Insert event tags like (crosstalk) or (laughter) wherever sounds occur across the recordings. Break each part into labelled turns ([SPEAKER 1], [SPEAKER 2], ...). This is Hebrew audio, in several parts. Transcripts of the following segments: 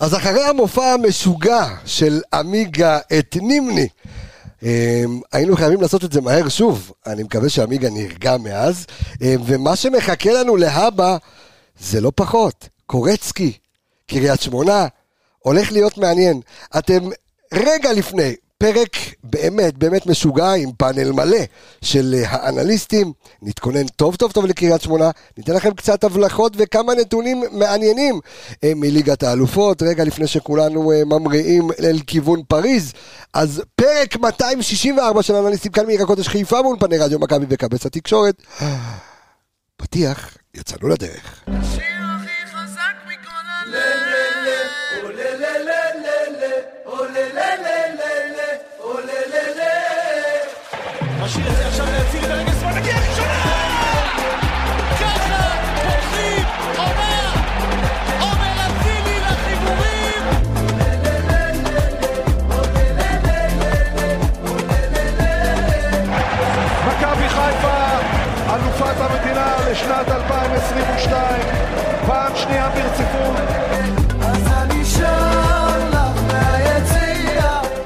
[SPEAKER 1] אז אחרי המופע המשוגע של עמיגה את נימני, אמ, היינו חייבים לעשות את זה מהר שוב. אני מקווה שעמיגה נרגע מאז, אמ, ומה שמחכה לנו להבא זה לא פחות. קורצקי, קריית שמונה, הולך להיות מעניין. אתם רגע לפני פרק באמת באמת משוגע עם פאנל מלא של אה, האנליסטים. נתכונן טוב טוב טוב לקריית שמונה, ניתן לכם קצת הבלחות וכמה נתונים מעניינים אה, מליגת האלופות, רגע לפני שכולנו אה, ממריאים אל כיוון פריז. אז פרק 264 של אנליסטים כאן מעיר הקודש חיפה מאולפני רדיו מכבי וכבש התקשורת. פתיח, יצאנו לדרך.
[SPEAKER 2] השיר הכי חזק מכל הלב.
[SPEAKER 3] משאיר את זה עכשיו להציל את הרגל שמאל, מגיע ראשונה! ככה פותחים עונה! עומר אצילי לחיבורים!
[SPEAKER 4] מכבי חיפה, אלופת המדינה לשנת 2022, פעם שנייה ברציפות.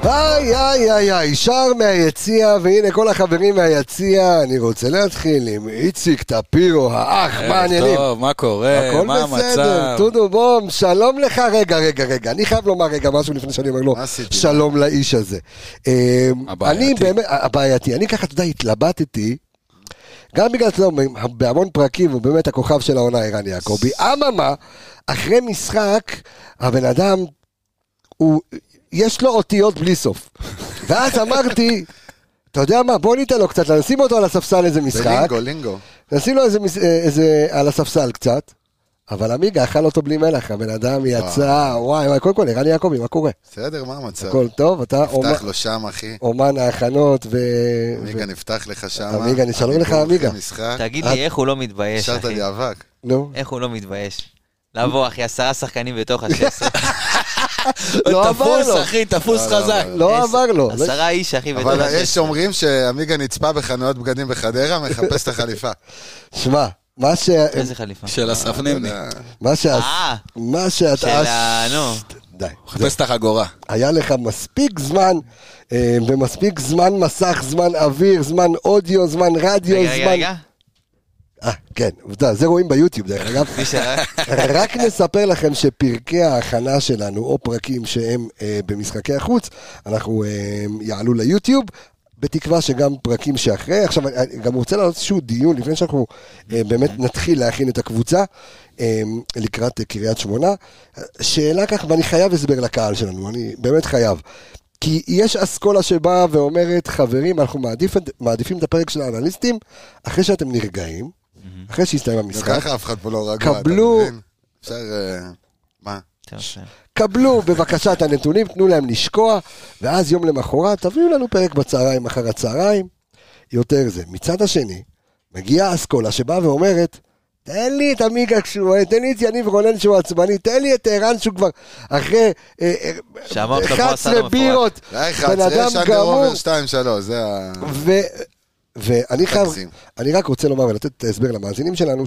[SPEAKER 1] איי, איי, איי, איי, שער מהיציע, והנה כל החברים מהיציע, אני רוצה להתחיל עם איציק טפירו, האח, מה העניינים?
[SPEAKER 5] אה, טוב, מה קורה?
[SPEAKER 1] הכל
[SPEAKER 5] מה
[SPEAKER 1] בסדר,
[SPEAKER 5] המצב?
[SPEAKER 1] טודו בום, שלום לך, רגע, רגע, רגע, אני חייב לומר רגע משהו לפני שאני אומר לו, שלום לאיש הזה. אמ,
[SPEAKER 5] הבעייתי.
[SPEAKER 1] אני באמת, הבעייתי, אני ככה, אתה יודע, התלבטתי, גם בגלל, אתה יודע, בהמון פרקים, הוא באמת הכוכב של העונה, ערן יעקבי. אממה, אחרי משחק, הבן אדם, הוא, יש לו אותיות בלי סוף. ואז אמרתי, אתה יודע מה, בוא ניתן לו קצת, נשים אותו על הספסל איזה משחק.
[SPEAKER 6] לינגו, לינגו.
[SPEAKER 1] נשים לו איזה, מס- אה, איזה על הספסל קצת. אבל עמיגה אכל אותו בלי מלח, הבן אדם יצא, וואי וואי, קודם כל, ערן יעקבי, מה קורה?
[SPEAKER 6] בסדר, מה המצב?
[SPEAKER 1] הכל אה. טוב, אתה אומן-
[SPEAKER 6] נפתח לו שם, אחי.
[SPEAKER 1] אומן ההכנות ו...
[SPEAKER 6] עמיגה נפתח לך שם.
[SPEAKER 1] עמיגה, אני שלום לך,
[SPEAKER 6] הולכים
[SPEAKER 1] עמיגה.
[SPEAKER 6] משחק,
[SPEAKER 7] תגיד
[SPEAKER 1] אה,
[SPEAKER 7] לי, איך הוא לא מתבייש,
[SPEAKER 6] השארת
[SPEAKER 7] אחי?
[SPEAKER 6] לי אבק.
[SPEAKER 1] נו.
[SPEAKER 7] איך הוא לא מתבייש? לבוא, אחי, עשרה שחקנים בתוך השש.
[SPEAKER 1] לא עבר
[SPEAKER 5] תפוס,
[SPEAKER 1] לו,
[SPEAKER 5] אחי, תפוס חזק.
[SPEAKER 1] (laughs) לא עבר לו.
[SPEAKER 7] עשרה איש, אחי, בתוך
[SPEAKER 6] אבל
[SPEAKER 7] השש.
[SPEAKER 6] יש שאומרים שעמיגה נצפה בחנויות בגדים בחדרה, מחפש את
[SPEAKER 1] (laughs)
[SPEAKER 6] החליפה.
[SPEAKER 1] שמע, מה ש...
[SPEAKER 7] איזה חליפה.
[SPEAKER 5] של אסף נימני.
[SPEAKER 1] מה ש...
[SPEAKER 7] אה,
[SPEAKER 1] מה שאתה...
[SPEAKER 7] של ה... נו.
[SPEAKER 1] די.
[SPEAKER 5] חפש את החגורה.
[SPEAKER 1] היה לך מספיק זמן, אה, ומספיק זמן מסך, זמן אוויר, זמן אודיו, זמן רדיו,
[SPEAKER 7] רגע, רגע,
[SPEAKER 1] זמן...
[SPEAKER 7] רגע.
[SPEAKER 1] אה, כן, עובדה, זה רואים ביוטיוב דרך אגב.
[SPEAKER 7] (laughs) מי ש-
[SPEAKER 1] (laughs) רק נספר לכם שפרקי ההכנה שלנו, או פרקים שהם אה, במשחקי החוץ, אנחנו אה, יעלו ליוטיוב. בתקווה שגם פרקים שאחרי, עכשיו אני אני גם רוצה לעלות איזשהו דיון לפני שאנחנו אה, באמת נתחיל להכין את הקבוצה אה, לקראת אה, קריית שמונה. שאלה ככה, ואני חייב הסבר לקהל שלנו, אני באמת חייב. כי יש אסכולה שבאה ואומרת, חברים, אנחנו מעדיף, מעדיפים את הפרק של האנליסטים אחרי שאתם נרגעים, אחרי שהסתיים המשחק.
[SPEAKER 6] ככה אף אחד פה לא רגוע, אתה
[SPEAKER 1] קבלו-
[SPEAKER 6] מבין? אפשר... אה, מה?
[SPEAKER 7] טוב, בסדר.
[SPEAKER 1] קבלו בבקשה את הנתונים, תנו להם לשקוע, ואז יום למחרת תביאו לנו פרק בצהריים אחר הצהריים, יותר זה. מצד השני, מגיעה אסכולה שבאה ואומרת, תן לי את עמיגה כשהוא, תן לי את יניב רונן שהוא עצבני, תן לי את ערן שהוא כבר אחרי אה, אה,
[SPEAKER 7] שאמרת לו פה עשה
[SPEAKER 1] 11
[SPEAKER 7] לו מפורט.
[SPEAKER 1] בירות,
[SPEAKER 6] די אחד,
[SPEAKER 1] בן אדם
[SPEAKER 6] יש אנדר
[SPEAKER 1] גמור,
[SPEAKER 6] אובר 2-3, זה ה...
[SPEAKER 1] ו... ואני חייב,
[SPEAKER 6] תגזים.
[SPEAKER 1] אני רק רוצה לומר ולתת את ההסבר למאזינים שלנו,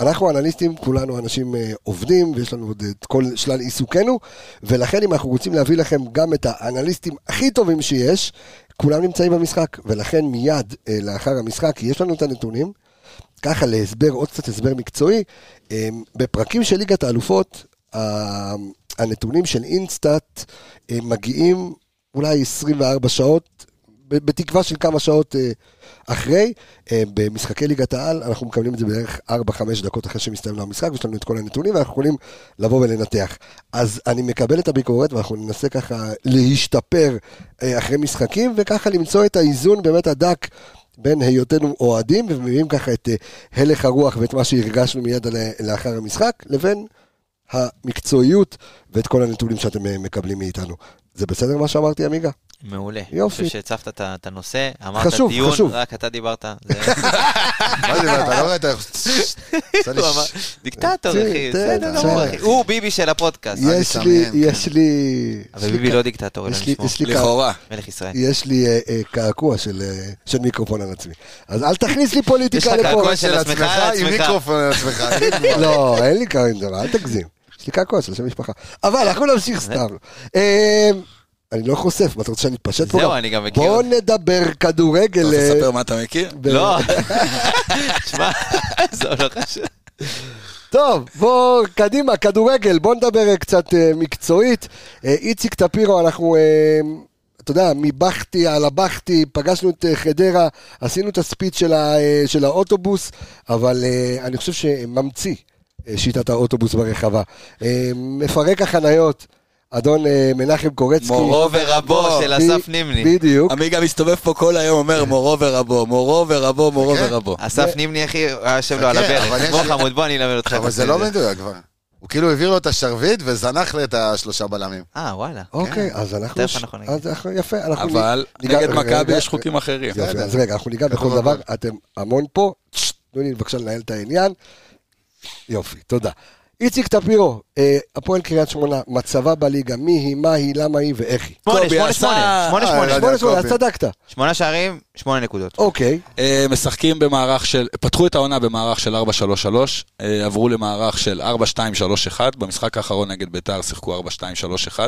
[SPEAKER 1] שאנחנו אנליסטים, כולנו אנשים אה, עובדים, ויש לנו עוד את כל שלל עיסוקנו, ולכן אם אנחנו רוצים להביא לכם גם את האנליסטים הכי טובים שיש, כולם נמצאים במשחק, ולכן מיד אה, לאחר המשחק יש לנו את הנתונים, ככה להסבר, עוד קצת הסבר מקצועי, אה, בפרקים של ליגת האלופות, ה- הנתונים של אינסטאט אה, מגיעים אולי 24 שעות, ב- בתקווה של כמה שעות אה, אחרי. אה, במשחקי ליגת העל, אנחנו מקבלים את זה בערך 4-5 דקות אחרי שמסתיים לנו המשחק, ויש לנו את כל הנתונים, ואנחנו יכולים לבוא ולנתח. אז אני מקבל את הביקורת, ואנחנו ננסה ככה להשתפר אה, אחרי משחקים, וככה למצוא את האיזון באמת הדק. בין היותנו אוהדים, ומביאים ככה את אה, הלך הרוח ואת מה שהרגשנו מיד על- אה, לאחר המשחק, לבין המקצועיות ואת כל הנתונים שאתם אה, מקבלים מאיתנו. זה בסדר מה שאמרתי, עמיגה?
[SPEAKER 7] מעולה.
[SPEAKER 1] יופי.
[SPEAKER 7] אני חושב שהצפת את ה- את הנושא, אמרת
[SPEAKER 1] חשוב,
[SPEAKER 7] דיון,
[SPEAKER 1] חשוב.
[SPEAKER 7] רק אתה דיברת.
[SPEAKER 1] (laughs)
[SPEAKER 7] זה-
[SPEAKER 6] מה זה, אתה לא ראית איך...
[SPEAKER 5] (laughs)
[SPEAKER 6] עשה לי
[SPEAKER 7] הוא אמר,
[SPEAKER 6] ש-
[SPEAKER 7] דיקטטור,
[SPEAKER 1] תראה,
[SPEAKER 7] אחי,
[SPEAKER 1] תראה,
[SPEAKER 7] בסדר
[SPEAKER 1] תראה.
[SPEAKER 7] גמור, אחי. הוא ביבי של הפודקאסט.
[SPEAKER 1] יש
[SPEAKER 6] אני
[SPEAKER 1] לי,
[SPEAKER 7] כן.
[SPEAKER 6] שמח,
[SPEAKER 1] יש לי...
[SPEAKER 7] אבל ביבי לא דיקטטור, אלא
[SPEAKER 1] יש לי-
[SPEAKER 7] נשמור.
[SPEAKER 1] יש לי קע-
[SPEAKER 5] לכאורה.
[SPEAKER 7] מלך ישראל.
[SPEAKER 1] יש לי אה, אה, קעקוע של, אה, של מיקרופון על עצמי. אז אל תכניס לי פוליטיקה
[SPEAKER 7] יש לך
[SPEAKER 1] לפה.
[SPEAKER 7] קעקוע של
[SPEAKER 6] של
[SPEAKER 7] עצמך
[SPEAKER 6] עצמך
[SPEAKER 7] על
[SPEAKER 1] (laughs)
[SPEAKER 6] עם
[SPEAKER 7] עצמך.
[SPEAKER 6] מיקרופון על עצמך.
[SPEAKER 1] לא, אין לי קעקוע, אל תגזים. יש שתיקה כוס, על שם משפחה. אבל אנחנו נמשיך סתם. אה, אני לא חושף, מה אתה רוצה שאני אתפשט פה?
[SPEAKER 7] זהו, אני גם מכיר.
[SPEAKER 1] בואו נדבר כדורגל.
[SPEAKER 5] אתה רוצה
[SPEAKER 1] אה,
[SPEAKER 5] לספר מה אתה מכיר?
[SPEAKER 1] ב-
[SPEAKER 7] לא,
[SPEAKER 1] (laughs)
[SPEAKER 7] (laughs) תשמע, (laughs) זה לא חשוב.
[SPEAKER 1] טוב, בואו, קדימה, כדורגל, בואו נדבר אה, קצת אה, מקצועית. אה, איציק טפירו, אנחנו, אה, אתה יודע, מבכתי על הבכתי, פגשנו את אה, חדרה, עשינו את הספיץ של, ה, אה, של האוטובוס, אבל אה, אני חושב שממציא אה, שיטת האוטובוס ברחבה. אה, מפרק החניות, אדון אה, מנחם קורצקי.
[SPEAKER 7] מורו ורבו של אסף
[SPEAKER 1] ב-
[SPEAKER 7] נימני.
[SPEAKER 1] בדיוק.
[SPEAKER 5] עמי גם מסתובב פה כל היום, אומר
[SPEAKER 1] כן.
[SPEAKER 5] מורו ורבו, מורו ורבו, מורו
[SPEAKER 1] אוקיי.
[SPEAKER 6] חכה.
[SPEAKER 5] ורבו.
[SPEAKER 7] אסף נימני, אחי, יושב לו על
[SPEAKER 6] חכה, אבל
[SPEAKER 7] הברך.
[SPEAKER 6] יש
[SPEAKER 7] בוא
[SPEAKER 6] לי-
[SPEAKER 7] חמוד, בוא אני אלמד אותך.
[SPEAKER 6] אבל זה לא
[SPEAKER 1] אה,
[SPEAKER 6] מדויק כבר. הוא כאילו העביר לו את השרביט וזנח לי את השלושה בלמים.
[SPEAKER 7] אה, וואלה.
[SPEAKER 1] אוקיי, אז אנחנו...
[SPEAKER 7] תכף אנחנו נגיד.
[SPEAKER 1] אז אנחנו- יפה, אנחנו...
[SPEAKER 5] אבל
[SPEAKER 1] ניגע-
[SPEAKER 5] נגד
[SPEAKER 1] רגע,
[SPEAKER 5] מכבי
[SPEAKER 1] רגע,
[SPEAKER 5] יש חוקים אחרים.
[SPEAKER 1] יפה, אז רגע, אנחנו ניגע בכל
[SPEAKER 6] כתוב
[SPEAKER 1] דבר,
[SPEAKER 6] הכל.
[SPEAKER 1] אתם המון פה, צ'ט, תנו לי בבקשה לנהל את העניין. יופי, תודה. איציק טפירו, אה, הפועל קריית שמונה, מצבה בליגה, מי היא, מה היא, למה היא ואיך היא.
[SPEAKER 7] שמונה,
[SPEAKER 5] קובי
[SPEAKER 7] שמונה,
[SPEAKER 5] עשה-
[SPEAKER 7] שמונה, שמונה,
[SPEAKER 6] אוקיי, אה,
[SPEAKER 7] שמונה.
[SPEAKER 6] לא
[SPEAKER 1] שמונה
[SPEAKER 6] יודע.
[SPEAKER 1] שמונה, אז
[SPEAKER 6] קובי.
[SPEAKER 1] צדקת.
[SPEAKER 7] שמונה שערים, שמונה נקודות.
[SPEAKER 1] אוקיי,
[SPEAKER 5] אה, משחקים במערך של, פתחו את העונה במערך של 4-3-3, אה, עברו למערך של 4-2-3-1, במשחק האחרון נגד ביתר שיחקו 4-2-3-1.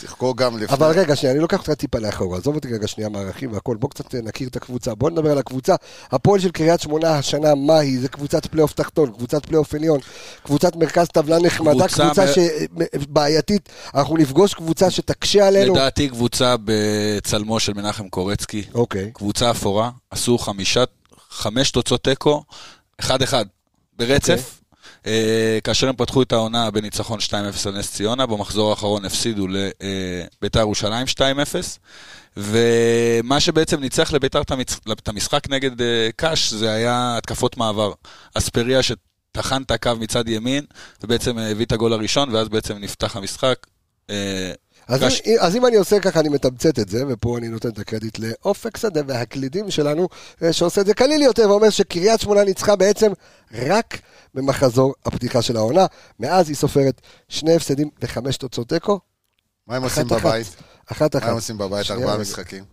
[SPEAKER 6] שיחקו גם לפני.
[SPEAKER 1] אבל רגע, שנייה, אני לוקח אותך טיפה לאחור, עזוב אותי רגע שנייה מהערכים והכל, בוא קצת אה, נכיר את הקבוצה, בוא נדבר על הקבוצה. הפועל של קריית שמונה השנה, מה היא? זה קבוצת פלייאוף תחתון, קבוצת פלייאוף עליון, קבוצת מרכז טבלה נחמדה,
[SPEAKER 5] קבוצה
[SPEAKER 1] קבוצה
[SPEAKER 5] מ-
[SPEAKER 1] שבעייתית, אנחנו נפגוש קבוצה שתקשה עלינו.
[SPEAKER 5] לדעתי קבוצה בצלמו של מנחם קורצקי,
[SPEAKER 1] אוקיי.
[SPEAKER 5] קבוצה אפורה, עשו חמישה, חמש תוצאות תיקו, אחד אחד, ברצף.
[SPEAKER 6] אוקיי.
[SPEAKER 5] אה, כאשר הם פתחו את העונה בניצחון 2-0 על נס ציונה, במחזור האחרון הפסידו לביתר ירושלים 2-0, ומה שבעצם ניצח לביתר את המצ- את המשחק נגד אה, קאש זה היה התקפות מעבר. אספריה שטחן את הקו מצד ימין, ובעצם אה, הביא את הגול הראשון, ואז בעצם נפתח המשחק. אה,
[SPEAKER 1] אז,
[SPEAKER 5] קש-
[SPEAKER 1] אם, אז אם אני עושה ככה, אני מתמצת את זה, ופה אני נותן את הקרדיט לאופק שדה והקלידים שלנו, אה, שעושה את זה קליל יותר, ואומר שקריית שמונה ניצחה בעצם רק במחזור הפתיחה של העונה. מאז היא סופרת שני הפסדים וחמש תוצאות תיקו,
[SPEAKER 6] מה הם עושים
[SPEAKER 1] אחת-אחת.
[SPEAKER 6] בבית?
[SPEAKER 1] אחת
[SPEAKER 6] מה הם
[SPEAKER 1] אחת.
[SPEAKER 6] עושים בבית?
[SPEAKER 1] שנייה,
[SPEAKER 6] ארבעה
[SPEAKER 1] רגע.
[SPEAKER 6] משחקים.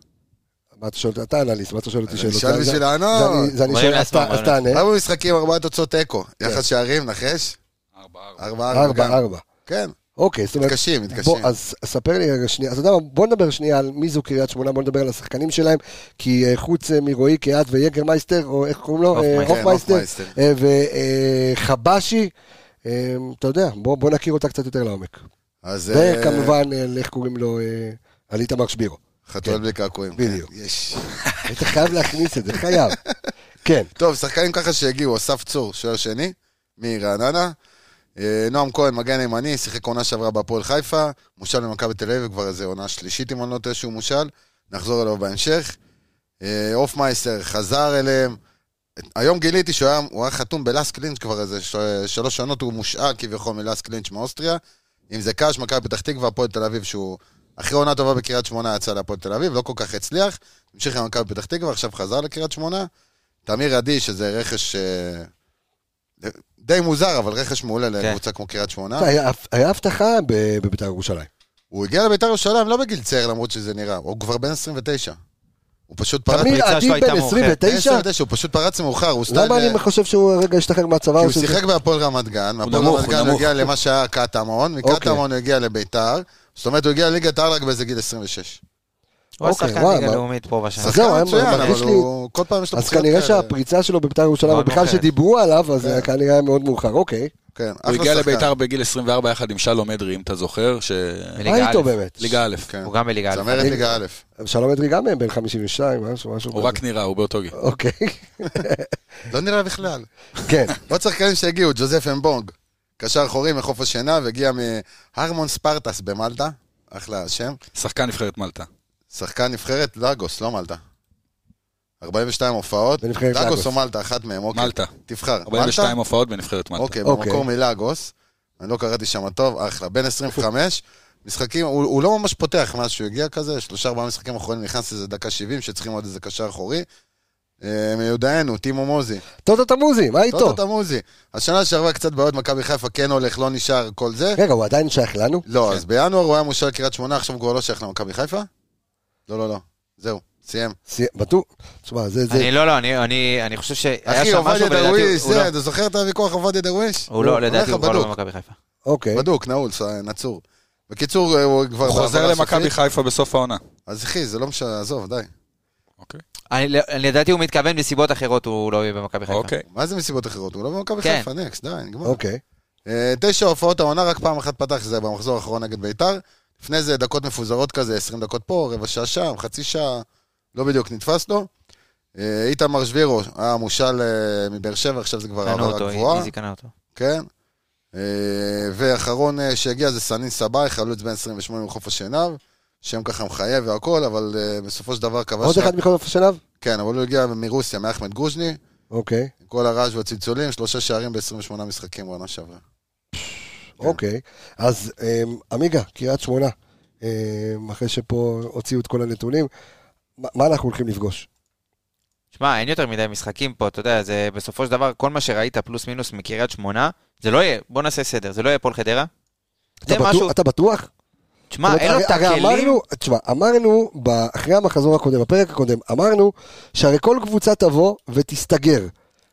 [SPEAKER 1] מה אתה שואל, אתה אנליסט, מה אתה שואל אותי
[SPEAKER 6] אני אה,
[SPEAKER 1] שאלות?
[SPEAKER 6] שואל
[SPEAKER 1] זה-
[SPEAKER 6] בשביל
[SPEAKER 1] זה-
[SPEAKER 6] לענות.
[SPEAKER 1] זה אני- זה אני
[SPEAKER 7] אומרים
[SPEAKER 1] שואל, אז
[SPEAKER 7] לעצמם,
[SPEAKER 1] אתה- אז
[SPEAKER 7] אומרים
[SPEAKER 1] תענה.
[SPEAKER 6] כמה משחקים ארבעה תוצאות תיקו? יחס שערים, נחש? ארבעה, ארבעה.
[SPEAKER 1] ארבע,
[SPEAKER 6] גם.
[SPEAKER 1] ארבע.
[SPEAKER 6] כן,
[SPEAKER 1] אוקיי, זאת אומרת...
[SPEAKER 6] מתקשים, מתקשים.
[SPEAKER 1] בוא, אז ספר לי רגע שנייה, אז אתה יודע מה, בוא נדבר שנייה על מי זו קריית שמונה, בוא נדבר על השחקנים שלהם, כי אה, חוץ אה, מרועי קהת ויגרמייסטר, או איך קוראים לו? אה,
[SPEAKER 6] הופמייסטר. כן,
[SPEAKER 1] הופמייסטר,
[SPEAKER 6] הופמייסטר.
[SPEAKER 1] אה, וחבשי, אה, אתה יודע, בוא בוא נכיר אותה קצת יותר לעומק.
[SPEAKER 6] אז... אה,
[SPEAKER 1] וכמובן, אה, איך קוראים לו? אה, על איתמר שבירו.
[SPEAKER 6] חתול
[SPEAKER 1] כן.
[SPEAKER 6] בלי קעקועים.
[SPEAKER 1] בדיוק.
[SPEAKER 6] כן, יש.
[SPEAKER 1] היית חייב להכניס את זה, חייב. כן,
[SPEAKER 6] טוב, שחקנים ככה שהגיעו, אסף צור, שוער שני, מרעננה. אה, נועם כהן, מגן ימני, שיחק עונה שעברה בהפועל חיפה, מושל במכבי תל אביב, כבר איזה עונה שלישית, אם אני לא טועה, שהוא מושל. נחזור אליו בהמשך. אה, הופמייסטר חזר אליהם. היום גיליתי שהוא היה, הוא היה חתום בלאסט קלינץ' כבר איזה ש- שלוש עונות, הוא מושאל כביכול מלאסט קלינץ' מאוסטריה. אם זה קאש, מכבי פתח תקווה, הפועל תל אביב, שהוא אחרי עונה טובה בקריית שמונה יצא להפועל תל אביב, לא כל כך הצליח. המשיך עם מכבי פתח תקווה, עכשיו חזר לקריית שמונה. תמיר עדי, שזה רכש אה, די מוזר, אבל רכש מעולה לקבוצה כמו קריית שמונה.
[SPEAKER 1] היה- היה הבטחה ב- בבית"ר ירושלים.
[SPEAKER 6] הוא הגיע לביתר ירושלים לא בגיל צעיר, למרות שזה נראה, הוא כבר בן 29. הוא פשוט פרץ...
[SPEAKER 1] תמיר
[SPEAKER 7] הפריצה
[SPEAKER 1] עדי
[SPEAKER 7] שלו הייתה
[SPEAKER 1] בן
[SPEAKER 7] מאוחרת.
[SPEAKER 1] 29?
[SPEAKER 6] 29, הוא פשוט פרץ מאוחר, הוא סטייל...
[SPEAKER 1] למה אני חושב שהוא הרגע השתחרר מהצבא?
[SPEAKER 6] כי
[SPEAKER 1] או
[SPEAKER 6] הוא
[SPEAKER 1] שזה-
[SPEAKER 6] שיחק בהפועל רמת גן, מהפועל
[SPEAKER 5] נמוך,
[SPEAKER 6] רמת
[SPEAKER 5] הוא
[SPEAKER 6] גן הוא
[SPEAKER 5] נמוך.
[SPEAKER 6] הגיע למה שהיה קטמון,
[SPEAKER 1] אוקיי.
[SPEAKER 6] מקטמון הוא הגיע לביתר, זאת אומרת הוא הגיע לליגת העל רק באיזה גיל 26.
[SPEAKER 7] הוא היה
[SPEAKER 1] אוקיי,
[SPEAKER 7] שחקן
[SPEAKER 1] וואי,
[SPEAKER 7] ליגה
[SPEAKER 1] מה-
[SPEAKER 7] לאומית פה ושם.
[SPEAKER 1] אז זהו, היה
[SPEAKER 6] שחקן מצוין,
[SPEAKER 1] מרגיש
[SPEAKER 6] אבל
[SPEAKER 1] לי-
[SPEAKER 6] הוא... כל פעם יש לו
[SPEAKER 1] אז
[SPEAKER 6] פציעות
[SPEAKER 1] כנראה
[SPEAKER 6] כאלה.
[SPEAKER 1] שהפריצה שלו בבית"ר ירושלים,
[SPEAKER 7] מאוד
[SPEAKER 1] בכלל
[SPEAKER 7] מאוחרת.
[SPEAKER 1] שדיברו עליו, אז
[SPEAKER 6] כן.
[SPEAKER 1] זה כנראה היה מאוד מאוחר, אוקיי.
[SPEAKER 6] כן,
[SPEAKER 5] הוא
[SPEAKER 6] אחלה
[SPEAKER 5] הגיע
[SPEAKER 6] שחקן.
[SPEAKER 5] לביתר בגיל 24 יחד עם שלום אדרי, אם אתה זוכר, ש...
[SPEAKER 1] מה
[SPEAKER 7] בליגה
[SPEAKER 1] איתו
[SPEAKER 7] א'.
[SPEAKER 1] באמת?
[SPEAKER 5] ליגה א'.
[SPEAKER 6] כן.
[SPEAKER 7] הוא גם בליגה א'.
[SPEAKER 6] צמרת ליגה א'.
[SPEAKER 1] שלום אדרי גם בן 52, משהו, משהו.
[SPEAKER 5] הוא
[SPEAKER 1] כזה.
[SPEAKER 5] רק נראה, הוא באותו גיל.
[SPEAKER 1] אוקיי, (laughs)
[SPEAKER 6] לא נראה בכלל.
[SPEAKER 1] כן.
[SPEAKER 6] עוד שחקנים שהגיעו, ג'וזף אמבונג, קשר אחורי מחוף השינה, והגיע מהרמון ספרטס במלטה, אחלה שם.
[SPEAKER 5] שחקן נבחרת מלטה.
[SPEAKER 6] שחקן נבחרת לאגוס, לא מלטה. 42 הופעות,
[SPEAKER 1] בנבחרת לאגוס.
[SPEAKER 6] לאגוס או מלטה, אחת מהם, אוקיי.
[SPEAKER 5] מלטה.
[SPEAKER 6] תבחר.
[SPEAKER 5] 42 הופעות בנבחרת מלטה.
[SPEAKER 6] אוקיי,
[SPEAKER 1] אוקיי.
[SPEAKER 6] במקור מלאגוס. אני לא קראתי שם טוב, אחלה. בן 25, משחקים, הוא, הוא לא ממש פותח מאז שהוא הגיע כזה, שלושה ארבעה משחקים אחרונים נכנס איזה דקה 70, שצריכים עוד איזה קשר אחורי. אה, מיודענו, טימו מוזי.
[SPEAKER 1] טוטו תמוזי, מה איתו?
[SPEAKER 6] טוטו תמוזי. השנה שעברה קצת בעיות, מכבי חיפה כן הולך, לא נשאר, כל זה.
[SPEAKER 1] רגע, הוא עדיין שייך לנו?
[SPEAKER 7] כן.
[SPEAKER 6] לא, אז בינואר הוא היה מושל קריית שמונה, עכשיו הוא כבר לא שייך למכבי חיפה? לא, לא, לא. זהו, סיים.
[SPEAKER 1] סי- בטוח? תשמע, זה, זה...
[SPEAKER 7] אני לא, לא, אני- אני אני חושב שהיה
[SPEAKER 6] אחי,
[SPEAKER 7] שם
[SPEAKER 6] עובדיה
[SPEAKER 7] משהו, ולדעתי
[SPEAKER 6] דרוויש,
[SPEAKER 7] הוא לא.
[SPEAKER 6] זה, אתה זוכר את הוויכוח עובדיה דרוויש?
[SPEAKER 7] הוא לא,
[SPEAKER 6] הולך
[SPEAKER 7] לדעתי הוא כבר לא
[SPEAKER 6] לבדוק.
[SPEAKER 7] במכבי חיפה.
[SPEAKER 1] אוקיי.
[SPEAKER 6] בדוק, נעול, ס- נצור. בקיצור, אה, הוא כבר...
[SPEAKER 5] הוא חוזר
[SPEAKER 6] בהעברה
[SPEAKER 5] למכבי
[SPEAKER 6] סופית.
[SPEAKER 5] חיפה בסוף העונה.
[SPEAKER 6] אז אחי, זה לא משנה, עזוב, די.
[SPEAKER 5] אוקיי.
[SPEAKER 7] אני לא- אני לדעתי הוא מתכוון מסיבות אחרות, הוא לא יהיה במכבי חיפה.
[SPEAKER 5] אוקיי.
[SPEAKER 6] מה זה מסיבות אחרות? הוא לא במכבי
[SPEAKER 7] כן.
[SPEAKER 6] חיפה, נקסט, די, נגמר.
[SPEAKER 1] אוקיי.
[SPEAKER 6] אה, תשע הופעות העונה, רק פעם אחת פתח, זה היה במחזור האחרון נגד ביתר. לפני זה דקות מפוזרות כזה, 20 דקות פה, רבע שעה שם, חצי שעה, לא בדיוק נתפס לו. אה, איתמר שבירו, היה מושל אה, מבאר שבע, עכשיו זה כבר
[SPEAKER 7] קנו
[SPEAKER 6] העברה
[SPEAKER 7] אותו,
[SPEAKER 6] גבוהה.
[SPEAKER 7] איזי קנה אותו.
[SPEAKER 6] כן. אה, ואחרון אה, שהגיע זה סנין סבאי, חלוץ בן 28 מחוף השנהב, שם ככה מחייב והכל, אבל אה, בסופו של דבר כבש...
[SPEAKER 1] עוד
[SPEAKER 6] רק-
[SPEAKER 1] אחד מכל אופן שלב?
[SPEAKER 6] כן, אבל הוא הגיע מרוסיה, מאחמד גוז'ני,
[SPEAKER 1] אוקיי.
[SPEAKER 6] עם כל הרעש והצלצולים, שלושה שערים ב-28 משחקים בעונה שעברה.
[SPEAKER 1] אוקיי. אז אמ, עמיגה, קריית שמונה, אמ, אחרי שפה הוציאו את כל הנתונים, מה מה אנחנו הולכים לפגוש?
[SPEAKER 7] שמע, אין יותר מדי משחקים פה, אתה יודע, זה בסופו של דבר, כל מה שראית פלוס מינוס מקריית שמונה, זה לא יהיה, בוא נעשה סדר, זה לא יהיה הפועל חדרה.
[SPEAKER 1] אתה
[SPEAKER 7] זה
[SPEAKER 1] בטוח-
[SPEAKER 7] משהו,
[SPEAKER 1] אתה בטוח?
[SPEAKER 7] תשמע,
[SPEAKER 1] זאת
[SPEAKER 7] אין לו
[SPEAKER 1] אומרת,
[SPEAKER 7] את
[SPEAKER 1] הרי- הרי
[SPEAKER 7] הכלים,
[SPEAKER 1] אמרנו, תשמע, אמרנו, ב- אחרי המחזור הקודם, בפרק הקודם, אמרנו שהרי כל קבוצה תבוא ותסתגר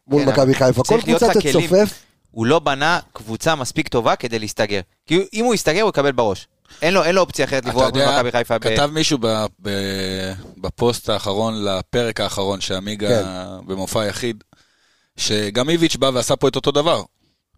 [SPEAKER 1] מול
[SPEAKER 7] כן,
[SPEAKER 1] מכבי חיפה. כל
[SPEAKER 7] צריך להיות
[SPEAKER 1] קבוצה
[SPEAKER 7] לך כלים.
[SPEAKER 1] תצופף.
[SPEAKER 7] הוא לא בנה קבוצה מספיק טובה כדי להסתגר. כי אם הוא יסתגר, הוא יקבל בראש. אין לו, אין לו אופציה אחרת לברוח
[SPEAKER 5] אתה יודע,
[SPEAKER 7] ממכבי חיפה. ב-
[SPEAKER 5] כתב מישהו ב- ב- בפוסט האחרון לפרק האחרון שעמיגה במופע יחיד, שגם איביץ' בא ועשה פה את אותו דבר.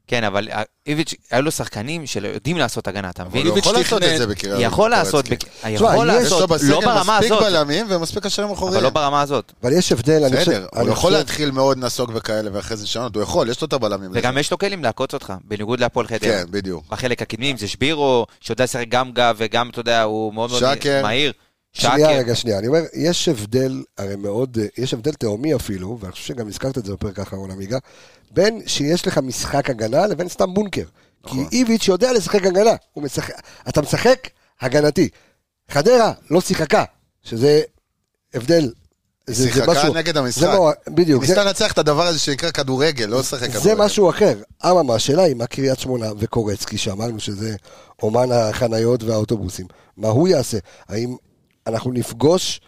[SPEAKER 7] כן, אבל אה, איביץ', היו לו שחקנים שיודעים לעשות הגנה, אתה מבין?
[SPEAKER 6] הוא
[SPEAKER 5] איביץ'
[SPEAKER 6] יכול לעשות
[SPEAKER 5] תכנן-
[SPEAKER 6] את זה בקריאה. אה,
[SPEAKER 7] יכול לעשות, בק- יכול
[SPEAKER 1] יש לו
[SPEAKER 6] לא- יש לו
[SPEAKER 7] לעשות,
[SPEAKER 6] בסגל
[SPEAKER 7] לא ברמה
[SPEAKER 6] מספיק
[SPEAKER 7] הזאת,
[SPEAKER 6] בלמים ומספיק קשרים
[SPEAKER 7] אבל
[SPEAKER 6] אחוריים.
[SPEAKER 7] לא ברמה הזאת.
[SPEAKER 1] אבל יש הבדל, אני חושב...
[SPEAKER 6] בסדר, הוא
[SPEAKER 1] אני
[SPEAKER 6] יכול
[SPEAKER 1] חושב-
[SPEAKER 6] להתחיל מאוד נסוג וכאלה ואחרי זה לשנות, הוא יכול, יש לו את הבלמים. לזה.
[SPEAKER 7] וגם יש לו כלים לעקוץ אותך, בניגוד להפועל חדרה.
[SPEAKER 6] כן, בדיוק.
[SPEAKER 7] בחלק הקדמי, אם זה שבירו, שיודע לשחק גם גב וגם, אתה יודע, הוא מאוד מאוד
[SPEAKER 6] שקר.
[SPEAKER 7] מהיר.
[SPEAKER 6] כן.
[SPEAKER 1] שנייה, רגע, שנייה. אני אומר, יש הבדל, הרי מאוד, אה, יש הבדל תהומי אפילו, ואני חושב שגם הזכרת את זה בפרק האחרון, עמיגה, בין שיש לך משחק הגנה לבין סתם בונקר. כי
[SPEAKER 6] נכון.
[SPEAKER 1] איביץ' יודע לשחק הגנה. הוא משחק, אתה משחק הגנתי. חדרה לא שיחקה, שזה הבדל. זה, זה
[SPEAKER 6] שיחקה
[SPEAKER 1] משהו,
[SPEAKER 6] נגד המשחק.
[SPEAKER 1] זה לא, בדיוק, זה,
[SPEAKER 6] ניסתה לנצח את הדבר הזה שנקרא כדורגל, לא לשחק כדורגל.
[SPEAKER 1] זה משהו אחר. אממה, השאלה היא מה קריית שמונה וקורצקי, שאמרנו שזה אומן החניות והאוטובוסים, מה הוא יעשה? האם אנחנו נפגוש,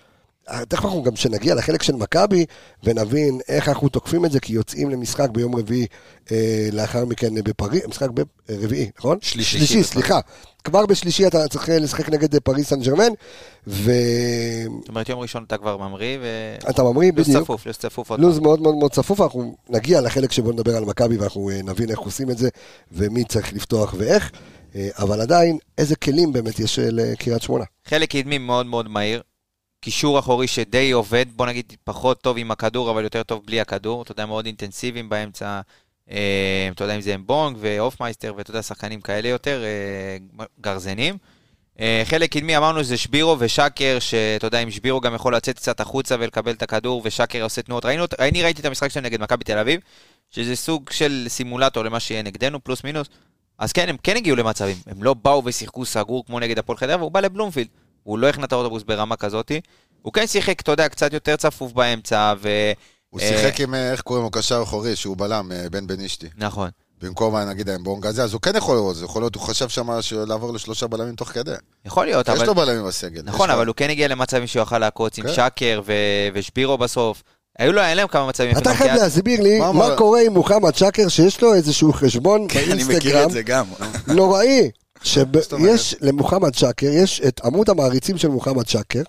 [SPEAKER 1] אה, תכף אנחנו גם שנגיע לחלק של מכבי ונבין איך אנחנו תוקפים את זה, כי יוצאים למשחק ביום רביעי אה, לאחר מכן אה, בפריז, משחק ברביעי, נכון?
[SPEAKER 5] שלישי.
[SPEAKER 1] שלישי, סליחה. כבר בשלישי אתה צריך אה, לשחק נגד אה, פריז סן ג'רמן, ואתה
[SPEAKER 7] זאת אומרת, יום ראשון אתה כבר ממריא, ו...
[SPEAKER 1] ממריא
[SPEAKER 7] לו"ז
[SPEAKER 1] בדיוק.
[SPEAKER 7] צפוף, לו"ז צפוף עוד
[SPEAKER 1] לו"ז מאוד מאוד מאוד צפוף, אנחנו נגיע לחלק שבו נדבר על מכבי ואנחנו אה, נבין איך עושים את זה ומי צריך לפתוח ואיך, אה, אבל עדיין, איזה כלים באמת יש אה, לקריית שמונה.
[SPEAKER 7] חלק קדמי מאוד מאוד מהיר. קישור אחורי שדי עובד, בוא נגיד פחות טוב עם הכדור, אבל יותר טוב בלי הכדור. אתה יודע, מאוד אינטנסיביים באמצע, אה, אתה יודע אם זה אמבונג והופמייסטר, ואתה יודע, שחקנים כאלה יותר, אה, גרזנים. אה, חלק קדמי אמרנו זה שבירו ושקר, שאתה יודע, אם שבירו גם יכול לצאת קצת החוצה ולקבל את הכדור, ושקר עושה תנועות. ראינו, אות- אני ראיתי את המשחק שלהם נגד מכבי תל אביב, שזה סוג של סימולטור למה שיהיה נגדנו, פלוס מינוס. אז כן, הם כן הגיעו למצבים. הם לא באו ושיחקו סגור כמו נגד הפועל חדרה, והוא בא לבלומפילד. הוא לא הכנע את האוטובוס ברמה כזאת. הוא כן שיחק, אתה יודע, קצת יותר צפוף באמצע, ו...
[SPEAKER 6] הוא
[SPEAKER 7] אה,
[SPEAKER 6] שיחק עם, אה, איך קוראים לו, קשר אחורי, שהוא בלם, אה, בן בן אשתי.
[SPEAKER 7] נכון.
[SPEAKER 6] במקום, אה, נגיד, האמבונג הזה, אז הוא כן יכול לראות, זה יכול להיות, הוא חשב שם לעבור לשלושה בלמים תוך כדי.
[SPEAKER 7] יכול להיות,
[SPEAKER 6] יש
[SPEAKER 7] אבל...
[SPEAKER 6] לו בלמים בסגל.
[SPEAKER 7] נכון,
[SPEAKER 6] יש לו.
[SPEAKER 7] אבל הוא כן הגיע למצבים שהוא יכל לעקוץ עם
[SPEAKER 6] כן.
[SPEAKER 7] שקר ו- ושבירו בסוף. היו לו, היה להם כמה מצבים.
[SPEAKER 1] אתה
[SPEAKER 7] יפים, אוקיי?
[SPEAKER 1] חייב
[SPEAKER 7] כי אז-
[SPEAKER 1] להסביר לי
[SPEAKER 6] מה
[SPEAKER 1] מה
[SPEAKER 6] אמר- כן,
[SPEAKER 1] קורה עם מוחמד שקר שיש לו איזשהו חשבון באינסטגרם
[SPEAKER 5] גם.
[SPEAKER 1] אוקיי. נוראי.
[SPEAKER 6] (laughs) זאת אומרת?
[SPEAKER 1] שיש למוחמד שקר, יש את עמוד המעריצים של מוחמד שקר,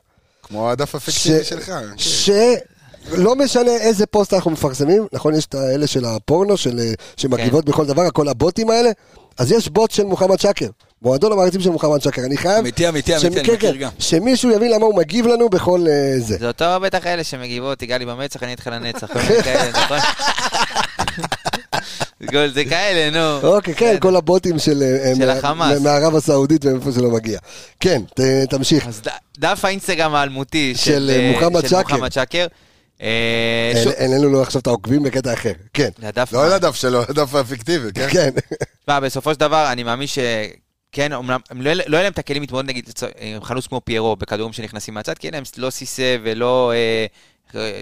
[SPEAKER 6] כמו הדף
[SPEAKER 1] ש-
[SPEAKER 6] הפיקטיבי שלך. כן.
[SPEAKER 1] שלא משנה איזה פוסט אנחנו מפרסמים, נכון, יש את האלה של הפורנו, של, אה, שמגיבות בכל דבר, כל הבוטים האלה, אז יש בוט של מוחמד שקר. מועדון המעריצים של מוחמד שקר, אני חייב...
[SPEAKER 5] אמיתי, אמיתי,
[SPEAKER 1] שמ-
[SPEAKER 5] אמיתי, אני
[SPEAKER 1] כן,
[SPEAKER 5] מכיר
[SPEAKER 1] כן,
[SPEAKER 5] גם.
[SPEAKER 1] שמישהו יבין למה הוא מגיב לנו בכל אה, זה.
[SPEAKER 7] זה אותו בטח אלה שמגיבות, תיגע לי במצח, אני איתך לנצח.
[SPEAKER 6] (laughs)
[SPEAKER 7] כל מיני כאלה, נכון? גול, זה כאלה, נו.
[SPEAKER 1] אוקיי, כן, כל הבוטים של... אה,
[SPEAKER 7] של
[SPEAKER 1] מה-
[SPEAKER 7] החמאס.
[SPEAKER 1] מה- מערב הסעודית ומאיפה שלא מגיע. כן, ת- תמשיך.
[SPEAKER 7] אז ד- דף האינסטגרם האלמותי של,
[SPEAKER 1] של,
[SPEAKER 7] אה,
[SPEAKER 1] מוחמד
[SPEAKER 7] של
[SPEAKER 1] שקר.
[SPEAKER 7] מוחמד שקר. אה,
[SPEAKER 1] אין-
[SPEAKER 7] שוב-
[SPEAKER 1] אין לנו לו עכשיו את העוקבים בקטע אחר. כן,
[SPEAKER 7] לדף
[SPEAKER 6] לא על הדף שלו, על הדף הפיקטיבי, כן?
[SPEAKER 1] כן.
[SPEAKER 7] תשמע, בסופו של דבר, אני מאמין שכן, אומנם, הם לא לא יהיה להם את הכלים להתמודד נגיד לצ- עם חלוץ כמו פיירו בכדורים שנכנסים מהצד, כי אין להם לא סיסה ולא... אה,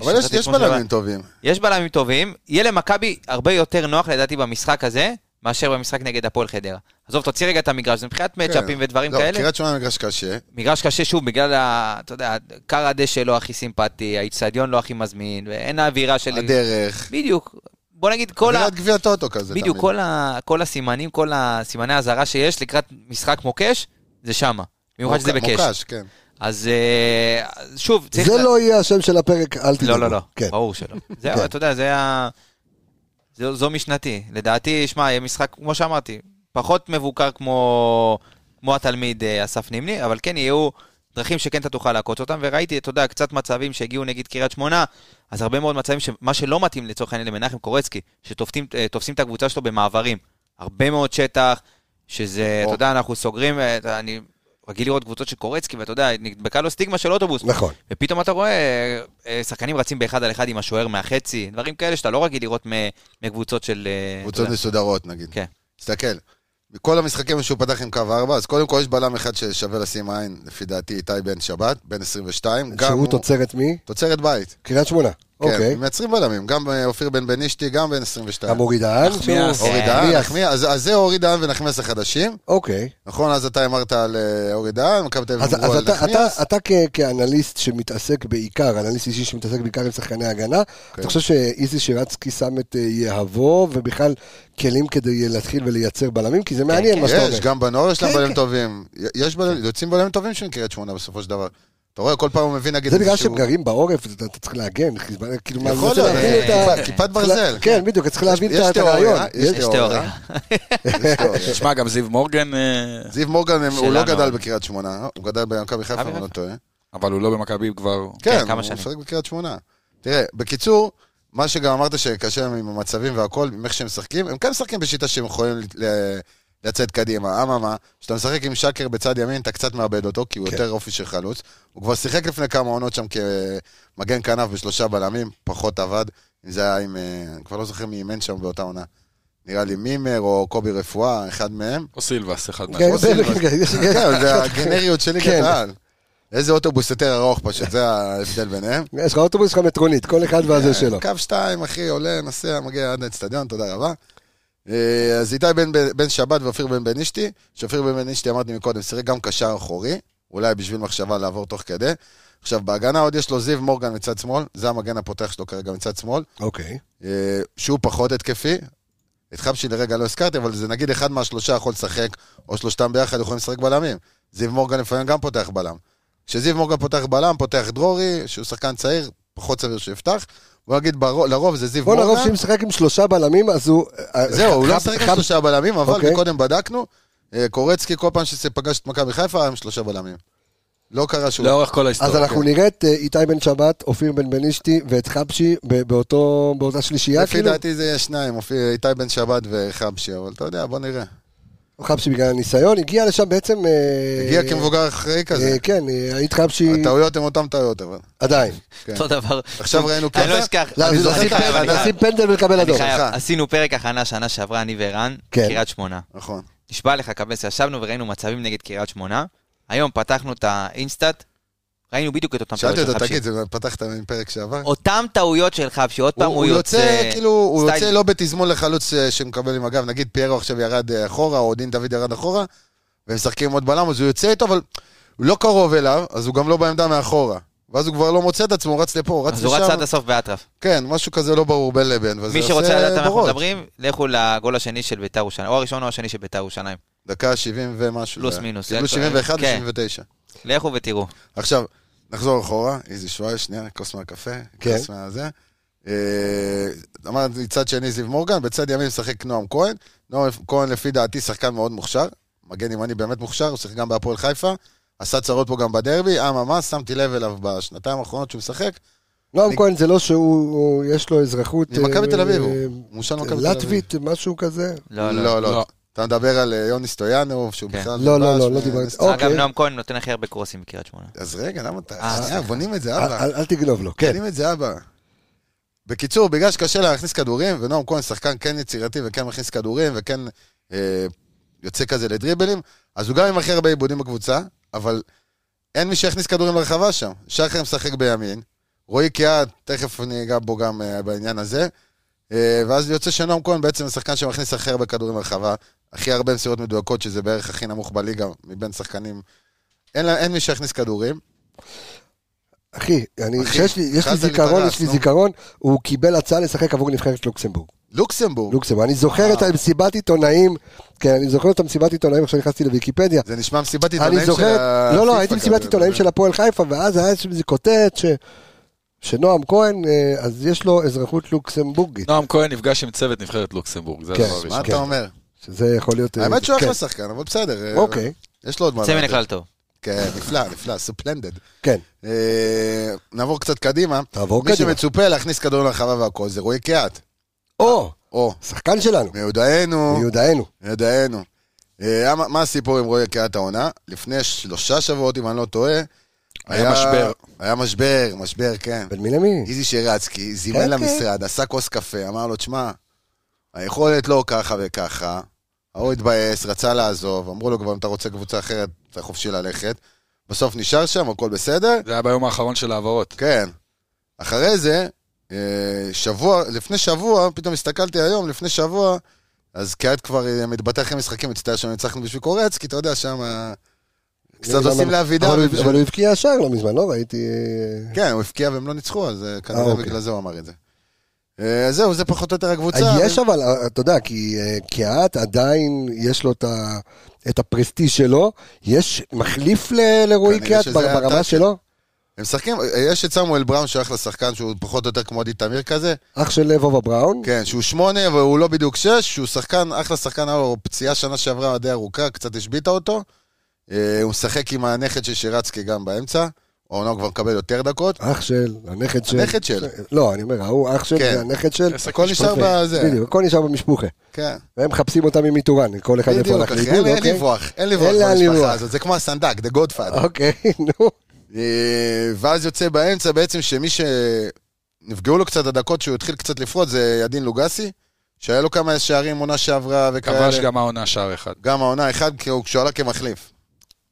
[SPEAKER 6] אבל יש-
[SPEAKER 7] שחקנים
[SPEAKER 6] יש
[SPEAKER 7] כמו של-
[SPEAKER 6] בלמים טובים.
[SPEAKER 7] יש בלמים טובים. יהיה למכבי הרבה יותר נוח, לדעתי, במשחק הזה, מאשר במשחק נגד הפועל חדרה. עזוב, תוציא רגע את המגרש, זה מבחינת מצ'אפים
[SPEAKER 6] כן.
[SPEAKER 7] ודברים
[SPEAKER 6] לא,
[SPEAKER 7] כאלה.
[SPEAKER 6] קריית שמונה מגרש קשה.
[SPEAKER 7] מגרש קשה, שוב, בגלל, ה- אתה יודע, קר הדשא לא הכי סימפטי, האיצטדיון לא הכי מזמין, ואין האווירה של...
[SPEAKER 6] הדרך.
[SPEAKER 7] בדיוק. בוא נגיד, כל ה...
[SPEAKER 6] אווירת גביע טוטו כזה.
[SPEAKER 7] בדיוק,
[SPEAKER 6] תמיד.
[SPEAKER 7] כל, ה... כל הסימנים, כל הסימני האזהרה שיש לקראת משחק מוקש, זה שמה. במיוחד שזה
[SPEAKER 6] מוק-
[SPEAKER 7] בקש.
[SPEAKER 6] מוקש, כן.
[SPEAKER 7] אז אה, אז שוב, צריך...
[SPEAKER 1] זה
[SPEAKER 7] לה-
[SPEAKER 1] לא יהיה השם של הפרק, אל תדאגו.
[SPEAKER 7] לא, לא, לא,
[SPEAKER 1] כן.
[SPEAKER 7] ברור
[SPEAKER 1] (laughs)
[SPEAKER 7] שלא. זה,
[SPEAKER 1] כן.
[SPEAKER 7] אתה יודע, זה ה... זו, זו משנתי. לדעתי, שמע, יהיה משחק, כמו שאמרתי, פחות מבוקר כמו, כמו התלמיד אה, אסף נימני, אבל כן יהיו דרכים שכן אתה תוכל לעקוץ אותם, וראיתי, אתה יודע, קצת מצבים שהגיעו נגיד קריית שמונה, אז הרבה מאוד מצבים, שמה שלא מתאים לצורך העניין למנחם קורצקי, שתופסים את הקבוצה שלו במעברים. הרבה מאוד שטח, שזה, אתה יודע, אנחנו סוגרים, אה, אתה- אני רגיל לראות קבוצות של קורצקי, ואתה יודע, נדבקה לו סטיגמה של אוטובוס.
[SPEAKER 1] נכון.
[SPEAKER 7] ופתאום אתה רואה אה, אה, שחקנים רצים באחד על אחד עם השוער מהחצי, דברים כאלה שאתה לא רגיל לראות מ- מקבוצות של... אה, אתה
[SPEAKER 6] קבוצות
[SPEAKER 7] יודע.
[SPEAKER 6] מסודרות נגיד.
[SPEAKER 7] כן.
[SPEAKER 6] תסתכל, מכל המשחקים שהוא פתח עם קו 4, אז קודם כל יש בלם אחד ששווה לשים עין, לפי דעתי, איתי בן שבת, בן 22. גם
[SPEAKER 1] שהוא
[SPEAKER 6] הוא-
[SPEAKER 1] תוצרת מי?
[SPEAKER 6] תוצרת בית.
[SPEAKER 1] קריית שמונה.
[SPEAKER 6] כן,
[SPEAKER 1] אוקיי.
[SPEAKER 6] מייצרים בלמים, גם אה, אופיר בן בנישתי, גם בן 22.
[SPEAKER 1] גם אורי דהן?
[SPEAKER 5] נחמיאס.
[SPEAKER 1] שהוא-
[SPEAKER 6] אורי
[SPEAKER 7] אה,
[SPEAKER 6] דהן,
[SPEAKER 1] נחמיאס.
[SPEAKER 6] נחמיאס, אז אז זה אורי דהן ונחמיאס החדשים.
[SPEAKER 1] אוקיי.
[SPEAKER 6] נכון, אז אתה אמרת על אה, אורי דהן, מכבי תל אביב
[SPEAKER 1] אז,
[SPEAKER 6] אמרו
[SPEAKER 1] אז
[SPEAKER 6] על
[SPEAKER 1] אתה, אתה,
[SPEAKER 6] נחמיאס.
[SPEAKER 1] אתה כ, כאנליסט שמתעסק בעיקר, אנליסט אישי שמתעסק בעיקר עם שחקני הגנה,
[SPEAKER 6] כן.
[SPEAKER 1] אתה חושב שאיזי שירצקי שם את אה, יהבו, ובכלל כלים כדי להתחיל ולייצר בלמים? כי זה מעניין מה שאתה אומר.
[SPEAKER 6] כן, יש, גם בנוער יש להם
[SPEAKER 1] כן,
[SPEAKER 6] בלמים
[SPEAKER 1] כן.
[SPEAKER 6] טובים. יש בלמים, יוצאים בלמים טובים של קריית שמונה בסופו של דבר. אתה רואה, כל פעם הוא מביא נגיד
[SPEAKER 1] זה בגלל
[SPEAKER 6] איזשהו-
[SPEAKER 1] שהם גרים בעורף, אתה אתה צריך להגן, חיזבאללה, כאילו, מה,
[SPEAKER 6] יכול
[SPEAKER 1] אתה צריך
[SPEAKER 6] להיות,
[SPEAKER 1] להבין
[SPEAKER 7] אה,
[SPEAKER 1] את ה-
[SPEAKER 6] כיפה-
[SPEAKER 1] (laughs)
[SPEAKER 6] כיפת
[SPEAKER 1] צריך לה-
[SPEAKER 6] ברזל. (laughs)
[SPEAKER 1] כן, בדיוק, אתה צריך להבין
[SPEAKER 6] יש
[SPEAKER 1] את
[SPEAKER 6] תיאוריה,
[SPEAKER 1] הרעיון.
[SPEAKER 6] יש
[SPEAKER 1] יש-
[SPEAKER 7] יש תיאוריה.
[SPEAKER 6] כן.
[SPEAKER 5] תשמע, גם זיו מורגן, אה,
[SPEAKER 6] זיו מורגן, הם- הוא
[SPEAKER 7] שלנו.
[SPEAKER 6] לא גדל בקריית שמונה, הוא גדל במכבי חיפה, אם אני לא טועה.
[SPEAKER 5] אבל הוא לא במכבי כבר...
[SPEAKER 6] כן,
[SPEAKER 7] כמה
[SPEAKER 6] הוא
[SPEAKER 7] שנים.
[SPEAKER 6] משחק בקריית שמונה. תראה, בקיצור, מה שגם אמרת שקשה להם עם המצבים והכל, עם איך שהם משחקים, הם כן משחקים בשיטה שהם יכולים ל- ל- לצאת קדימה. אממה, כשאתה משחק עם שקר בצד ימין, אתה קצת מאבד אותו, כי הוא
[SPEAKER 1] כן.
[SPEAKER 6] יותר אופי של חלוץ. הוא כבר שיחק לפני כמה עונות שם כמגן כנף בשלושה בלמים, פחות עבד. אם זה היה עם, אה, אני כבר לא זוכר מי אימן שם באותה עונה. נראה לי מימר או קובי רפואה, אחד מהם.
[SPEAKER 5] או סילבס, אחד מה...
[SPEAKER 1] כן, זה- כן, יש-
[SPEAKER 6] כן,
[SPEAKER 1] (laughs)
[SPEAKER 6] זה הגנריות של ליגת
[SPEAKER 1] כן.
[SPEAKER 6] העל. איזה אוטובוס יותר ארוך פשוט, זה ההבדל ביניהם.
[SPEAKER 1] יש לך אוטובוס, יש לך מטרונית, כל אחד והזה שלו.
[SPEAKER 6] קו שתיים, אחי, עולה, נוסע, מגיע עד האצטדיון, תודה רבה. אה, אז איתי בן, בן שבת ואופיר בן בן אשתי, שאופיר בן בן אשתי, אמרתי מקודם, שיחק גם קשר אחורי, אולי בשביל מחשבה לעבור תוך כדי. עכשיו, בהגנה עוד יש לו זיו מורגן מצד שמאל, זה המגן הפותח שלו כרגע מצד שמאל,
[SPEAKER 1] אוקיי.
[SPEAKER 6] אה, שהוא פחות התקפי. את חבשי לרגע לא הזכרתי, אבל זה נגיד אחד מהשלושה יכול לשחק, או שלושתם ביחד יכולים לשחק בלמים. זיו מורגן לפעמים גם פותח בלם. כשזיו מורגן פותח בלם, פותח דרורי, שהוא שחקן צעיר, פחות סביר שיפתח. בוא נגיד, ברוב- לרוב זה זיו
[SPEAKER 1] בוא
[SPEAKER 6] מורגן.
[SPEAKER 1] נרוב שאם משחק עם שלושה בלמים, אז הוא... אה,
[SPEAKER 6] זהו, הוא
[SPEAKER 1] חב-
[SPEAKER 6] לא משחק עם
[SPEAKER 1] חב-
[SPEAKER 6] שלושה בלמים,
[SPEAKER 1] אוקיי.
[SPEAKER 6] אבל קודם בדקנו, אה, קורצקי כל פעם שפגש את מכבי חיפה היה עם שלושה בלמים. לא קרה שום...
[SPEAKER 5] לאורך כל
[SPEAKER 1] אז
[SPEAKER 5] ההיסטוריה.
[SPEAKER 6] אוקיי.
[SPEAKER 1] אנחנו נראה את אה, איתי בן שבת, אופיר בן בנישתי ואת חבשי ב- באותו- באותה שלישייה,
[SPEAKER 6] לפי
[SPEAKER 1] כאילו?
[SPEAKER 6] דעתי זה יהיה שניים, אופי- איתי בן שבת וחבשי, אבל אתה יודע, בוא נראה.
[SPEAKER 1] אה, חבשי בגלל הניסיון, הגיע לשם בעצם... אה,
[SPEAKER 6] הגיע כמבוגר אחראי כזה.
[SPEAKER 1] אה, כן, אה, היית חבשי
[SPEAKER 6] הטעויות הן אותן טעויות, אבל.
[SPEAKER 1] עדיין.
[SPEAKER 6] כן.
[SPEAKER 7] אותו דבר.
[SPEAKER 6] עכשיו ראינו
[SPEAKER 7] אני לא
[SPEAKER 6] ככה?
[SPEAKER 7] אשכח.
[SPEAKER 1] לא,
[SPEAKER 7] אני
[SPEAKER 1] אז
[SPEAKER 7] לא
[SPEAKER 1] לשים
[SPEAKER 7] אשכח,
[SPEAKER 1] פנדל-
[SPEAKER 7] אבל אני
[SPEAKER 1] לשים פנדל ולקבל
[SPEAKER 7] אני
[SPEAKER 1] אדום.
[SPEAKER 7] חייב.
[SPEAKER 6] סליחה.
[SPEAKER 7] עשינו פרק הכנה שנה שעברה, אני וערן,
[SPEAKER 1] כן.
[SPEAKER 7] קריית שמונה.
[SPEAKER 6] נכון.
[SPEAKER 7] נשבע לך, קבס, ישבנו וראינו מצבים נגד קריית שמונה. היום פתחנו את האינסטאט, ראינו בדיוק את אותם טעויות
[SPEAKER 6] שאלתי
[SPEAKER 7] של
[SPEAKER 6] אותו,
[SPEAKER 7] חבשי.
[SPEAKER 6] תגיד, זה פתחת מפרק שעבר?
[SPEAKER 7] אותם טעויות של חבשי, עוד פעם
[SPEAKER 6] הוא
[SPEAKER 7] הוא
[SPEAKER 6] יוצא, כאילו, הוא
[SPEAKER 7] סטייל-
[SPEAKER 6] יוצא לא בתזמון לחלוץ אה, שמקבל עם הגב, נגיד פיירו עכשיו ירד אה, אחורה, או דין דוד ירד אחורה, והם משחקים עם עוד בלם, אז הוא יוצא איתו, אבל הוא לא קרוב אליו, אז הוא גם לא בעמדה מאחורה. ואז הוא כבר לא מוצא את עצמו, הוא רץ לפה, הוא רץ
[SPEAKER 7] אז הוא רץ
[SPEAKER 6] לשם.
[SPEAKER 7] עד הסוף באטרף.
[SPEAKER 6] כן, משהו כזה לא ברור בין לבין. וזה
[SPEAKER 7] מי
[SPEAKER 6] עושה
[SPEAKER 7] שרוצה לדעת על מה אנחנו
[SPEAKER 6] בורות.
[SPEAKER 7] מדברים, לכו לגול השני של ביתר ירושלים, או הראשון או השני של ביתר ירושלים.
[SPEAKER 6] דקה 70 ומשהו.
[SPEAKER 7] פלוס
[SPEAKER 6] זה היה.
[SPEAKER 7] מינוס,
[SPEAKER 6] כאילו
[SPEAKER 7] כן.
[SPEAKER 6] 71
[SPEAKER 7] כן.
[SPEAKER 6] ו-79.
[SPEAKER 7] לכו ותראו.
[SPEAKER 6] עכשיו, נחזור אחורה, איזי שואל, שנייה, כוס מהקפה,
[SPEAKER 1] כן.
[SPEAKER 6] כוס מהזה. אה, אמרתי, צד שני זיו מורגן, בצד ימין משחק נועם כהן. נועם כהן, לפי דעתי, שחקן מאוד מוכשר. מגן ימני באמת מוכשר, הוא שיחק גם בהפועל חיפה. עשה צרות פה גם בדרבי, אממה, שמתי לב אליו בשנתיים האחרונות שהוא משחק.
[SPEAKER 1] נועם
[SPEAKER 6] אני-
[SPEAKER 1] כהן זה לא שהוא, הוא- יש לו אזרחות...
[SPEAKER 6] ממכבי
[SPEAKER 1] אה,
[SPEAKER 6] תל אביב,
[SPEAKER 1] אה,
[SPEAKER 6] הוא מושל מכבי תל אביב.
[SPEAKER 1] לטבית, משהו כזה?
[SPEAKER 7] לא, לא.
[SPEAKER 6] לא,
[SPEAKER 5] לא.
[SPEAKER 6] לא. אתה מדבר על אה, יוני סטויאנוב, שהוא
[SPEAKER 7] כן.
[SPEAKER 6] בכלל...
[SPEAKER 1] לא, לא,
[SPEAKER 6] דבש
[SPEAKER 1] לא, לא
[SPEAKER 6] מ-
[SPEAKER 1] דיברתי.
[SPEAKER 6] נסטרוק.
[SPEAKER 7] אגב,
[SPEAKER 1] אוקיי.
[SPEAKER 7] נועם כהן נותן הכי הרבה קרוסים בקריית שמונה.
[SPEAKER 6] אז רגע, למה אתה...
[SPEAKER 7] אה,
[SPEAKER 6] שנייה,
[SPEAKER 7] סליחה.
[SPEAKER 6] בונים את זה,
[SPEAKER 1] אל
[SPEAKER 6] אבא.
[SPEAKER 1] אל- אל תגנוב לו, כן.
[SPEAKER 6] קדימה את זה אבא. בקיצור, בגלל שקשה לה להכניס כדורים, ונועם כהן שחקן כן יצירתי וכן מכניס כדורים וכן אה, יוצא כזה לדריבלים, אז הוא גם עם הכי הרבה עיבודים בקבוצה, אבל אין מי שיכניס כדורים לרחבה שם. שחר משחק בימין, רועי קיאט, תכף ניגע בו גם אה, בעניין הזה, אה, ואז יוצא שנועם כהן בעצם שחקן שמכניס הכי הרבה כדורים לרחבה, הכי הרבה מסירות מדויקות, שזה בערך הכי נמוך בליגה מבין שחקנים. אין, לה- אין מי שיכניס כדורים.
[SPEAKER 1] אחי, אני-
[SPEAKER 6] אחי,
[SPEAKER 1] כשיש לי- יש לי
[SPEAKER 6] התחלת
[SPEAKER 1] זיכרון,
[SPEAKER 6] להיפרץ,
[SPEAKER 1] יש לי
[SPEAKER 6] נו.
[SPEAKER 1] זיכרון, הוא קיבל הצעה לשחק עבור נבחרת לוקסמבורג.
[SPEAKER 6] לוקסמבורג.
[SPEAKER 1] לוקסמבורג. אני זוכר
[SPEAKER 6] אה.
[SPEAKER 1] את המסיבת עיתונאים, כן, אני זוכר את המסיבת עיתונאים, עכשיו נכנסתי לוויקיפדיה.
[SPEAKER 6] זה נשמע מסיבת עיתונאים
[SPEAKER 1] אני
[SPEAKER 6] של
[SPEAKER 1] זוכר,
[SPEAKER 6] ה-
[SPEAKER 1] לא, לא,
[SPEAKER 6] פיפ"א
[SPEAKER 1] הייתי מסיבת
[SPEAKER 6] כזה.
[SPEAKER 1] עיתונאים של הפועל חיפה, ואז היה שם איזה כותרת ש... שנועם כהן, אה, אז יש לו אזרחות לוקסמבורגית,
[SPEAKER 5] כן. נועם כהן נפגש עם צוות נבחרת לוקסמבורג, זה
[SPEAKER 1] כן.
[SPEAKER 5] הדבר הראשון.
[SPEAKER 6] מה
[SPEAKER 1] כן.
[SPEAKER 6] אתה אומר?
[SPEAKER 1] שזה יכול להיות... אה,
[SPEAKER 6] האמת שהוא
[SPEAKER 1] כן.
[SPEAKER 6] אחלה שחקן, אבל בסדר. אה,
[SPEAKER 1] אוקיי,
[SPEAKER 6] יש לו עוד מה
[SPEAKER 7] יוצא מן
[SPEAKER 6] לתת.
[SPEAKER 7] הכלל טוב.
[SPEAKER 6] כן, נפלא, נפלא, סופלנדד.
[SPEAKER 1] כן.
[SPEAKER 6] אה, נעבור קצת קדימה.
[SPEAKER 1] תעבור
[SPEAKER 6] מי
[SPEAKER 1] קדימה.
[SPEAKER 6] שמצופה להכניס כדור לרחבה והכל זה רועי קהת.
[SPEAKER 1] או,
[SPEAKER 6] או,
[SPEAKER 1] שחקן שלנו,
[SPEAKER 6] מיודענו,
[SPEAKER 1] מיודענו.
[SPEAKER 6] מיודענו. אה, מה- מה הסיפור עם רועי קהת העונה? לפני שלושה שבועות, אם אני לא טועה,
[SPEAKER 5] היה משבר.
[SPEAKER 6] היה משבר, משבר, כן.
[SPEAKER 1] בן מינמי.
[SPEAKER 6] איזי שרצקי
[SPEAKER 1] כן,
[SPEAKER 6] זימן
[SPEAKER 1] כן.
[SPEAKER 6] למשרד, עשה כוס קפה, אמר לו, תשמע, היכולת לא ככה וככה, ההוא התבאס, רצה לעזוב, אמרו לו כבר, אם אתה רוצה קבוצה אחרת, אתה חופשי ללכת. בסוף נשאר שם, הכל בסדר,
[SPEAKER 5] זה היה ביום האחרון של ההעברות.
[SPEAKER 6] כן. אחרי זה, אה, שבוע, לפני שבוע, פתאום הסתכלתי היום, לפני שבוע, אז קהד כבר אה, מתבטא אחרי משחקים, מצטער שלא ניצחנו בשביל קורצקי, אתה יודע, שם אה, קצת עושים לאבידר.
[SPEAKER 1] אבל הוא-
[SPEAKER 6] ובשביל-
[SPEAKER 1] אבל הוא הבקיע שער לא מזמן, לא ראיתי... אה,
[SPEAKER 6] כן, הוא הפקיע והם לא ניצחו, אז אה,
[SPEAKER 1] אה,
[SPEAKER 6] כנראה
[SPEAKER 1] אוקיי.
[SPEAKER 6] בגלל זה הוא אמר את זה. אה, אז זהו, זה פחות או יותר הקבוצה.
[SPEAKER 1] יש אבל, אה, אתה יודע, כי אה, קיאט עדיין יש לו את ה- את הפרסטיז' שלו, יש מחליף ל- לרועי
[SPEAKER 6] כנראה
[SPEAKER 1] קיאט
[SPEAKER 6] שזה
[SPEAKER 1] בר-
[SPEAKER 6] הטאץ'
[SPEAKER 1] ברמה שלו,
[SPEAKER 6] הם משחקים, אה, יש את סמואל בראון שייך לשחקן שהוא פחות או יותר כמו עדי תמיר כזה,
[SPEAKER 1] אח של וובה בראון.
[SPEAKER 6] כן, שהוא שמונה והוא לא בדיוק שש, שהוא שחקן, אחלה שחקן, היה לו פציעה שנה שעברה די ארוכה, קצת השביתה אותו. אה, הוא משחק עם הנכד של שירצקי גם באמצע, העונה הוא כבר מקבל יותר דקות.
[SPEAKER 1] אח של, הנכד של.
[SPEAKER 6] הנכד של.
[SPEAKER 1] לא, אני אומר, ההוא אח של,
[SPEAKER 6] כן.
[SPEAKER 1] זה הנכד של.
[SPEAKER 6] הכל נשאר
[SPEAKER 1] יפה.
[SPEAKER 6] בזה.
[SPEAKER 1] בדיוק, הכל נשאר במשפוחה.
[SPEAKER 6] כן.
[SPEAKER 1] והם מחפשים אותם עם איתורן, כל אחד איפה
[SPEAKER 6] בדיוק,
[SPEAKER 1] הלך
[SPEAKER 6] אחי,
[SPEAKER 1] לאיבוד,
[SPEAKER 6] אין- אין
[SPEAKER 1] אוקיי?
[SPEAKER 6] לברוח, אין
[SPEAKER 1] אין לאן
[SPEAKER 6] לברוח
[SPEAKER 1] לברוח.
[SPEAKER 6] במשפחה הזאת, זה כמו הסנדק, The Godfather.
[SPEAKER 1] אוקיי, (laughs) נו.
[SPEAKER 6] אה, ואז יוצא באמצע בעצם שמי שנפגעו לו קצת הדקות שהוא התחיל קצת לפרוט זה ידין לוגסי, שהיה לו כמה שערים עונה שעברה וכאלה.
[SPEAKER 5] כבש גם העונה שער אחד.
[SPEAKER 6] גם העונה אחד, כי הוא- כשהוא עלה כמחליף.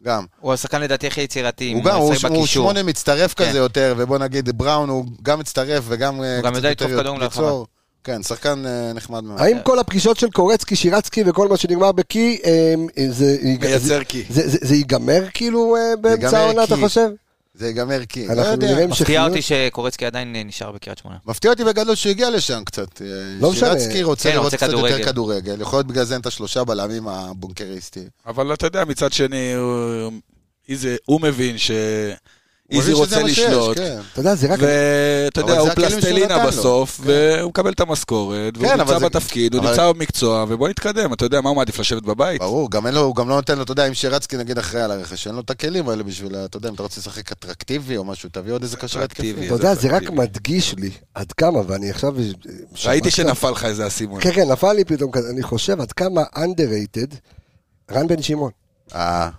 [SPEAKER 6] גם.
[SPEAKER 7] הוא השחקן לדעתי הכי יצירתי,
[SPEAKER 6] הוא גם, הוא
[SPEAKER 7] משחק
[SPEAKER 6] הוא
[SPEAKER 7] בקישור.
[SPEAKER 6] שמונה מצטרף
[SPEAKER 7] כן.
[SPEAKER 6] כזה יותר, ובוא נגיד בראון הוא גם מצטרף וגם אה,
[SPEAKER 7] הוא גם
[SPEAKER 6] קצת
[SPEAKER 7] יודע
[SPEAKER 6] יותר
[SPEAKER 7] לדחוף כדור
[SPEAKER 6] ליצור.
[SPEAKER 7] לרחבה.
[SPEAKER 6] כן, שחקן אה, נחמד מאוד.
[SPEAKER 1] האם כל הפגישות של קורצקי, שירצקי וכל מה שנגמר בקי, אה, זה-
[SPEAKER 5] מייצר קי.
[SPEAKER 1] זה- זה זה ייגמר כאילו אה, באמצע
[SPEAKER 6] ייגמר
[SPEAKER 1] העונה, אתה
[SPEAKER 6] כי-
[SPEAKER 1] חושב?
[SPEAKER 6] זה ייגמר כי, לא
[SPEAKER 1] אנחנו
[SPEAKER 6] יודע.
[SPEAKER 1] נראה אם
[SPEAKER 7] מפתיע
[SPEAKER 1] שכנעו-
[SPEAKER 7] אותי שקורצקי עדיין אה, נשאר בקריית שמונה.
[SPEAKER 6] מפתיע אותי בגדול שהוא הגיע לשם קצת. אה,
[SPEAKER 1] לא משנה.
[SPEAKER 6] שירצקי רוצה
[SPEAKER 7] כן,
[SPEAKER 6] לראות
[SPEAKER 7] רוצה
[SPEAKER 6] קצת יותר
[SPEAKER 7] כדורגל.
[SPEAKER 6] כדורגל. יכול להיות בגלל זה אין את השלושה בלמים הבונקריסטים.
[SPEAKER 5] אבל אתה יודע, מצד שני, הוא- איזה- הוא מבין ש... איזי
[SPEAKER 6] הוא מבין שזה
[SPEAKER 5] רוצה
[SPEAKER 6] מה שיש,
[SPEAKER 5] לשלוט,
[SPEAKER 6] כן.
[SPEAKER 1] אתה יודע, זה רק...
[SPEAKER 6] אבל
[SPEAKER 5] ואתה יודע,
[SPEAKER 6] זה
[SPEAKER 5] הוא
[SPEAKER 6] הכלים שהוא
[SPEAKER 5] פלסטלינה
[SPEAKER 6] נתן לו.
[SPEAKER 5] בסוף,
[SPEAKER 6] כן.
[SPEAKER 5] והוא מקבל את המשכורת, והוא
[SPEAKER 6] כן, אבל
[SPEAKER 5] נמצא
[SPEAKER 6] זה-
[SPEAKER 5] בתפקיד, הוא
[SPEAKER 6] אבל-
[SPEAKER 5] נמצא במקצוע, ובוא נתקדם, אתה יודע, מה הוא מעדיף לשבת בבית?
[SPEAKER 6] ברור, גם אין לו, הוא גם לא נותן לו, אתה יודע, אם שרצקי נגיד אחראי על הרכש, אין לו את הכלים האלה בשביל, ה- אתה יודע, אם אתה רוצה לשחק אטרקטיבי או משהו, תביא עוד איזה קשר
[SPEAKER 5] אטרקטיבי.
[SPEAKER 6] התקפי.
[SPEAKER 1] אתה יודע,
[SPEAKER 5] איזה
[SPEAKER 1] זה רק
[SPEAKER 5] אפקטיבי.
[SPEAKER 1] מדגיש לי עד כמה, ואני עכשיו...
[SPEAKER 5] ראיתי
[SPEAKER 1] שמעת-
[SPEAKER 5] שנפל לך איזה אסימון.
[SPEAKER 1] כן, כן, נפל לי פתאום כזה, אני חושב עד כמה underrated, רן בן שמעון.
[SPEAKER 6] אה,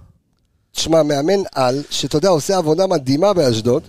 [SPEAKER 1] תשמע, מאמן על, שאתה יודע, עושה עבודה מדהימה באשדוד,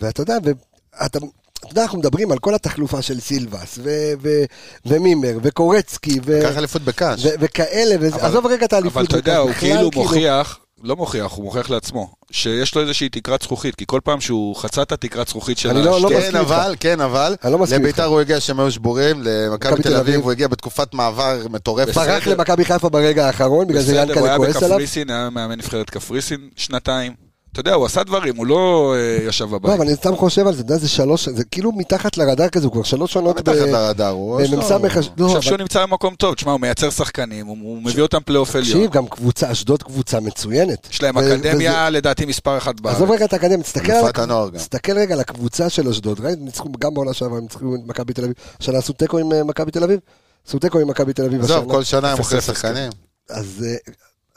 [SPEAKER 1] ואתה יודע, ואתה... אתה יודע, אנחנו מדברים על כל התחלופה של סילבס, ו- ו- ומימר, וקורצקי, ו-
[SPEAKER 6] קח אליפות בקאש.
[SPEAKER 1] ו- וכאלה, וזה- עזוב רגע את האליפות.
[SPEAKER 5] אבל אתה יודע,
[SPEAKER 1] בכלל,
[SPEAKER 5] הוא כאילו
[SPEAKER 1] כאילו-
[SPEAKER 5] מוכיח, לא מוכיח, הוא מוכיח לעצמו, שיש לו איזושהי תקרת זכוכית, כי כל פעם שהוא חצה את התקרת זכוכית של
[SPEAKER 1] אני לא- לא
[SPEAKER 5] השתי-
[SPEAKER 6] כן,
[SPEAKER 1] מסכים איתך.
[SPEAKER 6] אבל, כן, אבל,
[SPEAKER 1] אני לא מסכים
[SPEAKER 6] לביתר
[SPEAKER 1] איתך.
[SPEAKER 6] הוא הגיע שהם היו שבורים, למכבי תל אביב הוא הגיע בתקופת מעבר מטורפת.
[SPEAKER 1] ברח למכבי חיפה ברגע האחרון, בגלל זה
[SPEAKER 5] בסדר, הוא
[SPEAKER 1] ינקלה
[SPEAKER 5] היה
[SPEAKER 1] כועס עליו.
[SPEAKER 5] בקפריסין, היה מאמן נבחרת קפריסין שנתיים. אתה יודע, הוא עשה דברים, הוא לא אה, ישב
[SPEAKER 1] לא,
[SPEAKER 5] בבית.
[SPEAKER 1] אבל אני סתם חושב על זה, אתה יודע, זה שלוש, זה כאילו מתחת לרדאר כזה, הוא כבר שלוש שנות
[SPEAKER 6] לא
[SPEAKER 1] אה,
[SPEAKER 6] מתחת לרדאר, הוא... יש לו-
[SPEAKER 1] במ"ס אשדוד.
[SPEAKER 5] עכשיו שהוא נמצא במקום טוב, תשמע, הוא מייצר שחקנים, הוא- הוא מביא אותם פלייאוף עליון.
[SPEAKER 1] תקשיב, גם קבוצה, אשדוד קבוצה מצוינת.
[SPEAKER 5] יש להם
[SPEAKER 1] ו-
[SPEAKER 5] אקדמיה, לדעתי, מספר אחת
[SPEAKER 1] וזה-
[SPEAKER 5] בארץ.
[SPEAKER 1] עזוב רגע את האקדמיה, תסתכל על
[SPEAKER 6] אלופת
[SPEAKER 1] הקב-
[SPEAKER 6] הנוער גם.
[SPEAKER 1] תסתכל רגע על הקבוצה של אשדוד, ראית, ניצחו גם בעונה שעברה, הם ניצחו את מכבי תל אביב, השנה עשו תיקו עם אה, מכבי תל אביב? עשו תיקו עם מכבי תל אביב
[SPEAKER 6] עזוב,
[SPEAKER 1] השנה.
[SPEAKER 6] כל שנה הם
[SPEAKER 5] אפס
[SPEAKER 6] מוכרים
[SPEAKER 5] אפס,
[SPEAKER 6] שחקנים.
[SPEAKER 1] אז אה,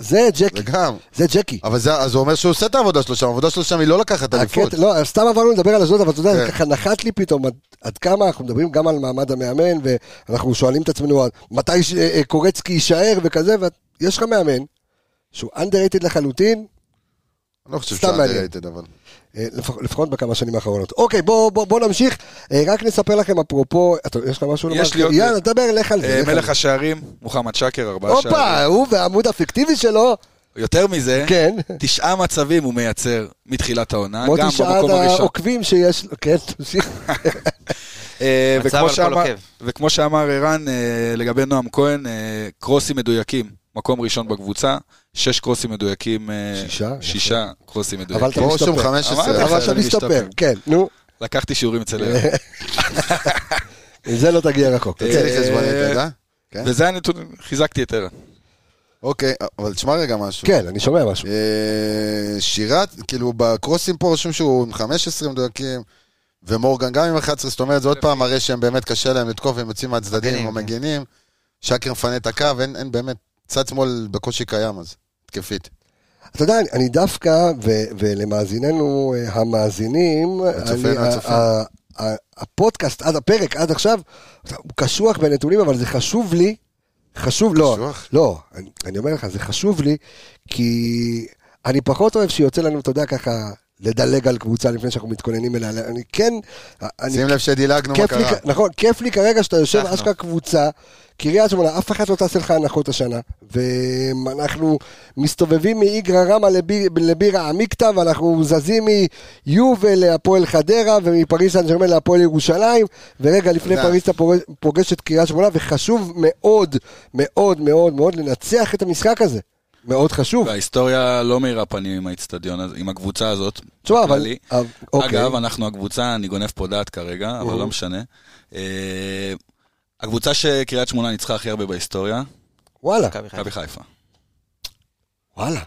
[SPEAKER 1] זה ג'קי,
[SPEAKER 6] זה גם.
[SPEAKER 1] זה ג'קי.
[SPEAKER 6] אבל זה- אז הוא אומר שהוא עושה את העבודה שלו שם, העבודה שלו שם היא לא לקחת אליפות.
[SPEAKER 1] הקטע- לא, סתם עברנו לדבר על אשדוד, אבל אתה יודע, זה
[SPEAKER 6] כן.
[SPEAKER 1] ככה נחת לי פתאום, עד- עד כמה אנחנו מדברים גם על מעמד המאמן, ואנחנו שואלים את עצמנו, מתי ש- אה, אה, קורצקי יישאר וכזה, ויש לך מאמן, שהוא underrated לחלוטין,
[SPEAKER 6] אני לא חושב
[SPEAKER 1] סתם
[SPEAKER 6] שהוא
[SPEAKER 1] מעניין.
[SPEAKER 6] underrated, אבל.
[SPEAKER 1] אה, לפח, לפחות בכמה שנים האחרונות. אוקיי, בואו בוא, בוא נמשיך. אה, רק נספר לכם אפרופו, אתה, יש לך משהו לומר?
[SPEAKER 5] יש לי עוד-
[SPEAKER 1] יאללה, דבר, לך על זה.
[SPEAKER 5] אה,
[SPEAKER 1] לך על
[SPEAKER 5] מלך
[SPEAKER 1] זה.
[SPEAKER 5] השערים, מוחמד שקר, ארבעה
[SPEAKER 1] הופה,
[SPEAKER 5] שערים.
[SPEAKER 1] הוא והעמוד הפיקטיבי שלו,
[SPEAKER 5] יותר מזה,
[SPEAKER 1] כן.
[SPEAKER 5] תשעה מצבים הוא מייצר מתחילת העונה,
[SPEAKER 1] מוטי אוקיי.
[SPEAKER 5] גם
[SPEAKER 1] שעד
[SPEAKER 5] במקום הראשון.
[SPEAKER 1] העוקבים שיש, לו- כן, תמשיך.
[SPEAKER 5] אה,
[SPEAKER 7] מצב
[SPEAKER 5] וכמו
[SPEAKER 7] על כל
[SPEAKER 5] שאמר-
[SPEAKER 7] עוקב.
[SPEAKER 5] וכמו שאמר ערן אה, לגבי נועם כהן, אה, קרוסים מדויקים, מקום ראשון בקבוצה, שש קרוסים מדויקים, אה,
[SPEAKER 1] שישה, יפה.
[SPEAKER 5] שישה קרוסים
[SPEAKER 1] אבל אתה
[SPEAKER 5] מדויקים.
[SPEAKER 6] פה רושם
[SPEAKER 1] מסתפר.
[SPEAKER 6] 15.
[SPEAKER 5] כן, אמרתי
[SPEAKER 1] אבל
[SPEAKER 5] לך,
[SPEAKER 1] אתה
[SPEAKER 5] להשתפר.
[SPEAKER 1] מסתפר, כן, נו.
[SPEAKER 5] לקחתי שיעורים אצל ערן.
[SPEAKER 1] עם זה לא תגיע רחוק.
[SPEAKER 6] תוציא לי
[SPEAKER 5] אה,
[SPEAKER 6] חשבונית, אתה יודע? כן.
[SPEAKER 5] וזה הנתון, חיזקתי את ערן.
[SPEAKER 6] אוקיי, אבל תשמע רגע משהו.
[SPEAKER 1] כן, אני שומע משהו.
[SPEAKER 6] אה, שירת, כאילו בקרוסים פה רשום שהוא עם 15 מדויקים, ומורגן גם עם 11, זאת אומרת, זה עוד פעם מראה שהם באמת קשה להם לתקוף, הם יוצאים מהצדדים
[SPEAKER 7] מגנים,
[SPEAKER 6] או
[SPEAKER 7] כן.
[SPEAKER 6] מגינים, שקר מפנה את הקו, אין אין באמת, צד שמאל בקושי קיים אז, התקפית.
[SPEAKER 1] אתה יודע, אני- אני דווקא, ו- ולמאזיננו אה, המאזינים,
[SPEAKER 6] הצופן,
[SPEAKER 1] אני- ה-
[SPEAKER 6] הצופן.
[SPEAKER 1] ה- ה- הפודקאסט עד הפרק, עד עכשיו, הוא קשוח בנתונים, אבל זה חשוב לי, חשוב, לא,
[SPEAKER 6] קשוח?
[SPEAKER 1] לא, אני- אני אומר לך, זה חשוב לי, כי אני פחות אוהב שיוצא לנו, אתה יודע, ככה, לדלג על קבוצה לפני שאנחנו מתכוננים אליה, אני כן, אני
[SPEAKER 6] שים לב שדילגנו מה
[SPEAKER 1] כיף לי,
[SPEAKER 6] קרה.
[SPEAKER 1] נכון, כיף לי כרגע שאתה יושב
[SPEAKER 7] אנחנו.
[SPEAKER 1] אשכרה קבוצה, קריית שמונה, אף אחת לא תעשה לך הנחות השנה, ואנחנו מסתובבים מאיגרא רמא לבי- לבירה עמיקתא, ואנחנו זזים מיובל להפועל חדרה, ומפריס סן ג'רמן להפועל ירושלים, ורגע לפני
[SPEAKER 6] תודה.
[SPEAKER 1] פריס אתה פוגש- פוגש את קריית שמונה, וחשוב מאוד, מאוד מאוד מאוד לנצח את המשחק הזה, מאוד חשוב.
[SPEAKER 5] וההיסטוריה לא מאירה פנים עם האיצטדיון, הזה- עם הקבוצה הזאת.
[SPEAKER 1] תשמע, אבל...
[SPEAKER 5] בכללי.
[SPEAKER 1] אבל- אוקיי.
[SPEAKER 5] אגב, אנחנו הקבוצה, אני גונב פה דעת כרגע, אבל
[SPEAKER 1] אוהו.
[SPEAKER 5] לא משנה. אה, הקבוצה שקריית שמונה ניצחה הכי הרבה בהיסטוריה,
[SPEAKER 1] וואלה.
[SPEAKER 7] מכבי חיפה.
[SPEAKER 5] מכבי חיפה.
[SPEAKER 1] וואלה.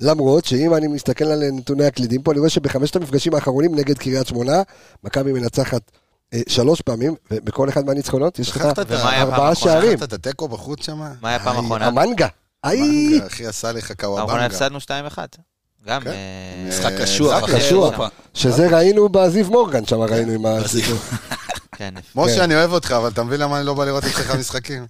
[SPEAKER 1] למרות שאם אני מסתכל על נתוני הקלידים פה, אני רואה שבחמשת המפגשים האחרונים נגד קריית שמונה, מכבי מנצחת אה, שלוש פעמים, ובכל אחד מהניצחונות יש לך
[SPEAKER 6] שכחת את
[SPEAKER 7] ומה היה הפעם
[SPEAKER 1] ארבעה
[SPEAKER 7] האחרונה?
[SPEAKER 1] שערים.
[SPEAKER 6] שכחת את התיקו בחוץ שם?
[SPEAKER 7] מה היה פעם האחרונה?
[SPEAKER 1] המנגה. איי,
[SPEAKER 6] מנגה, אחי עשה לך
[SPEAKER 7] האחרונה
[SPEAKER 6] קוואבנגה.
[SPEAKER 7] הפסדנו 2-1. גם...
[SPEAKER 6] כן.
[SPEAKER 7] אה,
[SPEAKER 5] משחק
[SPEAKER 6] אה,
[SPEAKER 5] קשוח,
[SPEAKER 6] משחק
[SPEAKER 5] אחרי
[SPEAKER 1] קשוח.
[SPEAKER 5] אירופה.
[SPEAKER 1] שזה ראינו בזיו מורגן, שם ראינו עם ה...
[SPEAKER 7] כן,
[SPEAKER 1] כן.
[SPEAKER 6] משה, אני אוהב אותך, אבל אתה מבין למה אני לא בא לראות אצלך משחקים?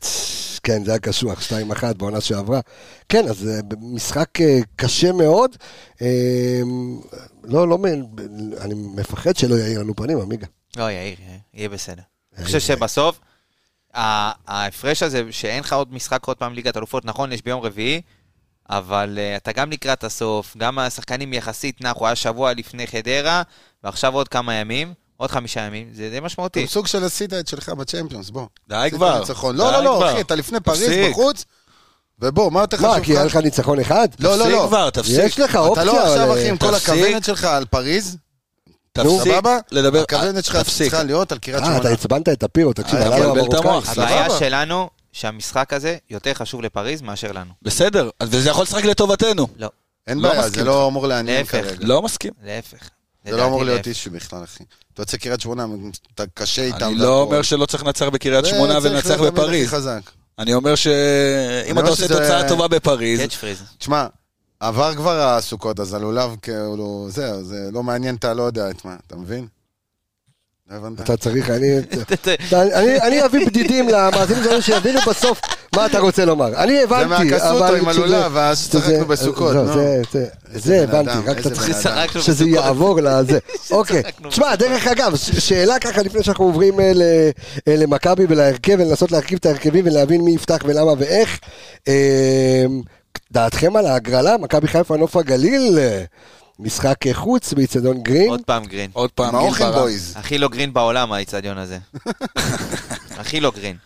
[SPEAKER 1] כן, זה היה קשוח, 2-1 בעונה שעברה. כן, אז אה, משחק אה, קשה מאוד. אה, לא, לא, מ- אני מפחד שלא יאיר לנו פנים, עמיגה.
[SPEAKER 7] לא, יאיר, יאיר, יהיה בסדר. אני חושב שבסוף, ה- ההפרש הזה, שאין לך עוד משחק עוד פעם ליגת אלופות, נכון, יש ביום רביעי, אבל אה, אתה גם לקראת הסוף, גם השחקנים יחסית נחו, היה שבוע לפני חדרה, ועכשיו עוד כמה ימים, עוד חמישה ימים, זה די משמעותי.
[SPEAKER 6] אתם סוג של עשית את שלך בצ'מפיונס, בוא.
[SPEAKER 5] די
[SPEAKER 6] עשית
[SPEAKER 5] כבר.
[SPEAKER 6] ניצחון.
[SPEAKER 5] די
[SPEAKER 6] לא, לא,
[SPEAKER 5] כבר.
[SPEAKER 6] לא, אחי, אתה לפני פריז
[SPEAKER 5] תפסיק.
[SPEAKER 6] בחוץ, ובוא, מה יותר
[SPEAKER 1] מה,
[SPEAKER 6] חשוב
[SPEAKER 1] כי היה לך ניצחון אחד?
[SPEAKER 6] לא, לא,
[SPEAKER 5] תפסיק
[SPEAKER 6] לא.
[SPEAKER 5] כבר, תפסיק.
[SPEAKER 1] יש לך אופציה.
[SPEAKER 6] אתה לא עכשיו,
[SPEAKER 1] ל-
[SPEAKER 6] אחי, עם כל
[SPEAKER 5] תפסיק.
[SPEAKER 6] הכוונת שלך על פריז,
[SPEAKER 5] תפסיק
[SPEAKER 6] סבבה?
[SPEAKER 5] לדבר,
[SPEAKER 6] הכוונת שלך
[SPEAKER 5] תפסיק.
[SPEAKER 6] צריכה להיות על קריית
[SPEAKER 1] אה, אתה
[SPEAKER 6] שמונה. כן,
[SPEAKER 1] עצבנת את הפירו, תקשיב,
[SPEAKER 5] אה,
[SPEAKER 1] הלילה
[SPEAKER 5] תבלבל את
[SPEAKER 1] המרוקאי.
[SPEAKER 5] המוח.
[SPEAKER 7] הבעיה
[SPEAKER 6] סבבה.
[SPEAKER 7] שלנו, שהמשחק הזה יותר חשוב לפריז מאשר לנו.
[SPEAKER 5] בסדר, וזה יכול לשחק לטובתנו.
[SPEAKER 7] לא,
[SPEAKER 6] אין
[SPEAKER 5] לא
[SPEAKER 6] בעיה,
[SPEAKER 5] מסכים
[SPEAKER 6] זה לא אמור לעניין
[SPEAKER 7] להפך.
[SPEAKER 6] כרגע.
[SPEAKER 5] לא מסכים.
[SPEAKER 7] להפך.
[SPEAKER 6] זה לא אמור
[SPEAKER 7] לדעתי
[SPEAKER 6] להיות
[SPEAKER 7] להפך.
[SPEAKER 6] אישו בכלל, אחי. אתה יוצא קריית שמונה, אתה קשה איתם.
[SPEAKER 5] אני לא
[SPEAKER 6] והכל.
[SPEAKER 5] אומר שלא צריך לנצח בקריית
[SPEAKER 6] זה
[SPEAKER 5] שמונה
[SPEAKER 6] צריך
[SPEAKER 5] ולנצח
[SPEAKER 6] להיות תמיד
[SPEAKER 5] בפריז.
[SPEAKER 6] הכי חזק.
[SPEAKER 5] אני אומר שאם
[SPEAKER 6] אומר
[SPEAKER 5] אתה עושה
[SPEAKER 6] שזה-
[SPEAKER 5] תוצאה טובה בפריז,
[SPEAKER 7] קאץ' פריז.
[SPEAKER 6] תשמע, עבר כבר הסוכות, אז הלולב כאילו, זהו, זה לא מעניין את הלא יודע את מה, אתה מבין? לא הבנת?
[SPEAKER 1] אתה צריך,
[SPEAKER 6] (laughs)
[SPEAKER 1] אני... אתה- אני- אני אביא בדידים למאזינים שלנו שיבינו בסוף מה אתה רוצה לומר. אני
[SPEAKER 6] זה
[SPEAKER 1] הבנתי,
[SPEAKER 6] מהקסוטו
[SPEAKER 1] אבל... כשזה-
[SPEAKER 6] עם הלולב, ואז
[SPEAKER 1] כשזה-
[SPEAKER 6] שצחקנו בסוכות,
[SPEAKER 1] לא,
[SPEAKER 6] נו.
[SPEAKER 1] זה- זה-
[SPEAKER 6] איזה
[SPEAKER 1] זה
[SPEAKER 6] בן
[SPEAKER 1] הבנתי,
[SPEAKER 6] אדם,
[SPEAKER 1] רק
[SPEAKER 6] איזה
[SPEAKER 1] אתה צריך
[SPEAKER 6] בן אדם.
[SPEAKER 7] שצחקנו
[SPEAKER 6] (laughs)
[SPEAKER 1] שזה
[SPEAKER 7] בסוכות.
[SPEAKER 1] יעבור לזה. אוקיי.
[SPEAKER 7] שצחקנו
[SPEAKER 1] תשמע, דרך אגב, ש- שאלה ככה לפני שאנחנו עוברים אה, ל- אה, למכבי ולהרכב, ולנסות להרכיב את ההרכבים ולהבין מי יפתח ולמה ואיך. אה, דעתכם על ההגרלה, מכבי חיפה נוף הגליל, אה, משחק אה, חוץ באיצטדיון גרין.
[SPEAKER 7] עוד פעם גרין.
[SPEAKER 5] עוד פעם,
[SPEAKER 6] מה
[SPEAKER 5] גיל
[SPEAKER 6] אוכן
[SPEAKER 5] ברם.
[SPEAKER 6] בויז?
[SPEAKER 7] הכי לא גרין בעולם, האיצטדיון הזה. הכי לא גרין.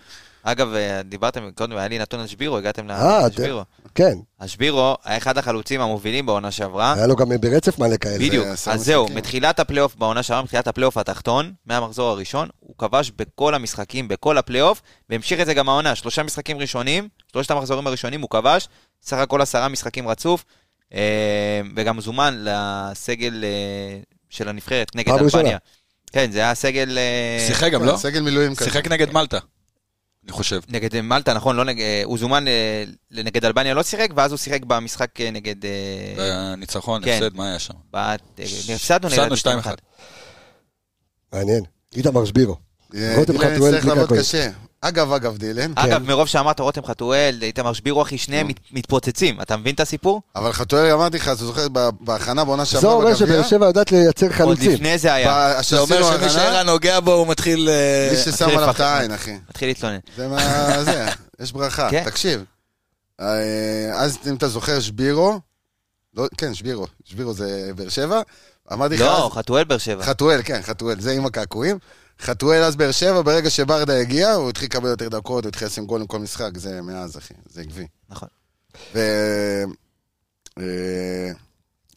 [SPEAKER 7] אגב, אה, דיברתם קודם, היה לי נתון על שבירו, הגעתם
[SPEAKER 1] אה,
[SPEAKER 7] לשבירו.
[SPEAKER 1] כן,
[SPEAKER 7] השבירו היה אחד החלוצים המובילים בעונה שעברה.
[SPEAKER 1] היה לו גם ברצף מלא כאלה.
[SPEAKER 7] בדיוק.
[SPEAKER 6] עשרה
[SPEAKER 7] אז זהו,
[SPEAKER 6] משחקים.
[SPEAKER 7] מתחילת הפלייאוף בעונה שעברה, מתחילת הפלייאוף התחתון, מהמחזור הראשון, הוא כבש בכל המשחקים, בכל הפלייאוף, והמשיך את זה גם העונה. שלושה משחקים ראשונים, שלושת המחזורים הראשונים הוא כבש, סך הכל עשרה משחקים רצוף, אה, וגם זומן לסגל אה, של הנבחרת נגד
[SPEAKER 1] פעם ראשונה.
[SPEAKER 7] אלבניה. כן, זה היה סגל... אה,
[SPEAKER 5] שיחק גם, לא?
[SPEAKER 6] סגל מילואים כזה.
[SPEAKER 5] שיחק נגד מלטה, אני חושב.
[SPEAKER 7] נגד מלטה, נכון? לא נגד... אה, הוא זומן אה, נגד אלבניה, לא שיחק, ואז הוא שיחק במשחק אה, נגד... אה,
[SPEAKER 5] ניצחון,
[SPEAKER 7] כן.
[SPEAKER 5] הפסד, מה היה שם?
[SPEAKER 7] בת... אה, הפסדנו נגד...
[SPEAKER 5] הפסדנו 2-1.
[SPEAKER 1] מעניין. איתמר שבירו.
[SPEAKER 6] אה,
[SPEAKER 1] רותם
[SPEAKER 6] דילן
[SPEAKER 1] חתואל
[SPEAKER 6] יצטרך לעבוד
[SPEAKER 1] בקעקועים.
[SPEAKER 6] קשה. אגב, אגב, דילן.
[SPEAKER 5] אה?
[SPEAKER 7] אגב, מרוב שאמרת רותם חתואל, איתמר שבירו, אחי, שניהם מת- מתפוצצים. אתה מבין את הסיפור?
[SPEAKER 6] אבל חתואל, אמרתי לך, אתה זוכר, ב- בהכנה בעונה
[SPEAKER 1] זה
[SPEAKER 6] שעברה
[SPEAKER 1] אומר שבאר שבע יודעת לייצר
[SPEAKER 7] עוד
[SPEAKER 1] חלוצים.
[SPEAKER 7] לפני זה היה.
[SPEAKER 6] ב-
[SPEAKER 5] אה, זה אומר
[SPEAKER 6] שעשינו
[SPEAKER 5] שמי
[SPEAKER 6] הכנה,
[SPEAKER 5] שערן נוגע בו, הוא מתחיל... אה,
[SPEAKER 6] מי ששם
[SPEAKER 7] מתחיל
[SPEAKER 6] עליו את
[SPEAKER 7] לפחד.
[SPEAKER 6] העין, אחי.
[SPEAKER 7] מתחיל להתלונן.
[SPEAKER 6] זה
[SPEAKER 5] (laughs)
[SPEAKER 6] מה... זה, יש ברכה.
[SPEAKER 7] כן.
[SPEAKER 6] תקשיב. אה, אז אם אתה זוכר, שבירו, לא, כן, שבירו, שבירו זה באר שבע. אמרתי לך, אז-
[SPEAKER 7] לא, חתואל באר שבע.
[SPEAKER 6] חתואל, כן, חתואל, זה עם הקעקועים. חתואל אז באר שבע, ברגע שברדה הגיע, הוא התחיל לקבל יותר דקות, הוא התחיל לשים גולים כל משחק, זה מאז, אחי, זה עקבי.
[SPEAKER 7] נכון.
[SPEAKER 6] ו... אה,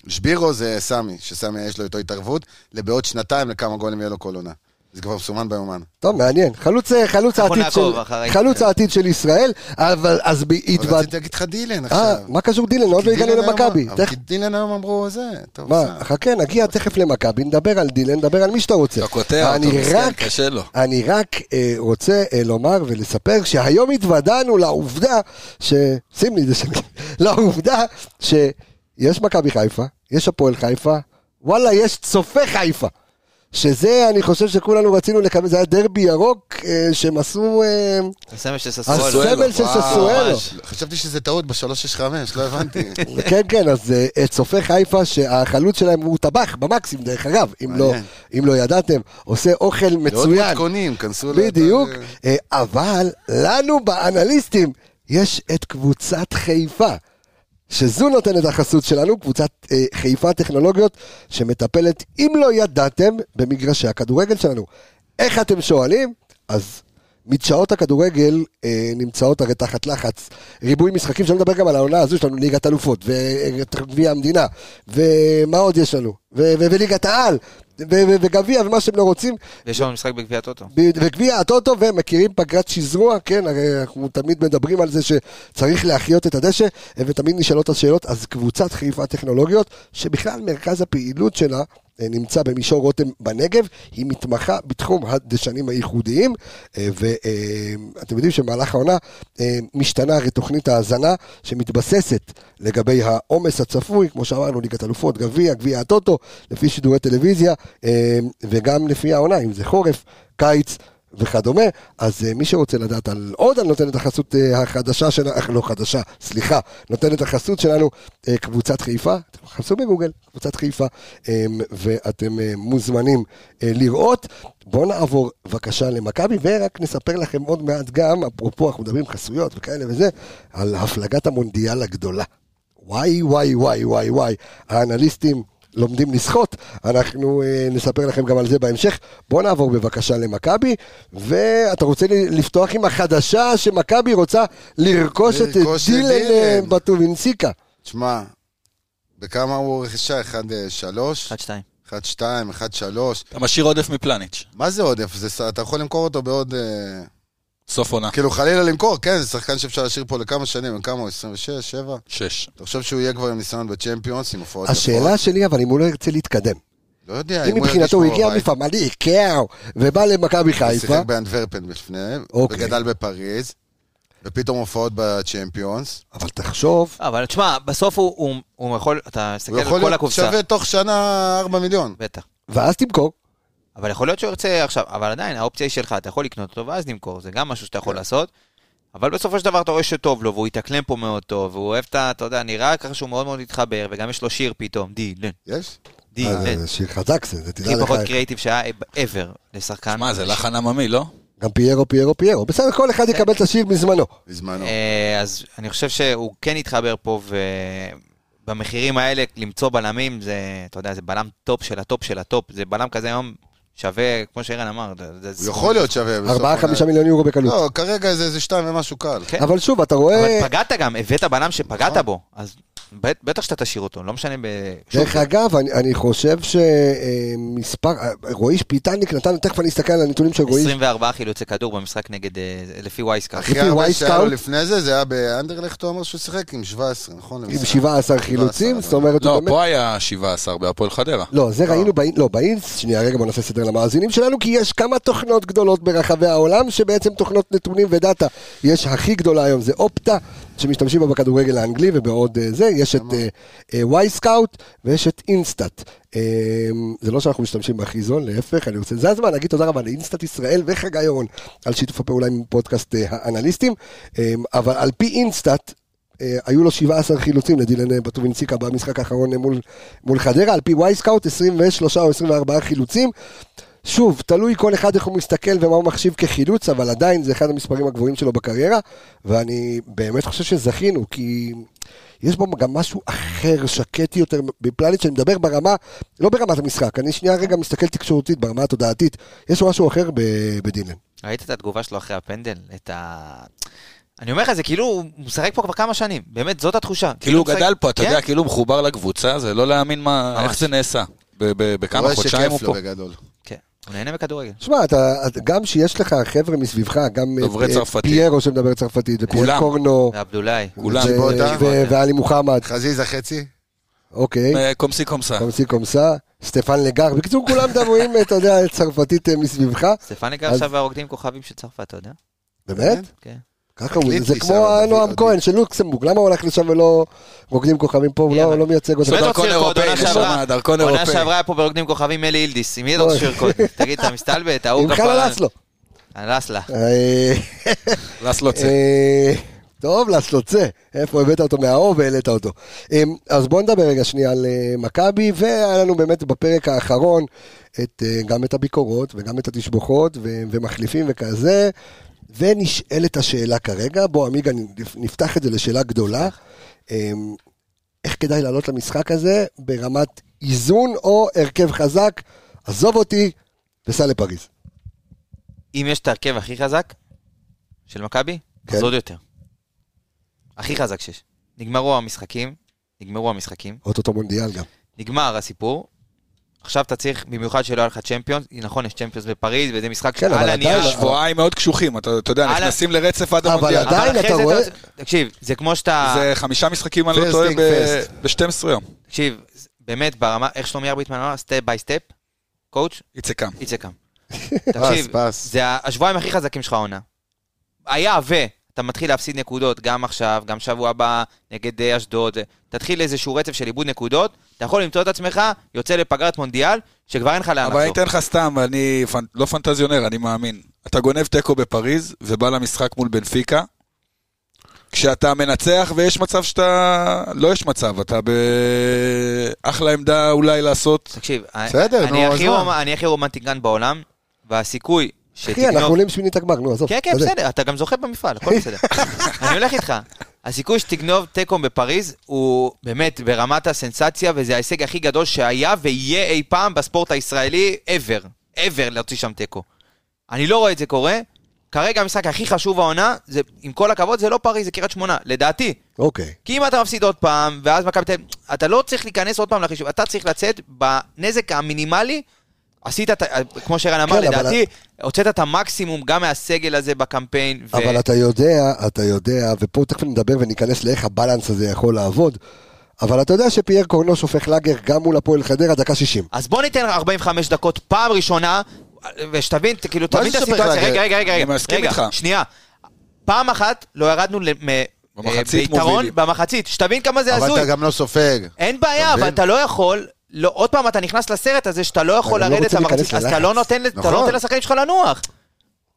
[SPEAKER 6] שבירו זה סמי, שסמי יש לו איתו התערבות, לבעוד שנתיים לכמה גולים יהיה לו כל עונה. זה כבר מסומן ביומן.
[SPEAKER 1] טוב, מעניין. חלוץ, אה, חלוץ,
[SPEAKER 7] אנחנו
[SPEAKER 1] העתיד, של,
[SPEAKER 7] נעקוב אחרי-
[SPEAKER 1] חלוץ העתיד של ישראל, אבל אז ב-
[SPEAKER 6] אבל
[SPEAKER 1] התוועד...
[SPEAKER 6] רציתי להגיד לך דילן
[SPEAKER 1] אה,
[SPEAKER 6] עכשיו.
[SPEAKER 1] מה קשור דילן? עוד לא
[SPEAKER 6] כי
[SPEAKER 1] הגענו
[SPEAKER 6] דילן היום-
[SPEAKER 1] למכבי.
[SPEAKER 6] אבל
[SPEAKER 1] תכף-
[SPEAKER 6] כי דילן היום אמרו זה, טוב.
[SPEAKER 1] מה,
[SPEAKER 6] בסדר.
[SPEAKER 1] חכה, נגיע תכף למכבי, נדבר על דילן, נדבר על מי שאתה רוצה.
[SPEAKER 5] אוקיי. אתה קוטע אותו,
[SPEAKER 1] אני
[SPEAKER 5] מסכן,
[SPEAKER 1] רק-
[SPEAKER 5] קשה לו.
[SPEAKER 1] אני רק אה, רוצה אה, לומר ולספר שהיום התוודענו לעובדה ש... שים לי את זה שלי. (laughs) לעובדה שיש מכבי חיפה, יש הפועל חיפה, וואלה, יש צופה חיפה. שזה, אני חושב שכולנו רצינו לקבל, זה היה דרבי ירוק אה, שהם עשו... אה,
[SPEAKER 7] הסמל של ססואלו.
[SPEAKER 1] הסמל של
[SPEAKER 6] וואו,
[SPEAKER 1] ססואלו.
[SPEAKER 7] ממש.
[SPEAKER 6] חשבתי שזה טעות ב-365, לא
[SPEAKER 1] (laughs)
[SPEAKER 6] הבנתי.
[SPEAKER 1] כן, כן, אז אה, אה, צופה חיפה שהחלוץ שלהם הוא טבח במקסימום, דרך אגב, אם לא-
[SPEAKER 6] מעניין.
[SPEAKER 1] אם לא ידעתם, עושה אוכל
[SPEAKER 6] לעוד
[SPEAKER 1] מצוין.
[SPEAKER 6] מתכונים, כנסו לאתר,
[SPEAKER 1] בדיוק,
[SPEAKER 6] אה,
[SPEAKER 1] אה, אבל לנו באנליסטים יש את קבוצת חיפה. שזו נותנת החסות שלנו, קבוצת אה, חיפה טכנולוגיות, שמטפלת, אם לא ידעתם, במגרשי הכדורגל שלנו. איך אתם שואלים? אז מדשאות הכדורגל אה, נמצאות הרי תחת לחץ. ריבוי משחקים, שלא לדבר גם על העונה הזו, יש לנו ליגת אלופות, וגביע המדינה, ומה עוד יש לנו? ו- ו- וליגת העל, ו- ו- וגביע, ומה שאתם לא רוצים,
[SPEAKER 7] ויש לנו משחק בגביע הטוטו.
[SPEAKER 1] ב- וגביע הטוטו, והם מכירים פגרת שזרוע, כן, הרי אנחנו תמיד מדברים על זה שצריך להחיות את הדשא, ותמיד נשאלות השאלות, אז קבוצת חיפה טכנולוגיות, שבכלל מרכז הפעילות שלה אה, נמצא במישור רותם בנגב, היא מתמחה בתחום הדשנים הייחודיים, אה, ואתם יודעים שבמהלך העונה אה, משתנה הרי תוכנית ההאזנה שמתבססת לגבי העומס הצפוי, כמו שאמרנו, ליגת אלופות, גביע, גביע הטוטו, לפי שידורי טלוויזיה, אה, וגם לפי העונה, אם זה חורף, קיץ וכדומה. אז אה, מי שרוצה לדעת על עוד על נותנת החסות אה, החדשה שלנו, אה, לא חדשה, סליחה, נותנת החסות שלנו, אה, קבוצת חיפה, אתם חפשו בגוגל, קבוצת חיפה, אה, ואתם אה, מוזמנים אה, לראות. בואו נעבור בבקשה למכבי, ורק נספר לכם עוד מעט גם, אפרופו, אנחנו מדברים חסויות וכאלה וזה, על הפלגת המונדיאל הגדולה. וואי, וואי, וואי, וואי, וואי. האנליסטים לומדים לשחות, אנחנו אה, נספר לכם גם על זה בהמשך. בואו נעבור בבקשה למכבי, ואתה רוצה לי- לפתוח עם החדשה שמכבי רוצה לרכוש את
[SPEAKER 6] לרכוש את
[SPEAKER 1] דילן אה,
[SPEAKER 6] דילן.
[SPEAKER 1] בטובינסיקה.
[SPEAKER 6] תשמע, בכמה הוא רכישה? אה, 1.3?
[SPEAKER 7] 1-2.
[SPEAKER 6] 1.2, 1.3?
[SPEAKER 5] אתה משאיר עודף מפלניץ',
[SPEAKER 6] מה זה עודף? זה ס- אתה יכול למכור אותו בעוד... אה,
[SPEAKER 5] סוף עונה.
[SPEAKER 6] כאילו חלילה למכור, כן, זה שחקן שאפשר להשאיר פה לכמה שנים, הם כמה? הוא? 26, 7?
[SPEAKER 5] שש.
[SPEAKER 6] אתה חושב שהוא יהיה כבר עם ניסיון בצ'מפיונס, עם הופעות
[SPEAKER 1] השאלה
[SPEAKER 6] יפות?
[SPEAKER 1] שלי, אבל אם הוא לא ירצה להתקדם,
[SPEAKER 6] לא יודע,
[SPEAKER 1] אם
[SPEAKER 6] הוא ירגיש
[SPEAKER 1] מבחינתו הוא
[SPEAKER 6] כמו
[SPEAKER 1] הגיע
[SPEAKER 6] בבית.
[SPEAKER 1] מפמלי איקאו, ובא למכבי
[SPEAKER 6] הוא
[SPEAKER 1] חיפה,
[SPEAKER 6] שיחק באנטוורפן לפני,
[SPEAKER 1] אוקיי.
[SPEAKER 6] וגדל בפריז, ופתאום הופעות בצ'מפיונס.
[SPEAKER 1] אבל תחשוב,
[SPEAKER 7] אה, אבל תשמע, בסוף הוא- הוא הוא יכול, אתה מסתכל
[SPEAKER 6] הוא
[SPEAKER 7] על
[SPEAKER 6] יכול
[SPEAKER 7] כל
[SPEAKER 6] להיות
[SPEAKER 7] הקופסה.
[SPEAKER 6] שווה תוך שנה 4 מיליון.
[SPEAKER 7] בטח.
[SPEAKER 1] ואז תמכור.
[SPEAKER 7] אבל יכול להיות שהוא ירצה עכשיו, אבל עדיין, האופציה היא שלך, אתה יכול לקנות אותו ואז למכור, זה גם משהו שאתה
[SPEAKER 6] כן.
[SPEAKER 7] יכול לעשות. אבל בסופו של דבר אתה רואה שטוב לו, והוא התאקלם פה מאוד טוב, והוא אוהב את ה... אתה יודע, נראה ככה שהוא מאוד מאוד התחבר, וגם יש לו שיר פתאום, דילן,
[SPEAKER 6] יש?
[SPEAKER 1] אז
[SPEAKER 7] דילן.
[SPEAKER 1] אה, זה שיר חזק זה, זה תדע
[SPEAKER 7] הכי
[SPEAKER 1] לך.
[SPEAKER 7] כן. פחות קריאיטיב שהיה ever לשחקן.
[SPEAKER 5] מה, זה לחן עממי, לא?
[SPEAKER 1] גם פיירו, פיירו, פיירו. בסדר, כל אחד יקבל את השיר מזמנו.
[SPEAKER 6] בזמנו.
[SPEAKER 7] אה, אז אני חושב שהוא כן התחבר פה, ובמחירים האלה למצוא בלמים זה, אתה יודע, זה בלם טופ של הטופ של הטופ, זה בלם כזה היום שווה, כמו שאירן אמר, זה-
[SPEAKER 6] הוא
[SPEAKER 7] זה...
[SPEAKER 6] יכול להיות שווה. בסוף
[SPEAKER 1] ארבעה,
[SPEAKER 6] העונה.
[SPEAKER 1] חמישה מיליון יורו בקלות.
[SPEAKER 6] לא, כרגע זה איזה שתיים ומשהו קל.
[SPEAKER 7] כן.
[SPEAKER 1] אבל שוב, אתה רואה...
[SPEAKER 7] אבל פגעת גם, הבאת בלם שפגעת
[SPEAKER 6] נכון.
[SPEAKER 7] בו, אז בט- בטח שאתה תשאיר אותו, לא משנה ב... שוב,
[SPEAKER 1] דרך אגב, אני, אני חושב שמספר, אה, רועי שפיטניק נתן, תכף אני אסתכל על הנתונים של רועי,
[SPEAKER 7] 24 חילוצי כדור במשחק נגד, אה, לפי וייסקארט.
[SPEAKER 1] אחי,
[SPEAKER 6] הכי הרבה שהיה לו
[SPEAKER 1] וייסקאוט?
[SPEAKER 6] לפני זה, זה היה באנדרלכט, הוא אמר שהוא שיחק עם 17, נכון?
[SPEAKER 1] עם 17 חילוצים, זאת אומרת, הוא
[SPEAKER 5] לא,
[SPEAKER 1] באמת...
[SPEAKER 5] פה היה 17 בהפועל חדרה.
[SPEAKER 1] לא, זה ראינו, באינ- לא, באינס, שנייה, רגע, בוא נעשה סדר למאזינים שלנו, כי יש כמה תוכנות גדולות ברחבי העולם, שבעצם תוכנות נתונים ודאטה. יש הכי גדולה היום, זה אופטה, שמשתמשים בה בכדורגל האנגלי, ובעוד אה, זה, יש את וואי סקאוט, ויש את אינסטאט. אה, זה לא שאנחנו משתמשים בהכי זול, להפך, אני רוצה, זה הזמן להגיד תודה רבה לאינסטאט ישראל וחגי אורון, על שיתוף הפעולה עם פודקאסט אה, האנליסטים, אה, אבל על פי אינסטאט, אה, היו לו 17 חילוצים לדילן אה, בטובינציקה במשחק האחרון אה, מול, מול חדרה, על פי וואי סקאוט 23 או 24 חילוצים. שוב, תלוי כל אחד איך הוא מסתכל ומה הוא מחשיב כחילוץ, אבל עדיין זה אחד המספרים הגבוהים שלו בקריירה, ואני באמת חושב שזכינו, כי יש בו גם משהו אחר, שקט יותר, בפלנית שאני מדבר ברמה, לא ברמת המשחק, אני שנייה רגע מסתכל תקשורתית, ברמה התודעתית, יש משהו אחר ב- בדילן.
[SPEAKER 7] ראית את התגובה שלו אחרי הפנדל? את ה... אני אומר לך, זה כאילו, הוא משחק פה כבר כמה שנים, באמת, זאת התחושה.
[SPEAKER 5] כאילו הוא
[SPEAKER 7] משחק-
[SPEAKER 5] גדל פה, אתה
[SPEAKER 7] כן?
[SPEAKER 5] יודע, כאילו הוא מחובר לקבוצה, זה לא להאמין מה-
[SPEAKER 7] ממש.
[SPEAKER 5] איך זה נעשה. ב- ב- בכמה חודשיים הוא פה.
[SPEAKER 6] בגדול.
[SPEAKER 7] כן. הוא נהנה מכדורגל.
[SPEAKER 1] שמע, אתה, אתה- גם שיש לך חבר'ה מסביבך, גם אה,
[SPEAKER 5] דוברי
[SPEAKER 1] אה,
[SPEAKER 5] צרפתית.
[SPEAKER 1] פיירו שמדבר צרפתית, ופייר
[SPEAKER 5] כולם. כן.
[SPEAKER 1] קורנו,
[SPEAKER 7] ועבדולאי.
[SPEAKER 5] כולם.
[SPEAKER 1] ו-
[SPEAKER 7] אה?
[SPEAKER 6] צ'יבוטה.
[SPEAKER 1] ו- ואלי מוחמד,
[SPEAKER 6] חזיזה חצי,
[SPEAKER 1] אוקיי,
[SPEAKER 5] אה, קומסי קומסה.
[SPEAKER 1] קומסי קומסה, סטפן לגר, בקיצור כולם מדברים, אה, אתה יודע, צרפתית אה, מסביבך,
[SPEAKER 7] סטפניקה
[SPEAKER 1] אז-
[SPEAKER 7] עכשיו והרוקדים כוכבים של צרפת, אתה יודע?
[SPEAKER 1] באמת?
[SPEAKER 7] כן.
[SPEAKER 1] ככה הוא,
[SPEAKER 6] החליט
[SPEAKER 1] זה
[SPEAKER 6] לי
[SPEAKER 1] כמו
[SPEAKER 6] שר הביא
[SPEAKER 1] נועם
[SPEAKER 6] אותי.
[SPEAKER 1] כהן של לוקסמבורג, למה הוא הולך לשם ולא רוקדים כוכבים פה, הוא
[SPEAKER 7] יאללה.
[SPEAKER 1] לא- לא מייצג אותם?
[SPEAKER 5] כן, זה
[SPEAKER 7] באמת
[SPEAKER 5] דרכון
[SPEAKER 7] רוצה לרקוד,
[SPEAKER 5] אירופאי,
[SPEAKER 7] עונה
[SPEAKER 5] נשמה,
[SPEAKER 7] שעברה-
[SPEAKER 5] דרכון
[SPEAKER 7] עונה
[SPEAKER 5] אירופאי.
[SPEAKER 7] שעברה היה פה ברוקדים כוכבים אלי אילדיס, עם מי אתה
[SPEAKER 1] אוי.
[SPEAKER 7] רוצה
[SPEAKER 5] (laughs)
[SPEAKER 7] לרקוד? תגיד, אתה מסתלבט, ההוא
[SPEAKER 1] עם חנה לסלו.
[SPEAKER 7] לסלה.
[SPEAKER 1] לא. אה,
[SPEAKER 5] לסלו לא צא.
[SPEAKER 1] אה, טוב, לסלוצה, איפה הבאת אותו מהאור והעלית אותו. אה, אז בואו נדבר רגע שנייה על אה, מכבי, והיה לנו באמת בפרק האחרון את, אה, גם את הביקורות וגם את התשבוכות ו- ומחליפים וכזה, ונשאלת השאלה כרגע, בוא עמיגה נפ- נפתח את זה לשאלה גדולה, אה, איך כדאי לעלות למשחק הזה ברמת איזון או הרכב חזק, עזוב אותי, וסע לפריז.
[SPEAKER 7] אם יש את ההרכב הכי חזק של מכבי,
[SPEAKER 1] כן.
[SPEAKER 7] אז עוד יותר. הכי חזק שיש. נגמרו המשחקים, נגמרו המשחקים,
[SPEAKER 1] אוטוטו מונדיאל גם.
[SPEAKER 7] נגמר הסיפור. עכשיו אתה צריך, במיוחד שלא היה לך צ'מפיונס, נכון, יש צ'מפיונס בפריז, וזה משחק
[SPEAKER 1] כן, אבל
[SPEAKER 7] שעל הנייר...
[SPEAKER 1] עדיין-
[SPEAKER 5] שבועיים מאוד קשוחים, אתה אתה יודע,
[SPEAKER 7] הלאה.
[SPEAKER 5] נכנסים לרצף עד
[SPEAKER 1] אבל
[SPEAKER 5] המונדיאל.
[SPEAKER 1] עדיין-
[SPEAKER 7] אה, אבל אחרי
[SPEAKER 1] אתה
[SPEAKER 7] זה
[SPEAKER 1] רואה-
[SPEAKER 7] תקשיב, זה כמו שאתה...
[SPEAKER 5] זה חמישה משחקים, אני לא
[SPEAKER 6] First
[SPEAKER 5] טועה,
[SPEAKER 6] thing first.
[SPEAKER 5] ב-12 יום.
[SPEAKER 7] תקשיב, זה- באמת, ברמה, איך שלומי ארביטמן אמר, סטפ ביי סטפ, קואוץ',
[SPEAKER 5] איציק קם.
[SPEAKER 7] it's
[SPEAKER 1] (laughs)
[SPEAKER 7] a come. תקשיב,
[SPEAKER 6] פס.
[SPEAKER 7] זה ה- השבועיים הכי חזקים שלך העונה. היה ואתה מתחיל להפסיד נקודות, גם עכשיו, גם שבוע הבא, נגד אה, אשדוד, זה- תתחיל איזשהו רצף של איבוד נקודות, אתה יכול למצוא את עצמך, יוצא לפגרת מונדיאל, שכבר אין לך לאן
[SPEAKER 5] אה, אבל אני
[SPEAKER 7] לחזור.
[SPEAKER 5] אתן לך סתם, אני פנ- לא פנטזיונר, אני מאמין. אתה גונב תיקו בפריז, ובא למשחק מול בנפיקה, כשאתה מנצח ויש מצב שאתה... לא יש מצב, אתה באחלה עמדה אולי לעשות...
[SPEAKER 7] תקשיב,
[SPEAKER 6] בסדר,
[SPEAKER 7] אני
[SPEAKER 6] נו,
[SPEAKER 7] הכי
[SPEAKER 6] אז מה?
[SPEAKER 7] רומ- אני הכי רומנטיקן בעולם, והסיכוי
[SPEAKER 1] אחי, אנחנו
[SPEAKER 7] שתגנוב
[SPEAKER 1] עולים שמינית הגמר, נו, עזוב.
[SPEAKER 7] כן, כן,
[SPEAKER 1] תתקדם.
[SPEAKER 7] בסדר, אתה גם זוכה במפעל, הכל בסדר. אני הולך איתך. הסיכוי שתגנוב תיקו בפריז הוא באמת ברמת הסנסציה, וזה ההישג הכי גדול שהיה ויהיה אי פעם בספורט הישראלי ever, ever להוציא שם תיקו. אני לא רואה את זה קורה. כרגע המשחק הכי חשוב העונה, זה, עם כל הכבוד, זה לא פריז, זה קריית שמונה, לדעתי.
[SPEAKER 1] אוקיי.
[SPEAKER 7] כי אם אתה מפסיד עוד פעם, ואז מכבי תל אביב, אתה לא צריך להיכנס עוד פעם לחישוב, אתה צריך לצאת בנזק המינימלי. עשית, את ה- כמו שערן אמר,
[SPEAKER 1] כן, אבל-
[SPEAKER 7] לדעתי, הוצאת את המקסימום גם מהסגל הזה בקמפיין. ו-
[SPEAKER 1] אבל אתה יודע, אתה יודע, ופה תכף נדבר וניכנס לאיך הבלנס הזה יכול לעבוד, אבל אתה יודע שפייר קורנוש הופך לאגר גם מול הפועל חדרה, דקה 60.
[SPEAKER 7] אז בוא ניתן 45 דקות פעם ראשונה, ושתבין, ת- כאילו, תבין את
[SPEAKER 6] זה שופך
[SPEAKER 7] הסיטואציה.
[SPEAKER 6] לאגר?
[SPEAKER 7] רגע, רגע, רגע,
[SPEAKER 5] אני
[SPEAKER 7] רגע.
[SPEAKER 5] מסכים
[SPEAKER 7] רגע,
[SPEAKER 5] איתך.
[SPEAKER 7] שנייה. פעם אחת לא ירדנו למ-
[SPEAKER 5] במחצית
[SPEAKER 7] אה, ביתרון,
[SPEAKER 5] מובילים.
[SPEAKER 7] במחצית, שתבין כמה זה
[SPEAKER 6] אבל
[SPEAKER 7] הזוי.
[SPEAKER 6] אתה גם לא סופג.
[SPEAKER 7] אין בעיה,
[SPEAKER 6] אתה
[SPEAKER 7] אבל
[SPEAKER 6] מבין?
[SPEAKER 7] אתה לא יכול, לא, עוד פעם אתה נכנס לסרט הזה שאתה לא יכול
[SPEAKER 1] אבל הם לא
[SPEAKER 7] לרדת
[SPEAKER 1] רוצים
[SPEAKER 7] למחצית,
[SPEAKER 1] להיכנס
[SPEAKER 7] אז אתה לא
[SPEAKER 1] ללחץ.
[SPEAKER 7] נותן אתה
[SPEAKER 6] נכון.
[SPEAKER 7] לא נותן לשחקנים שלך לנוח.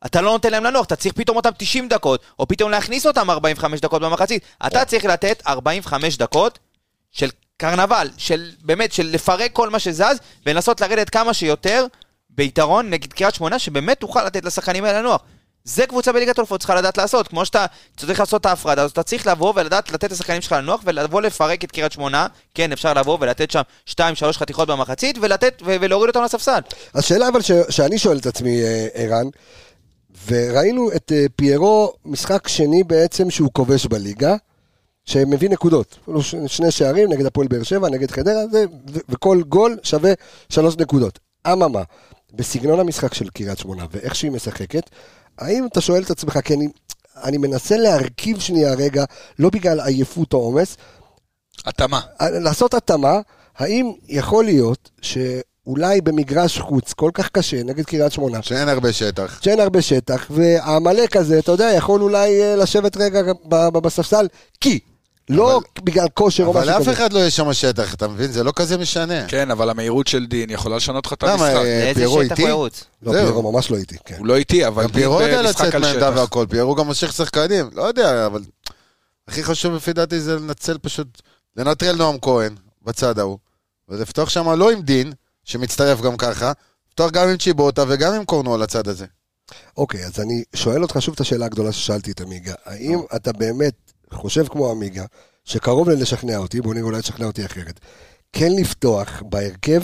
[SPEAKER 7] אתה לא נותן להם לנוח, אתה צריך פתאום אותם 90 דקות, או פתאום להכניס אותם 45 דקות במחצית. אתה צריך לתת 45 דקות של קרנבל, של באמת, של לפרק כל מה שזז, ולנסות לרדת כמה שיותר ביתרון נגד קריית שמונה, שבאמת תוכל לתת לשחקנים האלה לנוח. זה קבוצה בליגת אלופות צריכה לדעת לעשות. כמו שאתה צריך לעשות את ההפרדה הזאת, אתה צריך לבוא ולדעת לתת לשחקנים שלך לנוח, ולבוא לפרק את קריית שמונה. כן, אפשר לבוא ולתת שם 2-3 חתיכות במחצית, ולתת, ו- ולהוריד אותם לספסל.
[SPEAKER 1] השאלה אבל ש- שאני שואל את עצמי, אה, ערן, וראינו את אה, פיירו, משחק שני בעצם שהוא כובש בליגה, שמביא נקודות. כאילו ש- שני שערים נגד הפועל באר שבע, נגד חדרה, זה- ו- וכל גול שווה שלוש נקודות. אממה, בסגנון המשחק של קריית שמונה ואיך שהיא משחקת, האם אתה שואל את עצמך, כי אני, אני מנסה להרכיב שנייה רגע, לא בגלל עייפות או עומס,
[SPEAKER 5] התאמה.
[SPEAKER 1] לעשות התאמה, האם יכול להיות שאולי במגרש חוץ כל כך קשה נגד קריית שמונה,
[SPEAKER 6] שאין הרבה שטח.
[SPEAKER 1] שאין הרבה שטח, והעמלק הזה, אתה יודע, יכול אולי אה, לשבת רגע ב- ב- בספסל, כי, לא בגלל כושר או משהו
[SPEAKER 6] אבל
[SPEAKER 1] כזה.
[SPEAKER 6] לאף אחד לא יש שם שטח, אתה מבין? זה לא כזה משנה.
[SPEAKER 5] כן, אבל המהירות של דין יכולה לשנות לך את
[SPEAKER 6] למה,
[SPEAKER 5] המשחק.
[SPEAKER 6] אה,
[SPEAKER 7] לאיזה
[SPEAKER 6] פיירו
[SPEAKER 7] שטח הוא
[SPEAKER 6] איתי?
[SPEAKER 7] ירוץ?
[SPEAKER 1] לא,
[SPEAKER 6] זהו.
[SPEAKER 1] פיירו ממש לא איתי, כן.
[SPEAKER 5] הוא לא איטי, אבל
[SPEAKER 6] גם
[SPEAKER 5] דין
[SPEAKER 6] פיירו יודע
[SPEAKER 5] במשחק
[SPEAKER 6] לצאת
[SPEAKER 5] על
[SPEAKER 6] מעמדה
[SPEAKER 5] שטח.
[SPEAKER 6] והכל, פיירו גם מושך שחקנים, לא יודע, אבל הכי חשוב לפי דעתי זה לנצל פשוט, לנטרל נועם כהן בצד ההוא, ולפתוח שם לא עם דין, שמצטרף גם ככה, לפתוח גם עם צ'יבוטה וגם עם קורנו על הצד הזה.
[SPEAKER 1] אוקיי, אז אני שואל אותך שוב את השאלה הגדולה ששאלתי את עמיגה. האם
[SPEAKER 6] אה.
[SPEAKER 1] אתה באמת חושב כמו עמיגה, שקרוב ללשכנע אותי, בוא נראה אולי תשכנע אותי אחרת, כן לפתוח בהרכב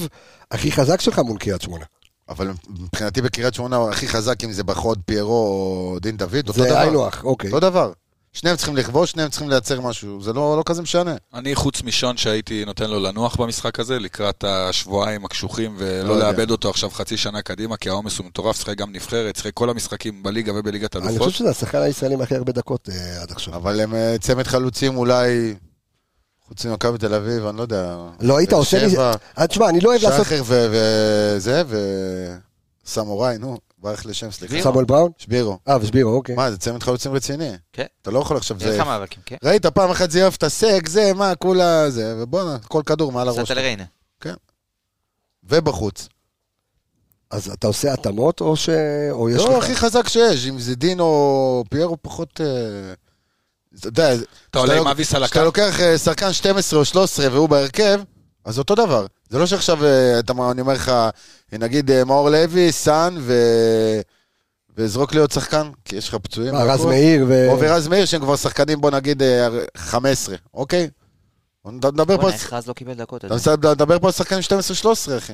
[SPEAKER 1] הכי חזק שלך מול קריית שמונה?
[SPEAKER 6] אבל מבחינתי בקריית שמונה הכי חזק אם זה בחוד פיירו או דין דוד, אותו דבר.
[SPEAKER 1] זה היינו הך, אוקיי.
[SPEAKER 6] אותו דבר. שניהם צריכים לכבוש, שניהם צריכים לייצר משהו. זה לא, לא כזה משנה.
[SPEAKER 5] אני חוץ משון שהייתי נותן לו לנוח במשחק הזה, לקראת השבועיים הקשוחים,
[SPEAKER 6] לא
[SPEAKER 5] ולא
[SPEAKER 6] יודע.
[SPEAKER 5] לאבד אותו עכשיו חצי שנה קדימה, כי העומס הוא מטורף, שחק גם נבחרת, שחק כל המשחקים בליגה ובליגת
[SPEAKER 1] אני
[SPEAKER 5] אלופות.
[SPEAKER 1] חושב שזה השחקן הישראלי עם הכי הרבה דקות אה, עד עכשיו.
[SPEAKER 6] אבל הם אה, צמד חלוצים אולי, חוץ ממכבי תל אביב, אני לא יודע.
[SPEAKER 1] לא היית
[SPEAKER 6] באר
[SPEAKER 1] עושה לי...
[SPEAKER 6] שבע,
[SPEAKER 1] אה, תשמע, אני לא אוהב לעשות...
[SPEAKER 6] שחר ו- וזה, וסמוראי, נו, ברח לשם, סליחה.
[SPEAKER 7] שבירו.
[SPEAKER 1] סמואל בראון?
[SPEAKER 6] שבירו.
[SPEAKER 1] אה, ושבירו, אוקיי.
[SPEAKER 6] מה, זה צמד חלוצים רציני.
[SPEAKER 7] כן.
[SPEAKER 6] אתה לא יכול עכשיו
[SPEAKER 7] אין
[SPEAKER 6] זה...
[SPEAKER 7] לך מאבקים, כן?
[SPEAKER 6] ראית פעם אחת זייף את הסק, זה, מה, כולה זה, ובואנה, כל כדור
[SPEAKER 1] לא,
[SPEAKER 6] מעל הראש.
[SPEAKER 7] סטל ריינה.
[SPEAKER 6] ובחוץ.
[SPEAKER 1] אז אתה עושה התאמות, או ש... או יש
[SPEAKER 6] לא,
[SPEAKER 1] לך...
[SPEAKER 6] הכי חזק שיש, אם זה דין או פיירו פחות... אה, אתה יודע,
[SPEAKER 5] אתה עולה
[SPEAKER 6] כשאתה
[SPEAKER 5] עם
[SPEAKER 6] לוק-
[SPEAKER 5] אביס על
[SPEAKER 6] כשאתה
[SPEAKER 5] הקו.
[SPEAKER 6] לוקח אה, שחקן 12 או 13 והוא בהרכב, אז אותו דבר. זה לא שעכשיו, אה, אתה מה- אני אומר לך, נגיד אה, מאור לוי, סאן ו... וזרוק לי עוד שחקן, כי יש לך פצועים.
[SPEAKER 1] מה, אה, רז
[SPEAKER 6] והכל.
[SPEAKER 1] מאיר ו...
[SPEAKER 6] או ורז מאיר, שהם כבר שחקנים, בוא נגיד, אה, 15, אוקיי? בוא נד- נדבר פה... על
[SPEAKER 7] בוא'נה,
[SPEAKER 6] ש-
[SPEAKER 7] איך רז לא קיבל דקות. אתה
[SPEAKER 6] אתה
[SPEAKER 7] יודע.
[SPEAKER 6] מסת- מדבר פה על שחקנים 12-13, אחי.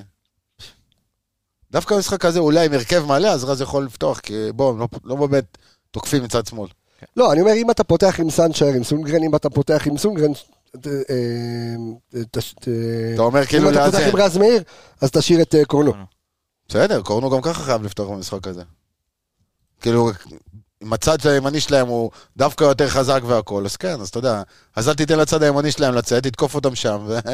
[SPEAKER 6] דווקא במשחק הזה, אולי עם הרכב מלא, אז רז יכול לפתוח, כי בוא, הם לא, לא באמת תוקפים מצד שמאל.
[SPEAKER 1] לא, אני אומר, אם אתה פותח עם סנצ'ר, עם סונגרן, אם אתה פותח עם סונגרן... ת- אה, ת- ת-
[SPEAKER 6] אתה אומר כאילו
[SPEAKER 1] אם אתה פותח
[SPEAKER 6] לאזן.
[SPEAKER 1] עם רז מאיר, אז תשאיר את אה, קורנו.
[SPEAKER 6] בסדר, קורנו גם ככה חייב לפתוח במשחק הזה. כאילו, אם הצד הימני שלהם הוא דווקא יותר חזק והכול, אז כן, אז אתה יודע. אז אל תיתן לצד הימני שלהם לצאת, תתקוף אותם שם, ו... (laughs)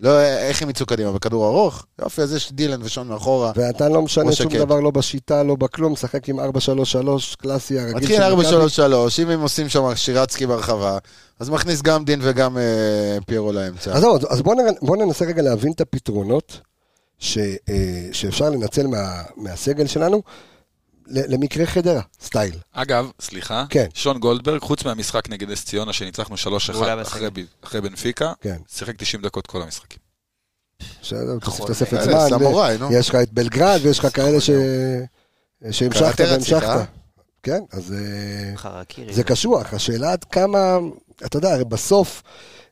[SPEAKER 6] לא, איך הם יצאו קדימה? בכדור ארוך? יופי, אז יש דילן ושון מאחורה.
[SPEAKER 1] ואתה לא משנה
[SPEAKER 6] משה כן.
[SPEAKER 1] שום
[SPEAKER 6] קט.
[SPEAKER 1] דבר, לא בשיטה, לא בכלום, משחק עם 4-3-3, קלאסי הרגיל.
[SPEAKER 6] מתחיל
[SPEAKER 1] של
[SPEAKER 6] 4
[SPEAKER 1] מכבי.
[SPEAKER 6] 3 3 אם הם עושים שם שירצקי ברחבה, אז מכניס גם דין וגם אה, פיירו לאמצע.
[SPEAKER 1] אז זהו, אז- אז בואו נראה- בואו ננסה רגע להבין את הפתרונות ש- אה, שאפשר לנצל מה- מהסגל שלנו ל- למקרה חדרה, סטייל.
[SPEAKER 5] אגב, סליחה,
[SPEAKER 1] כן.
[SPEAKER 5] שון גולדברג, חוץ מהמשחק נגד אס ציונה, שניצחנו 3-1
[SPEAKER 7] הוא עלה
[SPEAKER 5] אחרי
[SPEAKER 7] בסגל.
[SPEAKER 5] ב- אחרי בנפיקה,
[SPEAKER 1] כן.
[SPEAKER 5] שיחק 90 דקות כל המשחקים.
[SPEAKER 1] שתוסיף
[SPEAKER 7] נכון.
[SPEAKER 1] תוספת
[SPEAKER 6] אה,
[SPEAKER 1] זמן.
[SPEAKER 6] סמוראי, נו.
[SPEAKER 1] יש לך את בלגרד ויש לך כאלה ש... שהמשכת
[SPEAKER 6] קראטה רצית, אה?
[SPEAKER 1] והמשכת. כן, אז אה,
[SPEAKER 7] חרקירי.
[SPEAKER 1] זה קשוח. השאלה עד כמה, אתה יודע, הרי בסוף,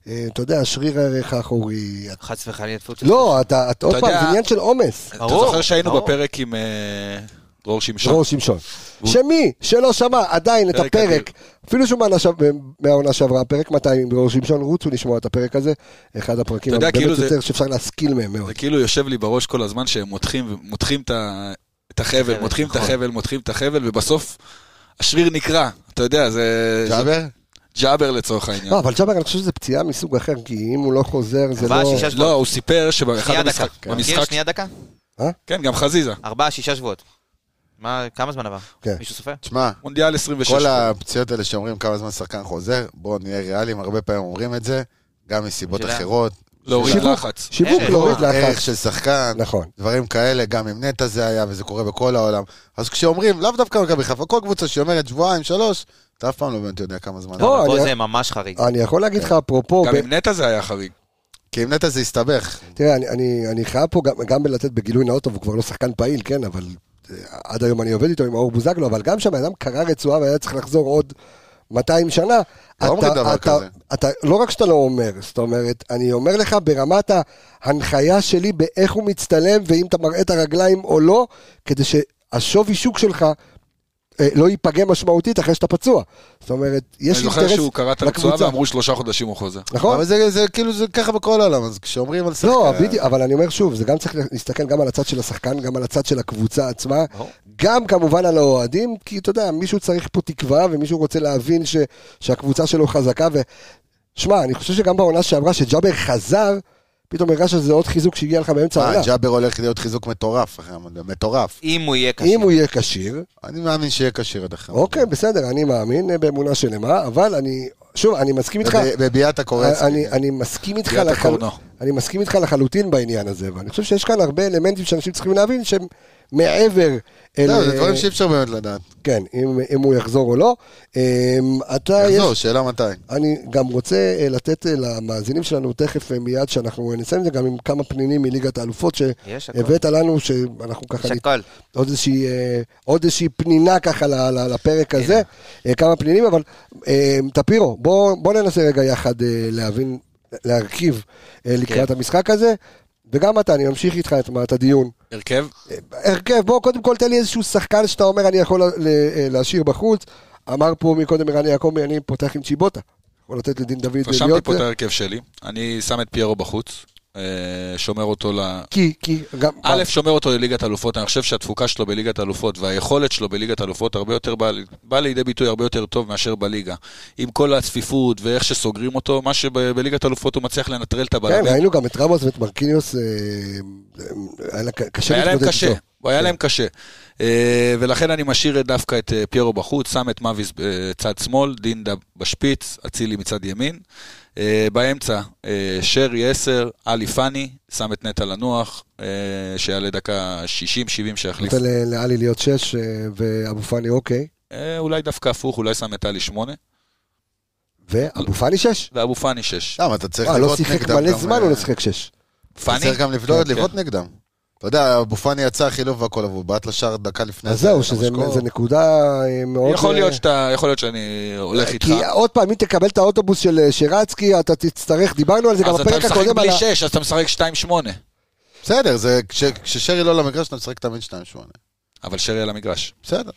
[SPEAKER 1] אה, אתה יודע, שריר הערך האחורי... את-
[SPEAKER 7] חס וחלילה תפוצה.
[SPEAKER 1] לא, אתה אתה עוד
[SPEAKER 5] אתה
[SPEAKER 1] פעם,
[SPEAKER 5] יודע-
[SPEAKER 1] זה עניין של עומס.
[SPEAKER 5] אתה
[SPEAKER 7] ברור,
[SPEAKER 5] זוכר שהיינו
[SPEAKER 7] ברור.
[SPEAKER 5] בפרק עם אה, דרור שמשון?
[SPEAKER 1] דרור שמשון. שמי שלא שמע עדיין את
[SPEAKER 5] פרק
[SPEAKER 1] הפרק, אפילו שהוא מהעונה שעב- מהעונה שעברה, פרק 200 עם דרור שמשון, רוצו לשמוע את הפרק הזה, אחד הפרקים
[SPEAKER 5] אתה יודע,
[SPEAKER 1] הבאמת
[SPEAKER 5] כאילו זה-
[SPEAKER 1] יותר שאפשר להשכיל מהם מאוד.
[SPEAKER 5] זה כאילו יושב לי בראש כל הזמן שהם מותחים, מותחים את ה- את החבל,
[SPEAKER 7] החבל,
[SPEAKER 5] מותחים את
[SPEAKER 7] נכון.
[SPEAKER 5] החבל, מותחים את החבל, ובסוף השריר נקרע. אתה יודע, זה...
[SPEAKER 6] ג'אבר?
[SPEAKER 5] ג'אבר לצורך העניין.
[SPEAKER 1] לא, אבל ג'אבר, אני חושב שזה פציעה מסוג אחר, כי אם הוא לא חוזר, זה
[SPEAKER 7] ארבעה,
[SPEAKER 1] לא...
[SPEAKER 7] שישה
[SPEAKER 5] לא,
[SPEAKER 7] שבועות.
[SPEAKER 5] הוא סיפר שבאחד
[SPEAKER 7] שנייה
[SPEAKER 5] המשחק...
[SPEAKER 7] דקה. מכיר
[SPEAKER 5] במשחק...
[SPEAKER 7] שנייה דקה?
[SPEAKER 5] כן, גם חזיזה.
[SPEAKER 7] ארבעה, שישה שבועות. מה, כמה זמן עבר?
[SPEAKER 1] כן.
[SPEAKER 7] מישהו סופר?
[SPEAKER 6] תשמע,
[SPEAKER 5] מונדיאל 26.
[SPEAKER 6] כל הפציעות האלה שאומרים כמה זמן שחקן חוזר, בואו נהיה ריאליים, הרבה פעמים אומרים את זה, גם מסיבות
[SPEAKER 7] שאלה.
[SPEAKER 6] אחרות.
[SPEAKER 5] להוריד
[SPEAKER 1] שיווק.
[SPEAKER 5] לחץ.
[SPEAKER 1] שיווק
[SPEAKER 7] ערך,
[SPEAKER 5] אה,
[SPEAKER 1] להוריד
[SPEAKER 6] ערך
[SPEAKER 1] לחץ.
[SPEAKER 6] של שחקן,
[SPEAKER 1] נכון.
[SPEAKER 6] דברים כאלה, גם עם נטע זה היה, וזה קורה בכל העולם. אז כשאומרים, לאו דווקא מכבי חיפה, כל קבוצה שאומרת שבועיים, שלוש, אתה אף פעם לא באמת יודע כמה זמן.
[SPEAKER 1] לא,
[SPEAKER 7] אבל פה
[SPEAKER 1] אני- אה.
[SPEAKER 7] זה ממש חריג.
[SPEAKER 1] אני יכול להגיד לך, אפרופו,
[SPEAKER 5] גם
[SPEAKER 1] ב-
[SPEAKER 5] עם נטע זה היה חריג.
[SPEAKER 6] כי עם נטע זה הסתבך.
[SPEAKER 1] תראה, אני- אני- אני חייב פה גם- גם בלתת בגילוי נאות, טוב, הוא כבר לא שחקן פעיל, כן, אבל אה, עד היום אני עובד איתו עם האור בוזגלו, אבל גם כשהבן אדם קרע רצועה והיה צריך לחזור עוד 200 שנה,
[SPEAKER 6] לא אומרים
[SPEAKER 1] אתה-
[SPEAKER 6] דבר
[SPEAKER 1] אתה-
[SPEAKER 6] כזה.
[SPEAKER 1] אתה, לא רק שאתה לא אומר, זאת אומרת, אני אומר לך ברמת ההנחיה שלי באיך הוא מצטלם, ואם אתה מראה את הרגליים או לא, כדי שהשווי שוק שלך אה, לא ייפגע משמעותית אחרי שאתה פצוע. זאת אומרת,
[SPEAKER 5] אני
[SPEAKER 1] יש
[SPEAKER 5] זוכר שהוא קרע את הרצועה
[SPEAKER 1] לקבוצה.
[SPEAKER 5] ואמרו שלושה חודשים הוא חוזר.
[SPEAKER 1] נכון?
[SPEAKER 6] אבל זה, זה כאילו, זה ככה בכל העולם, אז כשאומרים על שחקן...
[SPEAKER 1] לא, בדיוק, אבל אני אומר שוב, זה גם צריך להסתכל גם על הצד של השחקן, גם על הצד של הקבוצה עצמה,
[SPEAKER 7] ברור.
[SPEAKER 1] גם כמובן על האוהדים, כי אתה יודע, מישהו צריך פה תקווה, ומישהו רוצה להבין ש, שהקבוצה שלו חזקה, ו... שמע, אני חושב שגם בעונה שעברה, שג'אבר חזר, פתאום הרגשת שזה עוד חיזוק שהגיע לך באמצע
[SPEAKER 6] אה,
[SPEAKER 1] העונה.
[SPEAKER 6] ג'אבר הולך להיות חיזוק מטורף, אחי, מטורף.
[SPEAKER 7] אם הוא יהיה קשה.
[SPEAKER 1] אם הוא יהיה כשיר,
[SPEAKER 6] אני מאמין שיהיה כשיר עד אחר.
[SPEAKER 1] אוקיי, בסדר, אני מאמין אה, באמונה שלמה, אבל אני, שוב, אני מסכים איתך.
[SPEAKER 6] בב- בביאת הקורצקי.
[SPEAKER 1] אני,
[SPEAKER 7] כאילו.
[SPEAKER 1] אני, מסכים איתך
[SPEAKER 5] תהיה את
[SPEAKER 1] לחל...
[SPEAKER 5] הקורנו.
[SPEAKER 1] אני מסכים איתך לחלוטין בעניין הזה, ואני חושב שיש כאן הרבה אלמנטים שאנשים צריכים להבין שהם מעבר אל... אה,
[SPEAKER 6] לא, זה דברים שאי אפשר באמת לדעת.
[SPEAKER 1] כן, אם, אם הוא יחזור או לא. אמ, אתה
[SPEAKER 6] תחזור,
[SPEAKER 1] יש...
[SPEAKER 6] שאלה מתי.
[SPEAKER 1] אני גם רוצה אה, לתת אה, למאזינים שלנו תכף אה, מיד, שאנחנו נסיים את זה גם עם כמה פנינים מליגת האלופות
[SPEAKER 7] יש הכל.
[SPEAKER 1] שהבאת לנו, שאנחנו ככה
[SPEAKER 7] יש
[SPEAKER 1] נת-
[SPEAKER 7] הכל.
[SPEAKER 1] עוד איזושהי, אה, עוד איזושהי פנינה ככה ל- ל- לפרק הזה,
[SPEAKER 5] כן.
[SPEAKER 1] אה, כמה פנינים, אבל אה, טפירו, בוא, בוא ננסה רגע יחד אה, להבין, להרכיב אה, לקראת
[SPEAKER 7] כן.
[SPEAKER 1] המשחק הזה, וגם אתה, אני ממשיך איתך את, את הדיון. אה,
[SPEAKER 5] הרכב?
[SPEAKER 1] הרכב, בוא, קודם כל תן לי איזשהו שחקן שאתה אומר אני יכול ל- ל- אה, להשאיר בחוץ, אמר פה מקודם ערן יעקבי, אני פותח עם צ'יבוטה. יכול לתת לדין דוד
[SPEAKER 5] רשמתי פה את
[SPEAKER 1] זה.
[SPEAKER 5] ההרכב שלי, אני שם את פיירו בחוץ, אה, שומר אותו ל...
[SPEAKER 1] כי, כי, גם...
[SPEAKER 5] א', שומר אותו לליגת אלופות, אני חושב שהתפוקה שלו בליגת אלופות והיכולת שלו בליגת אלופות הרבה יותר באה בא לידי ביטוי הרבה יותר טוב מאשר בליגה. עם כל הצפיפות ואיך שסוגרים אותו, מה שבליגת אלופות הוא מצליח לנטרל את
[SPEAKER 1] כן,
[SPEAKER 5] הבלמים.
[SPEAKER 1] ראינו גם את רמוס ואת מרקיניוס, אה, אה, היה לה ק- קשה
[SPEAKER 5] היה להם
[SPEAKER 1] להתמודד
[SPEAKER 5] קשה,
[SPEAKER 1] איתו. כן.
[SPEAKER 5] היה להם קשה. אה, ולכן אני משאיר את- דווקא את אה, פיירו בחוץ, שם את מאביס אה, צד שמאל, דינדה בשפיץ, אצילי מצד ימין. אה, באמצע, אה, שרי 10, עלי פאני, שם את נטע לנוח, אה, שיעלה דקה 60-70 שיחליף.
[SPEAKER 1] נותן ל- לאלי להיות שש, אה, ואבו פאני אוקיי,
[SPEAKER 5] אה, אולי דווקא הפוך, אולי שם את טלי 8, לא-
[SPEAKER 1] ואבו פאני שש?
[SPEAKER 5] ואבו פאני 6.
[SPEAKER 6] למה, אתה צריך
[SPEAKER 1] אה, לא
[SPEAKER 6] לבעוט
[SPEAKER 1] שיחק
[SPEAKER 6] נגדם.
[SPEAKER 1] מלא
[SPEAKER 6] גם,
[SPEAKER 1] זמן,
[SPEAKER 6] אה,
[SPEAKER 1] הוא לא שיחק שש.
[SPEAKER 6] אתה
[SPEAKER 5] פאני?
[SPEAKER 6] צריך גם לבדוק-
[SPEAKER 5] כן,
[SPEAKER 6] לבעוט
[SPEAKER 5] כן.
[SPEAKER 6] נגדם. אתה יודע, אבו פאני יצא חילוף והכל, אבל הוא בעט לשער דקה לפני
[SPEAKER 1] אז זהו,
[SPEAKER 6] כמה
[SPEAKER 1] שזה
[SPEAKER 6] שקור.
[SPEAKER 1] זה נקודה אה, מאוד...
[SPEAKER 5] אה, יכול
[SPEAKER 1] אה,
[SPEAKER 5] להיות שאתה, יכול להיות שאני הולך איתך.
[SPEAKER 1] כי אה, עוד פעם, אם תקבל את האוטובוס של אה, שרצקי, אתה תצטרך, דיברנו על זה גם
[SPEAKER 5] אז אתה
[SPEAKER 1] בפרק
[SPEAKER 5] משחק
[SPEAKER 1] הקודם, על
[SPEAKER 5] בלי
[SPEAKER 1] ה-
[SPEAKER 5] 6, אז אתה משחק 2-8.
[SPEAKER 6] בסדר, זה כש- כששרי לא למגרש, אתה משחק תמיד 2-8.
[SPEAKER 5] אבל שרי על המגרש.
[SPEAKER 6] בסדר.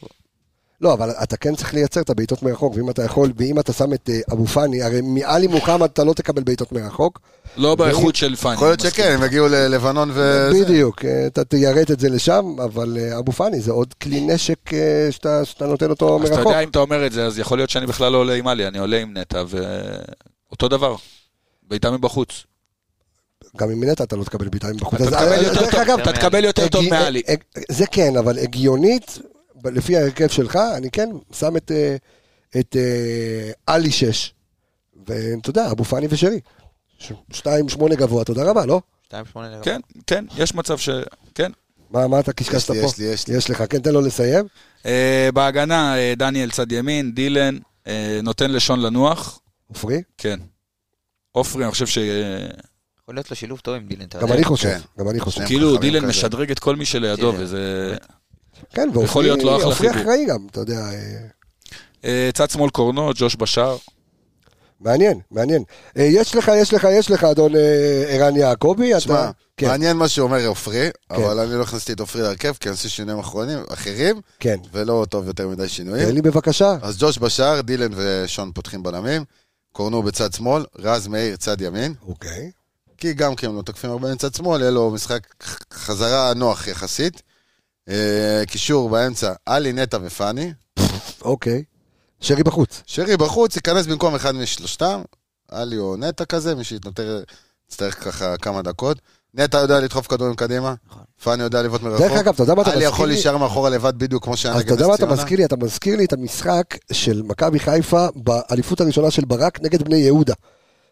[SPEAKER 1] לא, אבל אתה כן צריך לייצר את הבעיטות מרחוק, ואם אתה יכול, ואם אתה שם את אה, אבו פאני, הרי מעלי מוחמד אתה לא תקבל בעיטות מרחוק.
[SPEAKER 5] לא באיכות של פאני.
[SPEAKER 6] יכול להיות
[SPEAKER 5] אני
[SPEAKER 6] שכן, הם יגיעו ללבנון ו...
[SPEAKER 1] בדיוק, אה, אתה תיירט את זה לשם, אבל אה, אבו פאני זה עוד כלי נשק אה, שאתה שאתה נותן אותו
[SPEAKER 5] אז אתה
[SPEAKER 1] מרחוק.
[SPEAKER 5] יודע, אם אתה אומר את זה, אז יכול להיות שאני בכלל לא עולה עם עלי, אני עולה עם נטע, ואותו דבר. בעיטה מבחוץ.
[SPEAKER 1] גם עם נטע אתה לא תקבל בעיטה מבחוץ.
[SPEAKER 5] אתה
[SPEAKER 1] אז,
[SPEAKER 5] תקבל
[SPEAKER 1] אה,
[SPEAKER 5] יותר
[SPEAKER 1] דרך
[SPEAKER 5] טוב,
[SPEAKER 1] אגב,
[SPEAKER 5] אתה תקבל יותר טוב
[SPEAKER 1] הגי-
[SPEAKER 5] מעלי.
[SPEAKER 1] אה, אה, זה כן, אבל הגיונית, ב- לפי ההרכב שלך, אני כן שם את, אה, את אה, עלי 6, ואתה יודע, אבו פאני ושרי. 2-8 גבוה, תודה רבה, לא?
[SPEAKER 7] 2.8 לגמרי.
[SPEAKER 5] כן, כן, יש מצב ש... כן.
[SPEAKER 1] מה, מה אתה קשקשת
[SPEAKER 6] יש
[SPEAKER 1] פה?
[SPEAKER 6] לי, יש לי, יש לי.
[SPEAKER 1] יש לך, כן, תן לו לסיים.
[SPEAKER 5] אה, בהגנה, אה, דניאל צד ימין, דילן, אה, נותן לשון לנוח,
[SPEAKER 1] עופרי,
[SPEAKER 6] אה,
[SPEAKER 5] כן. עופרי, אני חושב ש...
[SPEAKER 7] יכול להיות לו שילוב טוב עם דילן. אתה
[SPEAKER 1] גם
[SPEAKER 7] יודע.
[SPEAKER 1] אני חושב,
[SPEAKER 6] כן.
[SPEAKER 1] גם אני חושב.
[SPEAKER 5] כאילו,
[SPEAKER 6] חכמים
[SPEAKER 5] דילן
[SPEAKER 6] כזה.
[SPEAKER 5] משדרג את כל מי שלידו,
[SPEAKER 7] דילן.
[SPEAKER 5] וזה...
[SPEAKER 1] כן, ועופרי
[SPEAKER 5] להיות לא אחלה
[SPEAKER 1] עופרי
[SPEAKER 5] חיבור.
[SPEAKER 1] אחראי גם, אתה יודע. אה,
[SPEAKER 5] אה, צד שמאל קורנו, ג'וש בשאר.
[SPEAKER 1] מעניין, מעניין. אה, יש לך, יש לך, יש לך, אדון אה, ערן יעקבי.
[SPEAKER 6] שמע,
[SPEAKER 1] אתה... כן,
[SPEAKER 6] מעניין מה שאומר עופרי, אבל אני לא הכנסתי את עופרי להרכב, כי אני עושה שינויים אחרונים, אחרים,
[SPEAKER 1] כן.
[SPEAKER 6] ולא טוב יותר מדי שינויים.
[SPEAKER 1] תן לי בבקשה.
[SPEAKER 6] אז ג'וש בשער, דילן ושון פותחים בלמים, קורנו בצד שמאל, רז מאיר צד ימין,
[SPEAKER 1] אוקיי.
[SPEAKER 6] כי גם כי הם לא תוקפים הרבה מצד שמאל, יהיה לו משחק חזרה נוח יחסית. אה, קישור באמצע, עלי, נטע ופאני.
[SPEAKER 1] אוקיי. שרי בחוץ.
[SPEAKER 6] שרי בחוץ, ייכנס במקום אחד משלושתם, עלי או נטע כזה, מי שיתנותר, יצטרך ככה כמה דקות. נטע יודע לדחוף כדורים קדימה, פאני יודע לבעוט מרחוק.
[SPEAKER 1] דרך אגב, אתה יודע מה אתה
[SPEAKER 6] עלי
[SPEAKER 1] מזכיר
[SPEAKER 6] נכון. יכול
[SPEAKER 1] לי?
[SPEAKER 6] להישאר מאחורה לבד בדיוק כמו שהיה
[SPEAKER 1] אז אתה
[SPEAKER 6] נגד
[SPEAKER 1] יודע
[SPEAKER 6] נס
[SPEAKER 1] מה אתה
[SPEAKER 6] ציונה.
[SPEAKER 1] מזכיר לי? אתה מזכיר לי את המשחק של מכבי חיפה באליפות הראשונה של ברק נגד בני יהודה.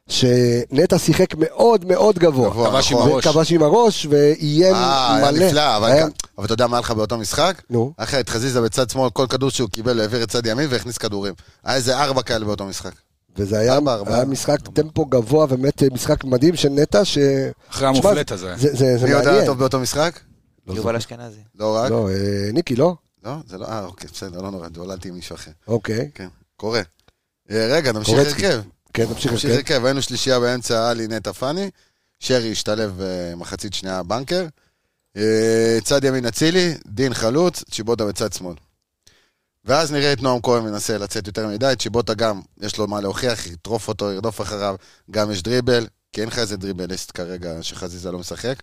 [SPEAKER 1] שנטע שיחק מאוד מאוד גבוה.
[SPEAKER 6] גבוה,
[SPEAKER 5] כבש עם
[SPEAKER 6] נכון.
[SPEAKER 5] הראש.
[SPEAKER 1] כבש עם הראש ואיים
[SPEAKER 6] אה, היה
[SPEAKER 1] מלא.
[SPEAKER 6] נפלא, אבל
[SPEAKER 1] היה-
[SPEAKER 6] כ- אבל אתה יודע מה היה לך באותו משחק?
[SPEAKER 1] נו.
[SPEAKER 6] היה לך את חזיזה בצד שמאל, כל כדור שהוא קיבל הוא העביר את צד ימין והכניס כדורים. היה איזה ארבע כאלה באותו משחק.
[SPEAKER 1] וזה היה,
[SPEAKER 6] ארבע, ארבע.
[SPEAKER 1] היה משחק טמפו גבוה, באמת משחק מדהים של נטע, ש...
[SPEAKER 5] אחרי
[SPEAKER 1] תשמע,
[SPEAKER 5] המופלט הזה.
[SPEAKER 1] זה, זה, זה
[SPEAKER 6] מי עוד היה
[SPEAKER 1] מעניין.
[SPEAKER 6] טוב באותו משחק?
[SPEAKER 7] יובל אשכנזי.
[SPEAKER 6] לא רק.
[SPEAKER 1] לא, אה, ניקי, לא?
[SPEAKER 6] לא? זה לא, אה, אוקיי, בסדר, לא נורא, דוללתי עם מישהו אחר.
[SPEAKER 1] אוקיי.
[SPEAKER 6] כן, קורה. אה, רגע, נמשיך
[SPEAKER 1] קורצקי.
[SPEAKER 6] הרכב.
[SPEAKER 1] כן, תמשיך.
[SPEAKER 6] נמשיך
[SPEAKER 1] כן.
[SPEAKER 6] הרכב, היינו שלישייה באמצע, עלי נטע פאני, שרי השתלב אה, מחצית שנייה בנקר, אה, צד ימין אצילי, דין חלוץ, צ'יבוטה בצד שמאל. ואז נראה את נועם כהן מנסה לצאת יותר מדי, צ'יבוטה גם, יש לו מה להוכיח, יטרוף אותו, ירדוף אחריו, גם יש דריבל, כי אין לך איזה דריבליסט כרגע שחזיזה לא משחק,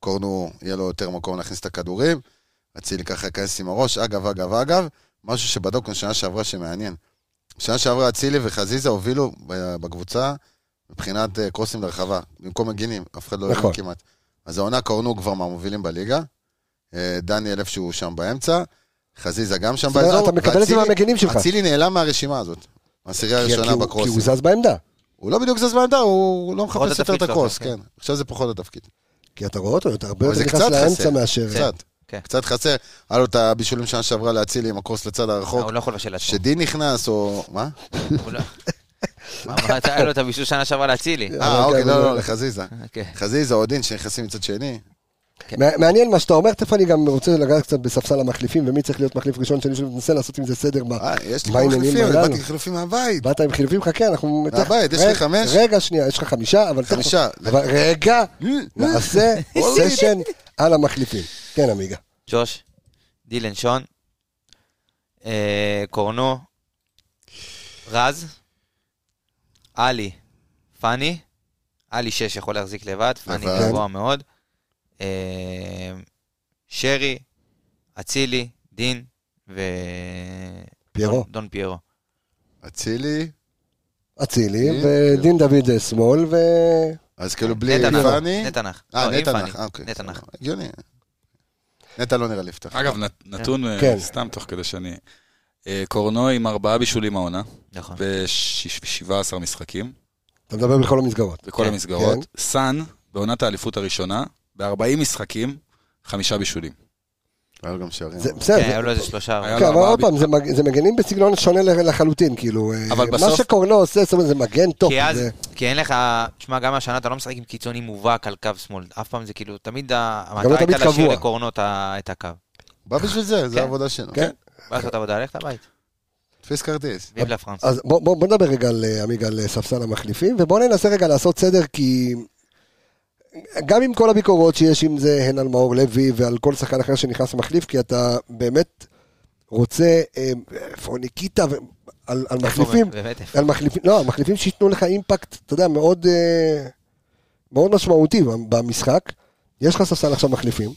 [SPEAKER 6] קורנו, יהיה לו יותר מקום להכניס את הכדורים, אצילי ככה ייכנס עם הראש, אגב, אגב, אגב, משהו שבדקנו שנה שעברה שמעניין. שנה שעברה אצילי וחזיזה הובילו ב- בקבוצה מבחינת אה, קרוסים לרחבה, במקום מגינים, אף אחד לא הבין
[SPEAKER 1] נכון.
[SPEAKER 6] כמעט. אז העונה קורנו כבר מהמובילים בליגה, אה, דניאל איפשהו שם באמצע, חזיזה גם שם
[SPEAKER 1] זאת אומרת,
[SPEAKER 6] באזור,
[SPEAKER 1] אתה מקבל את זה
[SPEAKER 6] ואצילי-
[SPEAKER 1] מהמגינים שלך.
[SPEAKER 6] אצילי נעלם מהרשימה הזאת, מהסירייה
[SPEAKER 1] כי- כי
[SPEAKER 6] הראשונה
[SPEAKER 1] הוא- כי
[SPEAKER 6] בקרוסים.
[SPEAKER 1] הוא זז בעמדה.
[SPEAKER 6] הוא לא בדיוק זז מהעמדה, הוא לא
[SPEAKER 7] פחות
[SPEAKER 6] מחפש יותר את
[SPEAKER 7] התפקיד שלו,
[SPEAKER 6] הקרוס,
[SPEAKER 7] כן.
[SPEAKER 6] כן. עכשיו זה פחות התפקיד.
[SPEAKER 1] כי אתה רואה אותו, אתה הרבה
[SPEAKER 6] אבל
[SPEAKER 1] יותר
[SPEAKER 6] זה
[SPEAKER 1] נכנס
[SPEAKER 6] קצת
[SPEAKER 1] לאמצע
[SPEAKER 6] חסר.
[SPEAKER 1] מאשר...
[SPEAKER 6] קצת.
[SPEAKER 7] כן.
[SPEAKER 6] קצת חסר. היה לו את הבישולים שנה שעברה להצילי עם הקרוס לצד הרחוק.
[SPEAKER 7] הוא לא יכול לבשל לעצמו.
[SPEAKER 6] שדין נכנס, או... מה?
[SPEAKER 1] אה,
[SPEAKER 7] הוא לא- (laughs) מה, מה, אתה- היה לו את הבישול שנה שעברה לאצילי.
[SPEAKER 6] אה, אוקיי,
[SPEAKER 1] אבל-
[SPEAKER 6] לא, לא, לחזיזה.
[SPEAKER 7] אוקיי.
[SPEAKER 6] חזיזה או דין שנכנסים מצד שני. כן.
[SPEAKER 1] מע- מעניין מה שאתה אומר, תכף אני גם רוצה לגעת קצת בספסל המחליפים, ומי צריך להיות מחליף ראשון, שאני מנסה לעשות עם זה סדר. מה-
[SPEAKER 6] אה, יש לי
[SPEAKER 1] מה
[SPEAKER 6] כמה
[SPEAKER 1] העניינים
[SPEAKER 6] חילופים, אני
[SPEAKER 1] הללו?
[SPEAKER 6] באתי חילופים מהבית.
[SPEAKER 1] באת עם חילופים, חכה, אנחנו...
[SPEAKER 6] מהבית,
[SPEAKER 1] תכף-
[SPEAKER 6] אה, יש לי
[SPEAKER 1] רגע-
[SPEAKER 6] חמש?
[SPEAKER 1] רגע, שנייה, יש לך חמישה, אבל... תכף-
[SPEAKER 6] חמישה. אה,
[SPEAKER 1] אבל רגע, נעשה (laughs)
[SPEAKER 6] וואלה.
[SPEAKER 1] סשן על המחליפים. כן, עמיגה.
[SPEAKER 7] ג'וש, דילן שון, אה, קורנו, רז, עלי, פאני, עלי 6 יכול להחזיק לבד, פאני
[SPEAKER 6] לבד.
[SPEAKER 7] גבוה מאוד, אה, שרי, אצילי, דין ו...
[SPEAKER 1] פיירו.
[SPEAKER 7] דון- דון פיירו.
[SPEAKER 6] אצילי,
[SPEAKER 1] אצילי,
[SPEAKER 6] אצילי,
[SPEAKER 1] ודין דוד זה שמאל, ו...
[SPEAKER 6] אז כאילו בלי
[SPEAKER 7] נטע
[SPEAKER 1] נכון.
[SPEAKER 7] נח.
[SPEAKER 6] פאני.
[SPEAKER 7] נטע נח.
[SPEAKER 6] אה,
[SPEAKER 7] לא, עם
[SPEAKER 6] נטע
[SPEAKER 7] פאני.
[SPEAKER 6] נח, אה, אוקיי.
[SPEAKER 7] נטע נח.
[SPEAKER 6] הגיוני. נטע לא נראה לי יפתח.
[SPEAKER 5] אגב, נת- נתון, אה,
[SPEAKER 1] כן.
[SPEAKER 5] סתם תוך כדי שאני... אה, קורנו עם ארבעה בישולים העונה,
[SPEAKER 6] אה.
[SPEAKER 7] נכון.
[SPEAKER 5] ב-17 משחקים,
[SPEAKER 1] אתה מדבר בכל המסגרות.
[SPEAKER 5] בכל
[SPEAKER 7] כן.
[SPEAKER 5] המסגרות. סאן, בעונת האליפות הראשונה, ב-40 משחקים, חמישה בישולים.
[SPEAKER 6] היה לו גם שערים.
[SPEAKER 1] זה-
[SPEAKER 6] אבל.
[SPEAKER 1] בסדר.
[SPEAKER 7] כן,
[SPEAKER 1] זה-
[SPEAKER 7] היו לו איזה שלושה.
[SPEAKER 5] היה
[SPEAKER 1] כן,
[SPEAKER 5] לו
[SPEAKER 1] אבל
[SPEAKER 5] ארבעה
[SPEAKER 1] עוד פעם, זה מג- זה מגנים בסגנון שונה לח- לחלוטין, כאילו. אה,
[SPEAKER 5] אבל
[SPEAKER 1] מה
[SPEAKER 5] בסוף-
[SPEAKER 1] שקורנו עושה, זאת אומרת, זה מגן טוב.
[SPEAKER 7] כי אז,
[SPEAKER 1] זה-
[SPEAKER 7] כי אין לך, תשמע, גם השנה אתה לא משחק עם קיצוני מובהק על קו שמאל. אף פעם זה כאילו, תמיד ה-
[SPEAKER 1] לא
[SPEAKER 7] המטרה הייתה
[SPEAKER 1] תמיד
[SPEAKER 7] להשאיר
[SPEAKER 1] קבוע.
[SPEAKER 7] לקורנו את ה- את הקו.
[SPEAKER 6] בא בשביל זה,
[SPEAKER 7] כן.
[SPEAKER 6] זה העבודה שלו.
[SPEAKER 1] כן.
[SPEAKER 7] ואז אתה עבודה, לך לבית.
[SPEAKER 6] תפיס כרטיס.
[SPEAKER 7] ויב לה פרנס.
[SPEAKER 1] אז בוא, בוא, בוא נדבר רגע על, אה, עמיג, על אה, ספסל המחליפים, ובוא ננסה רגע לעשות סדר, כי גם עם כל הביקורות שיש עם זה, הן על מאור לוי ועל כל שחקן אחר שנכנס למחליף, כי אתה באמת רוצה, אה, איפה ניקיטה, ו- על, על מחליפים,
[SPEAKER 7] באמת, איפה?
[SPEAKER 1] על מחליפים, לא, על מחליפים שייתנו לך אימפקט, אתה יודע, מאוד, אה, מאוד משמעותי במשחק. יש לך ספסל עכשיו מחליפים.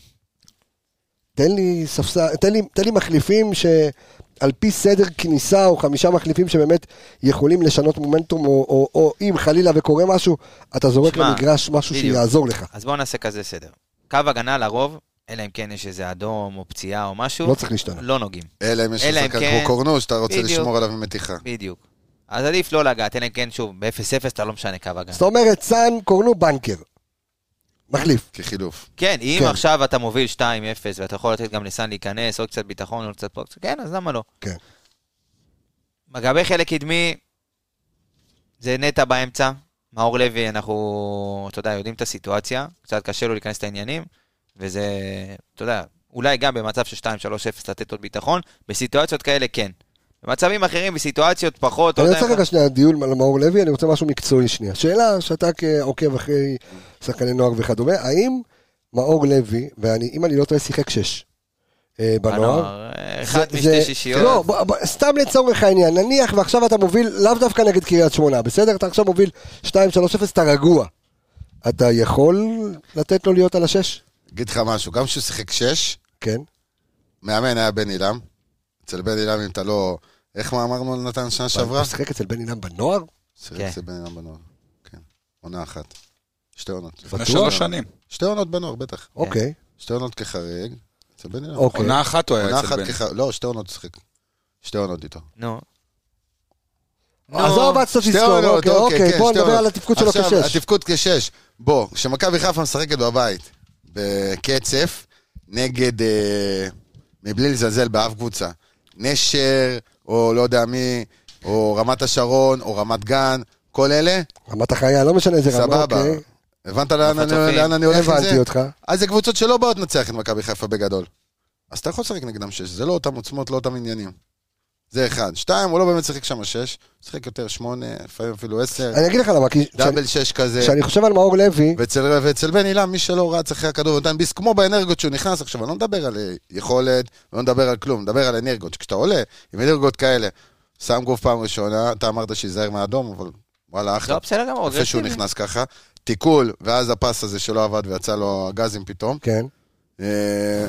[SPEAKER 1] תן לי ספסל, תן לי, תן לי מחליפים שעל פי סדר כניסה או חמישה מחליפים שבאמת יכולים לשנות מומנטום, או, או, או אם חלילה וקורה משהו, אתה זורק
[SPEAKER 7] שמע,
[SPEAKER 1] למגרש משהו
[SPEAKER 7] בדיוק.
[SPEAKER 1] שיעזור לך.
[SPEAKER 7] אז בואו נעשה כזה סדר. קו הגנה לרוב, אלא אם כן יש איזה אדום או פציעה או משהו,
[SPEAKER 1] לא צריך להשתנות.
[SPEAKER 7] לא נוגעים.
[SPEAKER 6] אלא אם יש
[SPEAKER 7] אלא אם
[SPEAKER 6] לך שחקן
[SPEAKER 7] כן.
[SPEAKER 6] כמו קורנו שאתה רוצה
[SPEAKER 7] בדיוק.
[SPEAKER 6] לשמור עליו ממתיחה.
[SPEAKER 7] בדיוק. אז עדיף לא לגעת, אלא אם כן, שוב, ב-0-0 אתה לא משנה קו הגנה.
[SPEAKER 1] זאת אומרת, סאן קורנו בנקר. מחליף.
[SPEAKER 6] כחילוף.
[SPEAKER 7] כן, אם
[SPEAKER 1] כן.
[SPEAKER 7] עכשיו אתה מוביל 2-0 ואתה יכול לתת גם לסאן להיכנס, עוד קצת ביטחון, עוד קצת פה, כן, אז למה לא?
[SPEAKER 1] כן.
[SPEAKER 7] לגבי חלק קדמי, זה נטע באמצע. מאור לוי, אנחנו, אתה יודע, יודעים את הסיטואציה, קצת קשה לו להיכנס לעניינים, וזה, אתה יודע, אולי גם במצב של 2-3-0 לתת עוד ביטחון, בסיטואציות כאלה כן. במצבים אחרים, בסיטואציות פחות,
[SPEAKER 1] אני
[SPEAKER 7] אתה יודע,
[SPEAKER 1] רוצה רגע שנייה דיון על מאור לוי, אני רוצה משהו מקצועי שנייה. שאלה שאתה כעוקב אחרי שחקני נוער וכדומה, האם מאור לוי, ואם אני לא טועה, שיחק שש אה, בנוער?
[SPEAKER 7] בנוער, אחד
[SPEAKER 1] זה- זה-
[SPEAKER 7] משתי שישיות.
[SPEAKER 1] לא, בוא- בוא- סתם לצורך העניין, נניח ועכשיו אתה מוביל, לאו דווקא נגד קריית שמונה, בסדר? אתה עכשיו מוביל 2-3-0, אתה רגוע. אתה יכול לתת לו להיות על השש?
[SPEAKER 6] אגיד לך משהו, גם כשהוא שיחק שש,
[SPEAKER 1] כן.
[SPEAKER 6] מאמן היה בן עילם. אצל בן עילם אם אתה לא... איך מה אמרנו על נתן שנה שעברה?
[SPEAKER 1] הוא שיחק אצל בן אינם בנוער?
[SPEAKER 6] שיחק
[SPEAKER 7] כן.
[SPEAKER 6] אצל בן עילם בנוער. כן. עונה אחת. שתי עונות.
[SPEAKER 5] לפני
[SPEAKER 1] בטוח? כן.
[SPEAKER 5] שלוש שנים.
[SPEAKER 6] שתי עונות בנוער, בטח.
[SPEAKER 1] אוקיי.
[SPEAKER 6] שתי עונות כחריג. אצל בן עילם.
[SPEAKER 1] אוקיי.
[SPEAKER 5] עונה אחת הוא היה
[SPEAKER 6] עונה
[SPEAKER 5] אצל
[SPEAKER 6] אחת
[SPEAKER 5] בן.
[SPEAKER 6] כחריג. לא, שתי עונות שיחק. שתי עונות איתו.
[SPEAKER 7] נו.
[SPEAKER 1] עזוב, עד סוף
[SPEAKER 6] לא, שתי
[SPEAKER 1] לזכור,
[SPEAKER 6] עונות,
[SPEAKER 1] אוקיי, אוקיי,
[SPEAKER 6] כן,
[SPEAKER 1] בוא
[SPEAKER 6] שתי
[SPEAKER 1] נדבר על
[SPEAKER 6] עונות.
[SPEAKER 1] התפקוד שלו
[SPEAKER 6] עכשיו,
[SPEAKER 1] כשש.
[SPEAKER 6] התפקוד כשש. בוא, כשמכבי חיפה משחקת בבית בקצף, נגד, אה, מבלי לזלזל באף קבוצה, נשר, או לא יודע מי, או רמת השרון, או רמת גן, כל אלה,
[SPEAKER 1] רמת החיה, לא משנה איזה רמה,
[SPEAKER 6] סבבה.
[SPEAKER 1] אוקיי.
[SPEAKER 6] הבנת לאן אני-
[SPEAKER 7] הצופים.
[SPEAKER 6] לאן אני הולך עם זה? כן.
[SPEAKER 1] הבנתי אותך.
[SPEAKER 6] אז זה קבוצות שלא באות לנצח את מכבי חיפה בגדול. אז אתה יכול לשחק נגדם שש, זה לא אותם עוצמות, לא אותם עניינים. זה אחד. שתיים, הוא לא באמת שיחק שם שש, הוא שיחק יותר שמונה, לפעמים אפילו עשר,
[SPEAKER 1] אני אגיד לך למה, כי כשאני-
[SPEAKER 6] דאבל שש כזה.
[SPEAKER 1] כשאני חושב על מאור לוי,
[SPEAKER 6] ואצל, ואצל בן עילם, מי שלא רץ אחרי הכדור ונותן ביס, כמו באנרגיות שהוא נכנס עכשיו, אני לא מדבר על אה, יכולת, לא מדבר על כלום, מדבר על אנרגיות. כשאתה עולה עם אנרגיות כאלה, שם גוף פעם ראשונה, אתה אמרת שייזהר מהאדום, אבל וואלה, אחלה.
[SPEAKER 7] לא, בסדר גמור.
[SPEAKER 6] יפה שהוא
[SPEAKER 7] אגרסיבי.
[SPEAKER 6] נכנס ככה. תיקול, ואז הפס הזה שלא עבד ויצא לו הגזים פתאום.
[SPEAKER 1] כן,
[SPEAKER 6] אה,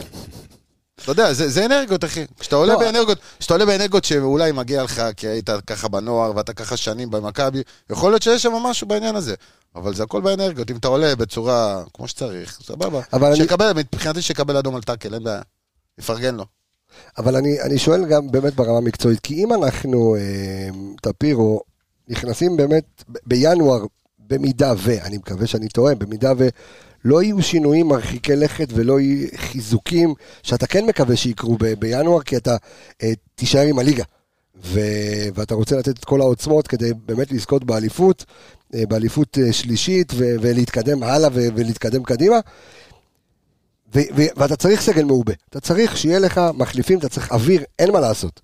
[SPEAKER 6] אתה יודע, זה, זה אנרגיות, אחי. כשאתה עולה
[SPEAKER 1] לא,
[SPEAKER 6] באנרגיות, כשאתה עולה באנרגיות שאולי מגיע לך, כי היית ככה בנוער ואתה ככה שנים במכבי, יכול להיות שיש שם משהו בעניין הזה. אבל זה הכל באנרגיות, אם אתה עולה בצורה כמו שצריך, סבבה.
[SPEAKER 1] אבל אני-
[SPEAKER 6] שיקבל, מבחינתי שיקבל אדום על טאקל, אין בעיה. יפרגן לו.
[SPEAKER 1] אבל אני, אני שואל גם באמת ברמה המקצועית, כי אם אנחנו, אה, טפירו, נכנסים באמת ב- בינואר, במידה ו, אני מקווה שאני טועה, במידה ולא יהיו שינויים מרחיקי לכת ולא יהיו חיזוקים, שאתה כן מקווה שיקרו ב, בינואר, כי אתה אה, תישאר עם הליגה. ו, ואתה רוצה לתת את כל העוצמות כדי באמת לזכות באליפות, אה, באליפות אה, שלישית, ו, ולהתקדם הלאה ו, ולהתקדם קדימה. ו- ו- ואתה צריך סגל מעובה, אתה צריך שיהיה לך מחליפים, אתה צריך אוויר, אין מה לעשות.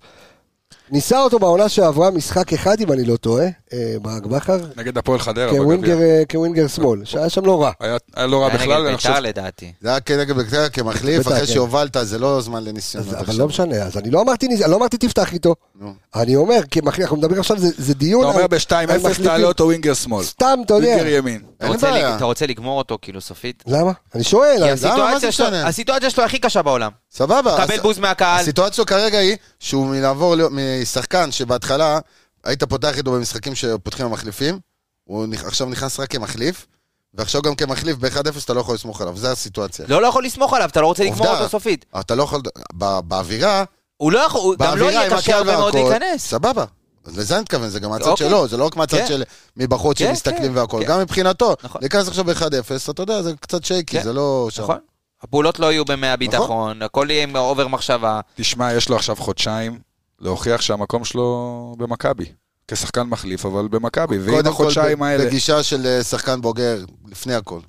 [SPEAKER 1] ניסה אותו בעונה שעברה משחק אחד, אם אני לא טועה, אה, ברק בכר,
[SPEAKER 5] נגד הפועל חדרה בגביע.
[SPEAKER 1] כווינגר, אה, כווינגר שמאל, שהיה שם לא רע.
[SPEAKER 5] היה היה לא רע
[SPEAKER 7] היה
[SPEAKER 5] בכלל,
[SPEAKER 7] נגד
[SPEAKER 5] אני חושב...
[SPEAKER 7] ביתר לדעתי.
[SPEAKER 6] זה היה כנגד בית"ר כמחליף,
[SPEAKER 1] בית"ר,
[SPEAKER 6] אחרי
[SPEAKER 1] כן.
[SPEAKER 6] שהובלת, זה לא זמן לניסיונות.
[SPEAKER 5] אה,
[SPEAKER 1] אז, אבל
[SPEAKER 6] עכשיו.
[SPEAKER 1] לא משנה, אז אני לא אמרתי, ניס- אני לא אמרתי תפתח איתו.
[SPEAKER 6] נו.
[SPEAKER 1] אני אומר, כי מחליף, אנחנו מדברים עכשיו, זה, זה דיון.
[SPEAKER 5] אתה אומר
[SPEAKER 1] על- על
[SPEAKER 5] ב-2-0
[SPEAKER 1] מחליפים.
[SPEAKER 5] תעלה אותו ווינגר שמאל.
[SPEAKER 1] סתם, אתה יודע.
[SPEAKER 5] ווינגר ימין.
[SPEAKER 7] אתה
[SPEAKER 6] אין
[SPEAKER 7] רוצה
[SPEAKER 6] בעיה.
[SPEAKER 7] לג- אתה רוצה לגמור אותו כאילו סופית?
[SPEAKER 1] לא, למה? אני שואל.
[SPEAKER 7] כי
[SPEAKER 1] אני-
[SPEAKER 6] הסיטואציה מה זה
[SPEAKER 7] הסיטואציה שלו-
[SPEAKER 6] משנה?
[SPEAKER 7] הסיטואציה שלו הכי קשה בעולם.
[SPEAKER 6] סבבה.
[SPEAKER 7] קבל
[SPEAKER 6] אז-
[SPEAKER 7] בוז מהקהל.
[SPEAKER 6] הסיטואציה כרגע היא שהוא מלעבור להיות- משחקן שבהתחלה היית פותח איתו במשחקים שפותחים המחליפים, הוא נכ- עכשיו נכנס רק כמחליף, ועכשיו גם כמחליף ב-1-0 אתה לא יכול לסמוך עליו, זו הסיטואציה.
[SPEAKER 7] לא, לא יכול לסמוך עליו, אתה לא רוצה לגמור
[SPEAKER 6] עובדה.
[SPEAKER 7] אותו סופית.
[SPEAKER 6] אתה לא יכול, ב- באווירה,
[SPEAKER 7] הוא לא יכול, הוא גם לא
[SPEAKER 6] באווירה
[SPEAKER 7] יהיה
[SPEAKER 6] עם
[SPEAKER 7] קשה
[SPEAKER 6] הקהל
[SPEAKER 7] הרבה מאוד
[SPEAKER 6] והכל,
[SPEAKER 7] להיכנס.
[SPEAKER 6] סבבה. אז לזה אני מתכוון, זה גם מהצד
[SPEAKER 7] אוקיי.
[SPEAKER 6] שלו, זה לא רק מהצד
[SPEAKER 7] כן.
[SPEAKER 6] של מבחוץ
[SPEAKER 7] כן,
[SPEAKER 6] שמסתכלים
[SPEAKER 7] כן,
[SPEAKER 6] והכל,
[SPEAKER 7] כן.
[SPEAKER 6] גם מבחינתו.
[SPEAKER 7] נכון.
[SPEAKER 6] להיכנס עכשיו ב-1-0, אתה יודע, זה קצת שייקי,
[SPEAKER 7] כן.
[SPEAKER 6] זה לא שם.
[SPEAKER 7] נכון. הפעולות לא יהיו
[SPEAKER 6] נכון.
[SPEAKER 7] במאה ביטחון, הכל יהיה עם אובר מחשבה.
[SPEAKER 5] תשמע, יש לו עכשיו חודשיים להוכיח שהמקום שלו במכבי. כשחקן מחליף, אבל במכבי. ועם
[SPEAKER 6] קודם כל,
[SPEAKER 5] החודשיים
[SPEAKER 6] ב-
[SPEAKER 5] האלה...
[SPEAKER 6] בגישה של אה, שחקן בוגר, לפני הכל.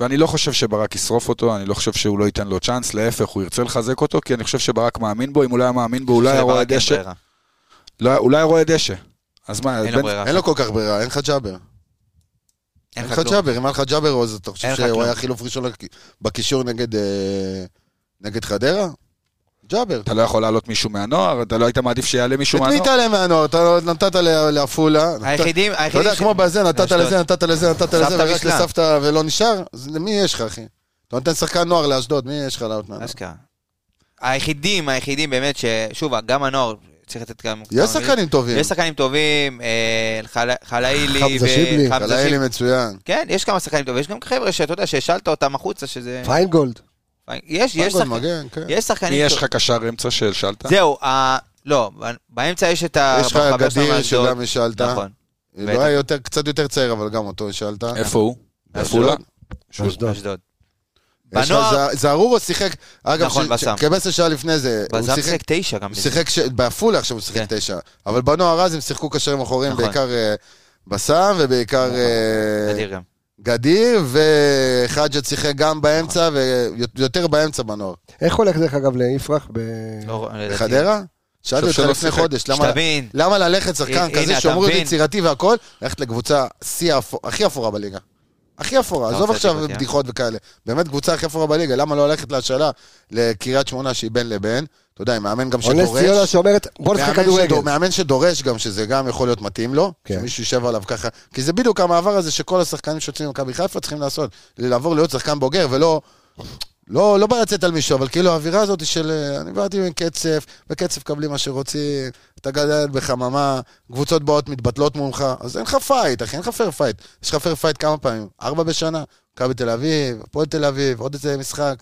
[SPEAKER 5] ואני לא חושב שברק ישרוף אותו, אני לא חושב שהוא לא ייתן לו צ'אנס, להפך, הוא ירצה לחזק אותו, כי אני חושב שברק מאמין בו, אם הוא לא היה מאמין בו, הוא לא היה רואה
[SPEAKER 7] שלברק אין
[SPEAKER 5] דשא.
[SPEAKER 7] ברירה.
[SPEAKER 5] לא היה- הוא לא היה רואה דשא. אז מה,
[SPEAKER 7] אין
[SPEAKER 5] בן-
[SPEAKER 7] לו ברירה.
[SPEAKER 6] אין לו כל כך ברירה, אין לך ג'אבר.
[SPEAKER 7] אין
[SPEAKER 6] אין
[SPEAKER 7] לך
[SPEAKER 6] לך
[SPEAKER 7] כלום.
[SPEAKER 6] ג'אבר, אם היה לך ג'אבר עוז, אתה חושב
[SPEAKER 7] אין לך
[SPEAKER 6] שהוא
[SPEAKER 7] כלום.
[SPEAKER 6] היה חילוף ראשון לק- בקישור נגד, אה, נגד חדרה? ג'אבר.
[SPEAKER 5] אתה לא יכול להעלות מישהו מהנוער, אתה לא היית מעדיף שיעלה מישהו
[SPEAKER 6] את מי
[SPEAKER 5] מהנוער.
[SPEAKER 6] תעלה מהנוער? אתה לא- נתת ל- לעפולה. נתת-
[SPEAKER 7] היחידים,
[SPEAKER 6] אתה
[SPEAKER 7] היחידים...
[SPEAKER 6] יודע,
[SPEAKER 7] ש-
[SPEAKER 6] כמו בזה, נתת
[SPEAKER 7] לאשדוד.
[SPEAKER 6] לזה, נתת לזה, נתת
[SPEAKER 7] סבתא
[SPEAKER 6] לזה, ורק
[SPEAKER 7] בישלה.
[SPEAKER 6] לסבתא ולא נשאר? אז למי יש לך, אחי? אתה נותן שחקן נוער לאשדוד, מי יש לך לעלות מהנוער?
[SPEAKER 7] אשכרה. היחידים, היחידים באמת ש... שוב, גם הנוער, צריך לתת גם... כמה
[SPEAKER 6] יש שחקנים טובים.
[SPEAKER 7] מילים. יש שחקנים טובים, אה, חל- חלאילי
[SPEAKER 1] חמזה שיבלי.
[SPEAKER 7] וחמזה
[SPEAKER 6] חלאילי
[SPEAKER 7] שיבלי.
[SPEAKER 6] מצוין.
[SPEAKER 7] כן, יש כמה שחקנים טובים, יש גם חבר'ה שאתה יודע, שהשאלת אותם החוצה, שזה...
[SPEAKER 1] פיינגולד.
[SPEAKER 7] יש, יש
[SPEAKER 6] פנגול
[SPEAKER 7] שחק-
[SPEAKER 6] מגן, כן.
[SPEAKER 7] יש
[SPEAKER 5] מי
[SPEAKER 7] שחקנים...
[SPEAKER 5] יש
[SPEAKER 7] טוב-
[SPEAKER 5] לך קשר אמצע שהשאלת?
[SPEAKER 7] זהו, ה- לא, באמצע יש את ה...
[SPEAKER 6] יש לך
[SPEAKER 7] בחבר שלנו
[SPEAKER 6] גדיר
[SPEAKER 7] מאשדוד.
[SPEAKER 6] שגם השאלת.
[SPEAKER 7] נכון.
[SPEAKER 6] לא
[SPEAKER 7] בטח. אה,
[SPEAKER 6] היה יותר- קצת יותר צעיר, אבל גם אותו השאלת.
[SPEAKER 5] איפה הוא?
[SPEAKER 6] לא-
[SPEAKER 5] עפולה?
[SPEAKER 1] אשדוד.
[SPEAKER 7] אשדוד.
[SPEAKER 6] יש לך
[SPEAKER 7] בנוער-
[SPEAKER 6] ז- זערורה שיחק, אגב,
[SPEAKER 7] נכון, בסם.
[SPEAKER 6] כבסר שעה לפני זה, הוא
[SPEAKER 7] בזאר
[SPEAKER 6] שיחק-
[SPEAKER 7] שיחק תשע גם.
[SPEAKER 6] הוא שיחק ש- בעפולה עכשיו הוא שיחק
[SPEAKER 7] כן.
[SPEAKER 6] תשע, אבל בנוער אז הם שיחקו קשרים אחוריים,
[SPEAKER 7] נכון.
[SPEAKER 6] בעיקר אה, בסם ובעיקר אה,
[SPEAKER 7] אדיר גם.
[SPEAKER 6] גדיר, וחג'ת שיחק גם באמצע,
[SPEAKER 7] נכון.
[SPEAKER 6] ויותר באמצע בנוער.
[SPEAKER 1] איך הולך דרך אגב ליפרח? ב...
[SPEAKER 7] לא, לדעתי.
[SPEAKER 6] חדרה? שאלתי אותך
[SPEAKER 5] שלא
[SPEAKER 6] לפני
[SPEAKER 5] שיחק.
[SPEAKER 6] חודש, למה-
[SPEAKER 7] שתבין,
[SPEAKER 6] למה ללכת שחקן
[SPEAKER 7] הנה,
[SPEAKER 6] כזה
[SPEAKER 7] אתה
[SPEAKER 6] שאומרים
[SPEAKER 7] מבין.
[SPEAKER 6] יצירתי והכל, ללכת לקבוצה שיא האפור- הכי אפורה בליגה. הכי אפורה,
[SPEAKER 7] אתה
[SPEAKER 6] עזוב
[SPEAKER 7] רוצה
[SPEAKER 6] עכשיו
[SPEAKER 7] אותי, אה?
[SPEAKER 6] בדיחות וכאלה. באמת קבוצה הכי אפורה בליגה, למה לא ללכת להשאלה לקריית שמונה שהיא בין לבין? אתה יודע, עם מאמן גם
[SPEAKER 1] אונס
[SPEAKER 6] שדורש.
[SPEAKER 1] ציונה שאומרת, בוא נשחק
[SPEAKER 6] מאמן
[SPEAKER 1] כדורגל.
[SPEAKER 6] שדור- מאמן שדורש גם שזה גם יכול להיות מתאים לו,
[SPEAKER 1] כן.
[SPEAKER 6] שמישהו יישב עליו ככה, כי זה בדיוק המעבר הזה שכל השחקנים שיוצאים ממכבי חיפה צריכים לעשות, לעבור להיות שחקן בוגר ולא... לא, לא בא לצאת על מישהו, אבל כאילו האווירה הזאת של אה, אני באתי עם קצף, בקצף מקבלים מה שרוצים, אתה גדל בחממה, קבוצות באות מתבטלות מולך, אז אין לך פייט, אחי, אין לך פייר פייט. יש לך פייר פייט כמה פעמים? ארבע בשנה, מכבי תל אביב, הפועל תל אביב, עוד איזה משחק.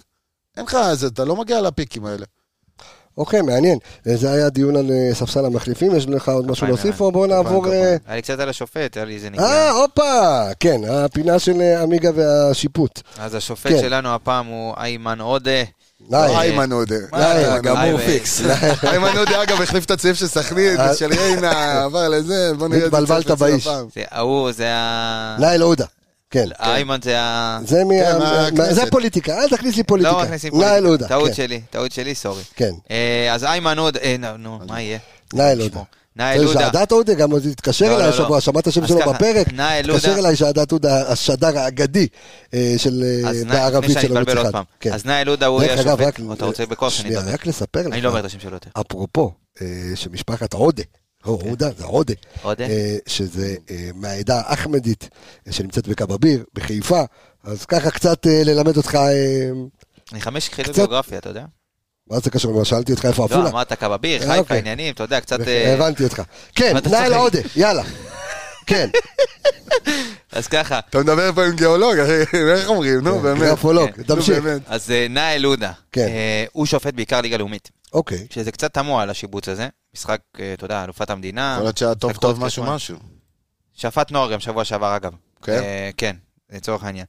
[SPEAKER 6] אין לך, זה- אתה לא מגיע לפיקים האלה.
[SPEAKER 1] אוקיי, מעניין. אה, זה היה דיון על אה, ספסל המחליפים, יש לך עוד משהו
[SPEAKER 7] כפיים,
[SPEAKER 1] להוסיף?
[SPEAKER 7] אה.
[SPEAKER 1] או בוא נעבור... אה,
[SPEAKER 7] היה לי קצת על השופט, היה לי איזה
[SPEAKER 1] אה,
[SPEAKER 7] נגיעה.
[SPEAKER 1] הופה! כן, הפינה של אה, עמיגה והשיפוט.
[SPEAKER 7] אז השופט
[SPEAKER 1] כן.
[SPEAKER 7] שלנו הפעם הוא איימן עודה.
[SPEAKER 1] די.
[SPEAKER 6] לא איימן עודה.
[SPEAKER 1] די.
[SPEAKER 5] גמור
[SPEAKER 1] (laughs)
[SPEAKER 7] אה,
[SPEAKER 5] פיקס.
[SPEAKER 6] (laughs) איימן עודה, אגב, החליף את הצעיף של סכנין,
[SPEAKER 1] אה.
[SPEAKER 6] של ריינה, עבר לזה, בוא נראה את זה.
[SPEAKER 1] התבלבלת
[SPEAKER 6] צעיף
[SPEAKER 1] באיש.
[SPEAKER 6] אצלו הפעם.
[SPEAKER 7] זה ההוא, זה ה...
[SPEAKER 1] ליל עודה. כן.
[SPEAKER 7] איימן זה ה...
[SPEAKER 1] זה מה-
[SPEAKER 6] מהכנסת.
[SPEAKER 1] זה פוליטיקה, אל תכניס לי
[SPEAKER 7] לא
[SPEAKER 1] פוליטיקה.
[SPEAKER 7] מכניסים
[SPEAKER 1] ליל
[SPEAKER 7] פוליטיקה.
[SPEAKER 1] עודה.
[SPEAKER 7] טעות
[SPEAKER 1] כן,
[SPEAKER 7] שלי, טעות שלי, סורי.
[SPEAKER 1] כן,
[SPEAKER 7] אה, אז איימן עודה, אה, נו, נו, מה יהיה?
[SPEAKER 1] ליל עודה.
[SPEAKER 7] תשמעו. נאיל עודה.
[SPEAKER 1] שעדת עודה גם עוד התקשר
[SPEAKER 7] לא,
[SPEAKER 1] אליי
[SPEAKER 7] לא,
[SPEAKER 1] השבוע,
[SPEAKER 7] לא.
[SPEAKER 1] שמעת שם
[SPEAKER 7] אז
[SPEAKER 1] שלו
[SPEAKER 7] ככה,
[SPEAKER 1] בפרק?
[SPEAKER 7] נאיל
[SPEAKER 1] התקשר
[SPEAKER 7] עודה.
[SPEAKER 1] אליי שעדת עודה, השדר האגדי אה, של אה,
[SPEAKER 7] אז נא- לפני
[SPEAKER 1] בערבית
[SPEAKER 7] שאני
[SPEAKER 1] של ערוץ
[SPEAKER 7] אתבלבל עוד
[SPEAKER 1] אחד.
[SPEAKER 7] פעם.
[SPEAKER 1] כן.
[SPEAKER 7] אז נאיל עודה הוא
[SPEAKER 1] דרך
[SPEAKER 7] יהיה
[SPEAKER 1] אגב,
[SPEAKER 7] השופט.
[SPEAKER 1] רק- אה,
[SPEAKER 7] או, אתה רוצה בכוח שאני
[SPEAKER 1] שנייה,
[SPEAKER 7] אדבר?
[SPEAKER 1] רק לספר לך.
[SPEAKER 7] אני לא אומר את השם שלו יותר. כן.
[SPEAKER 1] אפרופו, אה, שמשפחת עודה, לא, עודה, זה עודה,
[SPEAKER 7] עודה?
[SPEAKER 1] אה, שזה אה, מהעדה האחמדית, אה, שנמצאת בקבביר, בחיפה, אז ככה קצת אה, ללמד אותך, אה,
[SPEAKER 7] אני חמש יחידות
[SPEAKER 1] קצת-
[SPEAKER 7] גיאוגרפיה, אתה יודע?
[SPEAKER 1] מה זה קשור? מה, שאלתי אותך
[SPEAKER 6] אוקיי.
[SPEAKER 1] איפה
[SPEAKER 7] לא,
[SPEAKER 1] עפולה?
[SPEAKER 7] אמרת קבביר,
[SPEAKER 1] אה,
[SPEAKER 7] חיפה,
[SPEAKER 1] אוקיי.
[SPEAKER 7] עניינים, אתה יודע, קצת... אה,
[SPEAKER 1] הבנתי אותך. כן,
[SPEAKER 7] ואתה
[SPEAKER 1] נאיל
[SPEAKER 7] צוחק.
[SPEAKER 1] עודה, יאללה. כן,
[SPEAKER 7] אז ככה,
[SPEAKER 6] אתה מדבר פה עם גיאולוג, אחי, (laughs) איך אומרים? נו, באמת.
[SPEAKER 1] גרפולוג,
[SPEAKER 7] כן.
[SPEAKER 1] תמשיך.
[SPEAKER 6] נו, באמת.
[SPEAKER 7] אז אה, נאיל עודה,
[SPEAKER 1] כן.
[SPEAKER 7] אה, הוא שופט בעיקר ליגה לאומית,
[SPEAKER 1] אוקיי.
[SPEAKER 7] שזה קצת תמוה על השיבוץ הזה. משחק, אה, אתה יודע, אלופת המדינה.
[SPEAKER 6] יכול להיות שהיה טוב
[SPEAKER 7] משחק
[SPEAKER 6] טוב
[SPEAKER 7] חוץ
[SPEAKER 6] משהו
[SPEAKER 7] חשבון.
[SPEAKER 6] משהו.
[SPEAKER 7] שפט נוער גם שבוע שעבר, אגב.
[SPEAKER 6] כן?
[SPEAKER 7] אה, כן, לצורך העניין.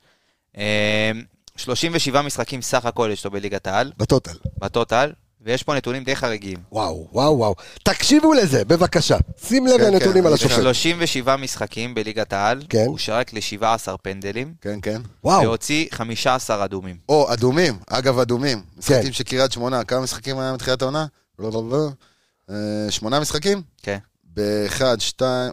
[SPEAKER 7] אה, 37 משחקים סך הכל יש לו בליגת העל,
[SPEAKER 1] בטוטל.
[SPEAKER 7] בטוטל, ויש פה נתונים די חריגים.
[SPEAKER 1] וואו, וואו, וואו. תקשיבו לזה, בבקשה. שים לב
[SPEAKER 6] כן,
[SPEAKER 1] לנתונים
[SPEAKER 6] כן,
[SPEAKER 1] על
[SPEAKER 6] אני
[SPEAKER 1] השופט.
[SPEAKER 7] 37 משחקים בליגת העל,
[SPEAKER 1] כן.
[SPEAKER 7] הוא שרק ל-17 פנדלים,
[SPEAKER 6] כן, כן.
[SPEAKER 1] וואו,
[SPEAKER 7] והוציא 15 אדומים.
[SPEAKER 6] או,
[SPEAKER 1] כן.
[SPEAKER 6] אדומים, אגב, אדומים. משחקים של קריית שמונה, כמה משחקים היה מתחילת העונה? לא, לא, לא. אה, שמונה משחקים?
[SPEAKER 7] כן.
[SPEAKER 6] באחד, שתיים...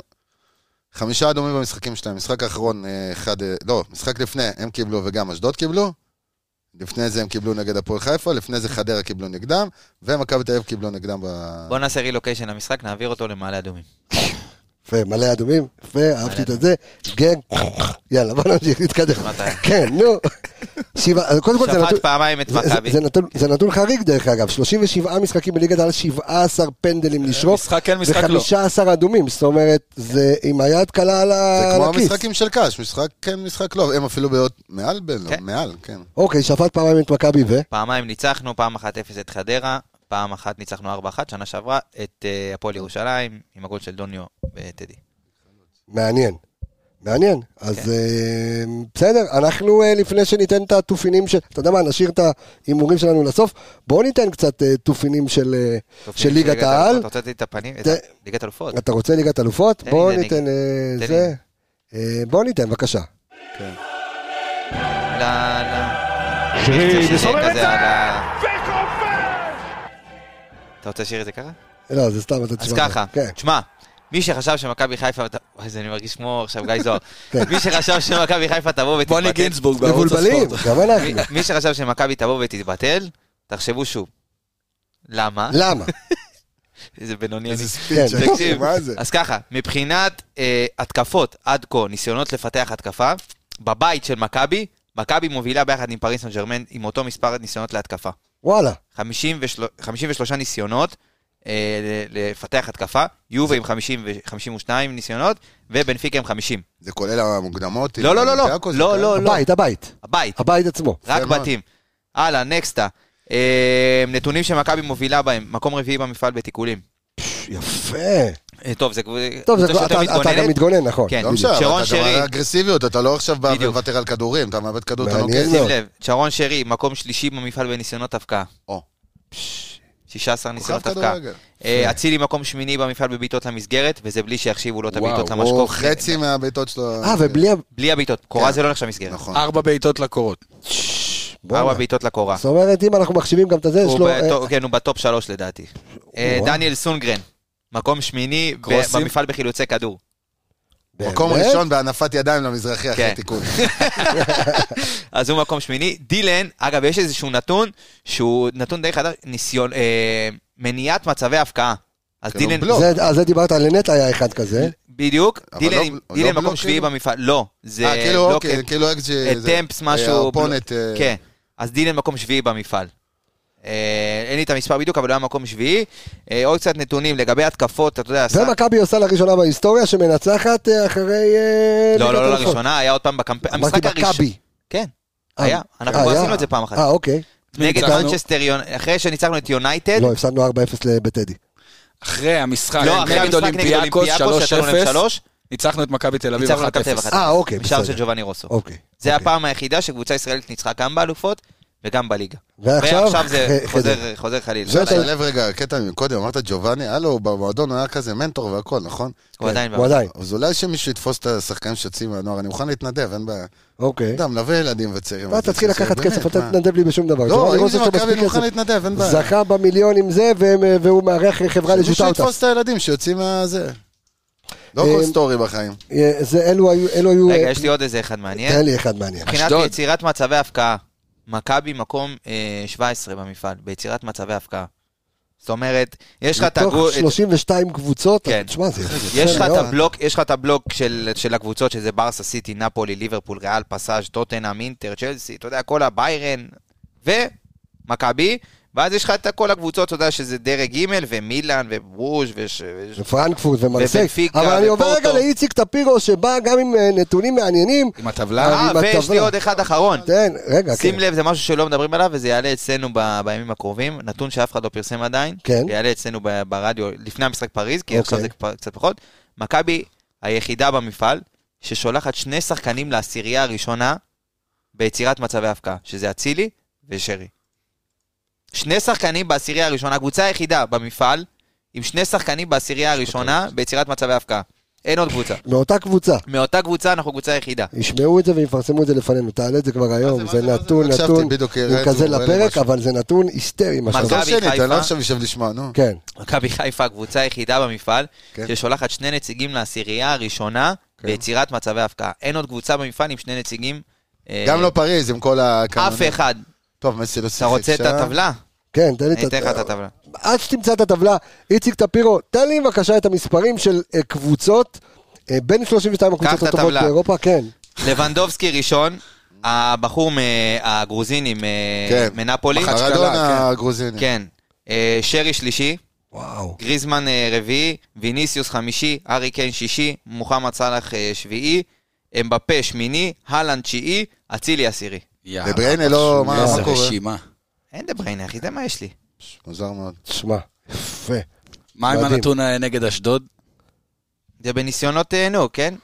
[SPEAKER 6] חמישה אדומים במשחקים שלהם. משחק האחרון, אה, אחד... אה, לא, משחק לפני, הם קיבלו וגם אשדוד קיבלו. לפני זה הם קיבלו נגד הפועל חיפה, לפני זה חדרה קיבלו נגדם, ומכבי תל אביב קיבלו נגדם ב...
[SPEAKER 7] בוא נעשה רילוקיישן למשחק, נעביר אותו למעלה אדומים.
[SPEAKER 1] יפה, מלא אדומים, יפה, אהבתי את זה, גג, יאללה, בוא נמשיך, נתקדם.
[SPEAKER 7] מתי?
[SPEAKER 1] כן, נו. שבעה, אז קודם כל זה נתון...
[SPEAKER 7] שפט פעמיים את
[SPEAKER 1] זה-
[SPEAKER 7] מכבי.
[SPEAKER 1] זה נתון- זה נתון חריג דרך אגב, 37 משחקים בליגת העל, 17 פנדלים לשרוף,
[SPEAKER 5] משחק כן, משחק לא.
[SPEAKER 1] ו-15 אדומים, זאת אומרת, זה עם היד קלה על ה-
[SPEAKER 6] זה
[SPEAKER 1] אה, על
[SPEAKER 6] כמו
[SPEAKER 1] הכיס.
[SPEAKER 6] המשחקים של קאש, משחק כן, משחק לא, הם אפילו בעוד... מעל, בין,
[SPEAKER 7] כן.
[SPEAKER 6] מעל, כן.
[SPEAKER 1] אוקיי, שפט פעמיים את מכבי ו...
[SPEAKER 7] פעמיים ניצחנו, פעם אחת 0 את חדרה, פעם אחת ניצחנו 4-1, שנה שעברה, את אה, הפועל ירושלים, עם הגול של דוניו אה, וטדי.
[SPEAKER 1] מעניין. מעניין. אז
[SPEAKER 7] כן.
[SPEAKER 1] אה, בסדר, אנחנו אה, לפני שניתן את התופינים של... אתה יודע מה, נשאיר את ההימורים שלנו לסוף. בואו ניתן קצת אה, תופינים של אה,
[SPEAKER 7] טוב,
[SPEAKER 1] של ליגת העל.
[SPEAKER 7] אתה רוצה לתת את הפנים? את
[SPEAKER 1] זה-
[SPEAKER 7] ה- ליגת אלופות.
[SPEAKER 1] אתה רוצה ליגת אלופות?
[SPEAKER 7] תן לי,
[SPEAKER 1] בואו
[SPEAKER 7] תן לי.
[SPEAKER 1] ניתן אה,
[SPEAKER 7] תן
[SPEAKER 1] זה. אה, בואו ניתן, בבקשה.
[SPEAKER 7] לא, לא.
[SPEAKER 4] שרי,
[SPEAKER 7] יש שיר
[SPEAKER 4] מסובב את
[SPEAKER 7] כזה
[SPEAKER 4] זה!
[SPEAKER 7] על ה- אתה רוצה לשיר את זה ככה?
[SPEAKER 1] לא, זה סתם, אתה
[SPEAKER 7] אז
[SPEAKER 1] תשמע.
[SPEAKER 7] ככה,
[SPEAKER 1] כן.
[SPEAKER 7] תשמע, מי שחשב שמכבי חיפה, וואי, זה אני מרגיש כמו עכשיו גיא זוהר,
[SPEAKER 1] כן.
[SPEAKER 7] מי שחשב שמכבי חיפה תבוא
[SPEAKER 5] בוני
[SPEAKER 7] ותתבטל,
[SPEAKER 5] גינצבורג בערוץ
[SPEAKER 1] מבולבלים,
[SPEAKER 5] הספורט.
[SPEAKER 1] גם
[SPEAKER 7] (laughs) מי-
[SPEAKER 1] אנחנו.
[SPEAKER 7] מי שחשב שמכבי תבוא ותתבטל, תחשבו שוב. למה? (laughs)
[SPEAKER 1] למה?
[SPEAKER 7] איזה בינוני אני.
[SPEAKER 6] לא. איזה ספיץ',
[SPEAKER 1] כן.
[SPEAKER 6] אחי, מה זה?
[SPEAKER 7] אז ככה, מבחינת אה, התקפות עד כה, ניסיונות לפתח התקפה, בבית של מכבי, מכבי מובילה ביחד עם פריס סן ג'רמן עם אותו מספר ניסיונות להתקפה.
[SPEAKER 1] וואלה.
[SPEAKER 7] 53 53 ניסיונות אה, ל- לפתח התקפה, יובה עם 50 ו- 52 ניסיונות, ובנפיקה עם 50.
[SPEAKER 6] זה כולל המוקדמות?
[SPEAKER 7] לא, לא, לא, לא,
[SPEAKER 6] אולימפיאקוס,
[SPEAKER 7] לא,
[SPEAKER 6] וכאלה?
[SPEAKER 7] לא, לא,
[SPEAKER 1] הבית, הבית.
[SPEAKER 7] הבית,
[SPEAKER 1] הבית
[SPEAKER 7] (laughs)
[SPEAKER 1] עצמו.
[SPEAKER 7] רק
[SPEAKER 6] יפה מאוד.
[SPEAKER 7] בתים. הלאה, נקסטה. אה, נתונים שמכבי מובילה בהם, מקום רביעי במפעל בתיקולים.
[SPEAKER 1] יפה.
[SPEAKER 7] אה, טוב, זה קבוצה
[SPEAKER 1] טוב, זה כבר- אתה-
[SPEAKER 7] שיותר
[SPEAKER 1] אתה גם
[SPEAKER 7] מתגוננת.
[SPEAKER 1] מתגונן, נכון.
[SPEAKER 7] כן.
[SPEAKER 6] לא משנה, אבל
[SPEAKER 7] שרון
[SPEAKER 6] אתה גם
[SPEAKER 7] שרי.
[SPEAKER 6] על האגרסיביות, אתה לא עכשיו בא
[SPEAKER 7] בדיוק.
[SPEAKER 6] ומוותר על כדורים, אתה מאבד כדור, אתה
[SPEAKER 1] מעניין
[SPEAKER 6] נוגס.
[SPEAKER 1] מאוד.
[SPEAKER 7] שים לב, שרון שרי, מקום שלישי במפעל בניסיונות הבקעה.
[SPEAKER 6] או.
[SPEAKER 7] 16
[SPEAKER 6] כוכב
[SPEAKER 7] ניסיונות הבקעה.
[SPEAKER 6] כדורגל.
[SPEAKER 7] אה, אצילי מקום שמיני במפעל בבעיטות למסגרת, וזה בלי שיחשיבו לו את הבעיטות
[SPEAKER 6] הוא
[SPEAKER 7] למשקוף.
[SPEAKER 6] חצי מהבעיטות שלו.
[SPEAKER 1] אה, ובלי... ה-
[SPEAKER 7] בלי הבעיטות,
[SPEAKER 1] כן.
[SPEAKER 7] קורה זה לא נחשב מסגרת.
[SPEAKER 6] נכון.
[SPEAKER 5] ארבע בעיטות לקורות.
[SPEAKER 7] ארבע
[SPEAKER 1] בואנה.
[SPEAKER 7] בעיטות לקורה.
[SPEAKER 1] זאת אומרת, אם אנחנו מחשיבים גם את הזה, יש
[SPEAKER 7] הוא
[SPEAKER 1] לו... אה,
[SPEAKER 7] בטופ- כן, הוא בטופ שלוש לדעתי. אה,
[SPEAKER 1] וואו.
[SPEAKER 7] דניאל סונגרן, מקום שמיני ב-
[SPEAKER 5] קרוסים?
[SPEAKER 7] במפעל בחילוצי כדור.
[SPEAKER 1] אה,
[SPEAKER 6] מקום
[SPEAKER 1] באמת?
[SPEAKER 6] ראשון בהנפת ידיים למזרחי
[SPEAKER 7] כן.
[SPEAKER 6] אחרי תיקון.
[SPEAKER 7] אז הוא מקום שמיני. דילן, אגב, יש איזשהו נתון שהוא נתון די חדש, ניסיון, אה, מניעת מצבי הפקעה. אז
[SPEAKER 6] כן,
[SPEAKER 7] דילן,
[SPEAKER 6] הוא בלוק.
[SPEAKER 1] זה- אה, זה דיברת על לנט היה אחד כזה.
[SPEAKER 7] בדיוק,
[SPEAKER 6] אבל
[SPEAKER 7] דילן
[SPEAKER 6] לא-
[SPEAKER 7] עם-
[SPEAKER 6] לא
[SPEAKER 7] דילן
[SPEAKER 6] בלוק,
[SPEAKER 7] מקום שביעי
[SPEAKER 6] כאילו?
[SPEAKER 7] במפעל, לא, (laughs) זה
[SPEAKER 6] אה, כאילו,
[SPEAKER 7] בלוק,
[SPEAKER 6] אוקיי,
[SPEAKER 7] את-
[SPEAKER 6] כאילו אקג'י.
[SPEAKER 7] את טמפס משהו,
[SPEAKER 6] ארפונת. אה,
[SPEAKER 7] כן, אז דילן מקום שביעי במפעל. אה, אין לי את המספר בדיוק, אבל הוא היה מקום שביעי. אה, עוד קצת נתונים לגבי התקפות, אתה יודע,
[SPEAKER 1] זה מכבי עושה לראשונה בהיסטוריה, שמנצחת אה, אחרי... אה,
[SPEAKER 7] לא,
[SPEAKER 1] ליגת
[SPEAKER 7] לא, לא
[SPEAKER 1] האלופות.
[SPEAKER 7] לראשונה, היה עוד פעם בקמפיין.
[SPEAKER 1] אמרתי
[SPEAKER 7] המשחק הראשון.
[SPEAKER 1] מכבי.
[SPEAKER 7] כן,
[SPEAKER 1] אה,
[SPEAKER 7] היה. אנחנו
[SPEAKER 1] אה,
[SPEAKER 7] כבר
[SPEAKER 1] היה?
[SPEAKER 7] עשינו את זה פעם אחת.
[SPEAKER 1] אה, אוקיי.
[SPEAKER 7] נגד
[SPEAKER 5] ניצחנו.
[SPEAKER 7] מנצ'סטר, יונ- אחרי שניצחנו את יונייטד.
[SPEAKER 1] לא, הפסדנו 4-0 לבטדי.
[SPEAKER 5] אחרי המשחק
[SPEAKER 7] לא, אחרי
[SPEAKER 5] נגד
[SPEAKER 7] המשחק נגד
[SPEAKER 5] אולימפיאקוס
[SPEAKER 7] אולימפיאקוס, יצאנו להם
[SPEAKER 5] 3-0,
[SPEAKER 7] שלוש,
[SPEAKER 5] ניצחנו את מכבי תל אביב
[SPEAKER 7] ניצחנו את
[SPEAKER 5] 1-0.
[SPEAKER 7] מכבי תל אביב 1-0.
[SPEAKER 1] אה, אוקיי,
[SPEAKER 7] בשער של
[SPEAKER 1] בסדר.
[SPEAKER 7] ג'ובאני רוסו.
[SPEAKER 1] אוקיי.
[SPEAKER 7] זה
[SPEAKER 1] אוקיי.
[SPEAKER 7] הפעם היחידה שקבוצה ישראלית ניצחה גם באלופות וגם בליגה.
[SPEAKER 1] ועכשיו? (laughs)
[SPEAKER 7] ועכשיו זה
[SPEAKER 1] ח-
[SPEAKER 7] חוזר-
[SPEAKER 1] חדר.
[SPEAKER 7] חוזר חלילה.
[SPEAKER 1] זה-
[SPEAKER 6] תשים לב רגע, קטע מקודם, אמרת ג'ובאני, הלו, הוא במועדון הוא היה כזה מנטור והכל, נכון?
[SPEAKER 7] הוא עדיין
[SPEAKER 1] כן, הוא
[SPEAKER 7] בא.
[SPEAKER 1] עדיין.
[SPEAKER 6] אז אולי שמישהו יתפוס את השחקנים שיוצאים מהנוער, אני מוכן להתנדב, אין בעיה.
[SPEAKER 1] אוקיי.
[SPEAKER 6] אתה מלווה ילדים וצעירים. אז
[SPEAKER 1] אתה תתחיל
[SPEAKER 6] זה- זה-
[SPEAKER 1] לקחת
[SPEAKER 6] באמת,
[SPEAKER 1] כסף, אתה
[SPEAKER 6] מה?
[SPEAKER 1] תתנדב לי בשום דבר. ג'ובאני
[SPEAKER 6] לא, אם
[SPEAKER 1] רוסו
[SPEAKER 6] זה
[SPEAKER 1] יש לו
[SPEAKER 6] מכבי,
[SPEAKER 1] מספיק
[SPEAKER 6] אני מוכן
[SPEAKER 1] כסף.
[SPEAKER 6] להתנדב, אין בעיה.
[SPEAKER 1] זכה במיליון עם זה, והם, אה, והוא מארח חברה
[SPEAKER 6] מישהו
[SPEAKER 1] לשוטאוטה.
[SPEAKER 6] יתפוס את הילדים שיוצאים מהזה. לא
[SPEAKER 1] אה,
[SPEAKER 6] כל סטורי בחיים.
[SPEAKER 1] אלו היו... אלו היו-
[SPEAKER 7] רגע, יש לי עוד איזה אחד מעניין.
[SPEAKER 1] תן לי אחד מעניין.
[SPEAKER 7] מבחינת
[SPEAKER 5] אשדוד.
[SPEAKER 7] יצירת מצבי הפקעה, מכבי מקום אה, 17 במפעל, ביצירת מצבי הפקעה. זאת אומרת, יש לך את
[SPEAKER 1] מתוך
[SPEAKER 7] הגו- את-
[SPEAKER 1] 32 קבוצות,
[SPEAKER 7] כן.
[SPEAKER 1] תשמע, זה יפה
[SPEAKER 7] יש לך את
[SPEAKER 1] מאוד.
[SPEAKER 7] הבלוק, יש לך את הבלוק של, של הקבוצות, שזה ברסה, סיטי, נפולי, ליברפול, ריאל, פסאז', טוטנאם, אינטר, צ'לסי, אתה יודע, כל הביירן, ומכבי, ואז יש לך את כל הקבוצות, אתה יודע, שזה דרג ג' ומילאן, וברוז' וש... וש-
[SPEAKER 1] ופרנקפורט ומרסק,
[SPEAKER 7] ובנפיקה,
[SPEAKER 1] אבל אני עובר
[SPEAKER 7] ופורטו.
[SPEAKER 1] רגע לאיציק טפירו שבא גם עם אה, נתונים מעניינים.
[SPEAKER 5] עם
[SPEAKER 1] אה,
[SPEAKER 5] הטבלה,
[SPEAKER 7] אה,
[SPEAKER 1] עם
[SPEAKER 7] ויש לי
[SPEAKER 1] הטבלה.
[SPEAKER 7] עוד אחד אחרון.
[SPEAKER 1] תן, רגע, כן.
[SPEAKER 7] שים לב, זה משהו שלא מדברים עליו, וזה יעלה אצלנו ב- בימים הקרובים. נתון שאף אחד לא פרסם עדיין.
[SPEAKER 1] כן.
[SPEAKER 7] יעלה אצלנו ב- ברדיו לפני המשחק פריז, כי
[SPEAKER 1] אוקיי.
[SPEAKER 7] עכשיו זה כבר קצת פחות. מכבי היחידה במפעל ששולחת שני שחקנים לעשירייה הראשונה ביצירת מצבי הפקעה, שזה אצילי ושרי. שני שחקנים בעשירייה
[SPEAKER 1] אוקיי.
[SPEAKER 7] הראשונה, הקבוצה היחידה במפעל עם שני שחקנים בעשירייה הראשונה ביצירת מצבי הפקעה. אין עוד קבוצה.
[SPEAKER 1] מאותה קבוצה.
[SPEAKER 7] מאותה קבוצה אנחנו קבוצה יחידה.
[SPEAKER 1] ישמעו את זה ויפרסמו את זה לפנינו, תעלה את זה כבר היום,
[SPEAKER 6] מה
[SPEAKER 1] זה
[SPEAKER 6] זה, מה זה,
[SPEAKER 1] נתון,
[SPEAKER 6] לא הקשבתי,
[SPEAKER 1] נתון,
[SPEAKER 6] בדיוק,
[SPEAKER 1] הוא
[SPEAKER 6] ראיתי,
[SPEAKER 1] כזה
[SPEAKER 6] הוא ראה לי
[SPEAKER 1] לפרק,
[SPEAKER 6] משהו.
[SPEAKER 1] אבל זה נתון היסטרי, מה
[SPEAKER 7] מכבי
[SPEAKER 1] שאתה
[SPEAKER 6] עזוב
[SPEAKER 1] אומר.
[SPEAKER 6] שנית,
[SPEAKER 7] חיפה.
[SPEAKER 6] אני לא עכשיו יושב לשמוע, נו.
[SPEAKER 1] כן,
[SPEAKER 7] מכבי חיפה הקבוצה היחידה במפעל,
[SPEAKER 6] כן.
[SPEAKER 7] ששולחת שני נציגים לעשירייה הראשונה ביצירת מצבי הפקעה. אין עוד קבוצה במפעל עם שני נציגים. אה,
[SPEAKER 6] גם לא פריז, עם כל ה...
[SPEAKER 7] אף אחד.
[SPEAKER 6] טוב, מסי לא שיחק
[SPEAKER 7] אתה רוצה את
[SPEAKER 6] שם.
[SPEAKER 7] הטבלה?
[SPEAKER 1] כן, תן לי
[SPEAKER 7] אני אתן לך את הטבלה.
[SPEAKER 1] עד שתמצא את הטבלה, איציק טפירו, תן לי בבקשה את המספרים של אה, קבוצות, אה, בין 32 הקבוצות
[SPEAKER 7] את
[SPEAKER 1] הטובות
[SPEAKER 7] הטבלה.
[SPEAKER 1] באירופה, כן.
[SPEAKER 7] לבנדובסקי ראשון, הבחור מהגרוזינים
[SPEAKER 6] כן.
[SPEAKER 7] אה, מנפולי.
[SPEAKER 1] מחצ'קלה,
[SPEAKER 6] הרדון
[SPEAKER 1] כן.
[SPEAKER 6] הגרוזיני.
[SPEAKER 7] כן. אה, שרי שלישי,
[SPEAKER 1] וואו.
[SPEAKER 7] גריזמן אה, רביעי, ויניסיוס חמישי, ארי קיין שישי, מוחמד סאלח אה, שביעי, אמבפה שמיני, אהלן תשיעי, אצילי עשירי.
[SPEAKER 5] יאללה,
[SPEAKER 6] לבריינה
[SPEAKER 7] אה,
[SPEAKER 6] לא- מה-
[SPEAKER 5] איזה
[SPEAKER 6] מה קורה?
[SPEAKER 5] רשימה.
[SPEAKER 7] אין דה בריינה, אחי, זה מה יש לי.
[SPEAKER 6] מוזר מאוד.
[SPEAKER 1] תשמע, יפה.
[SPEAKER 5] מה עם
[SPEAKER 1] מדהים.
[SPEAKER 5] הנתון אה, נגד אשדוד?
[SPEAKER 7] זה בניסיונות, אה, נו, כן?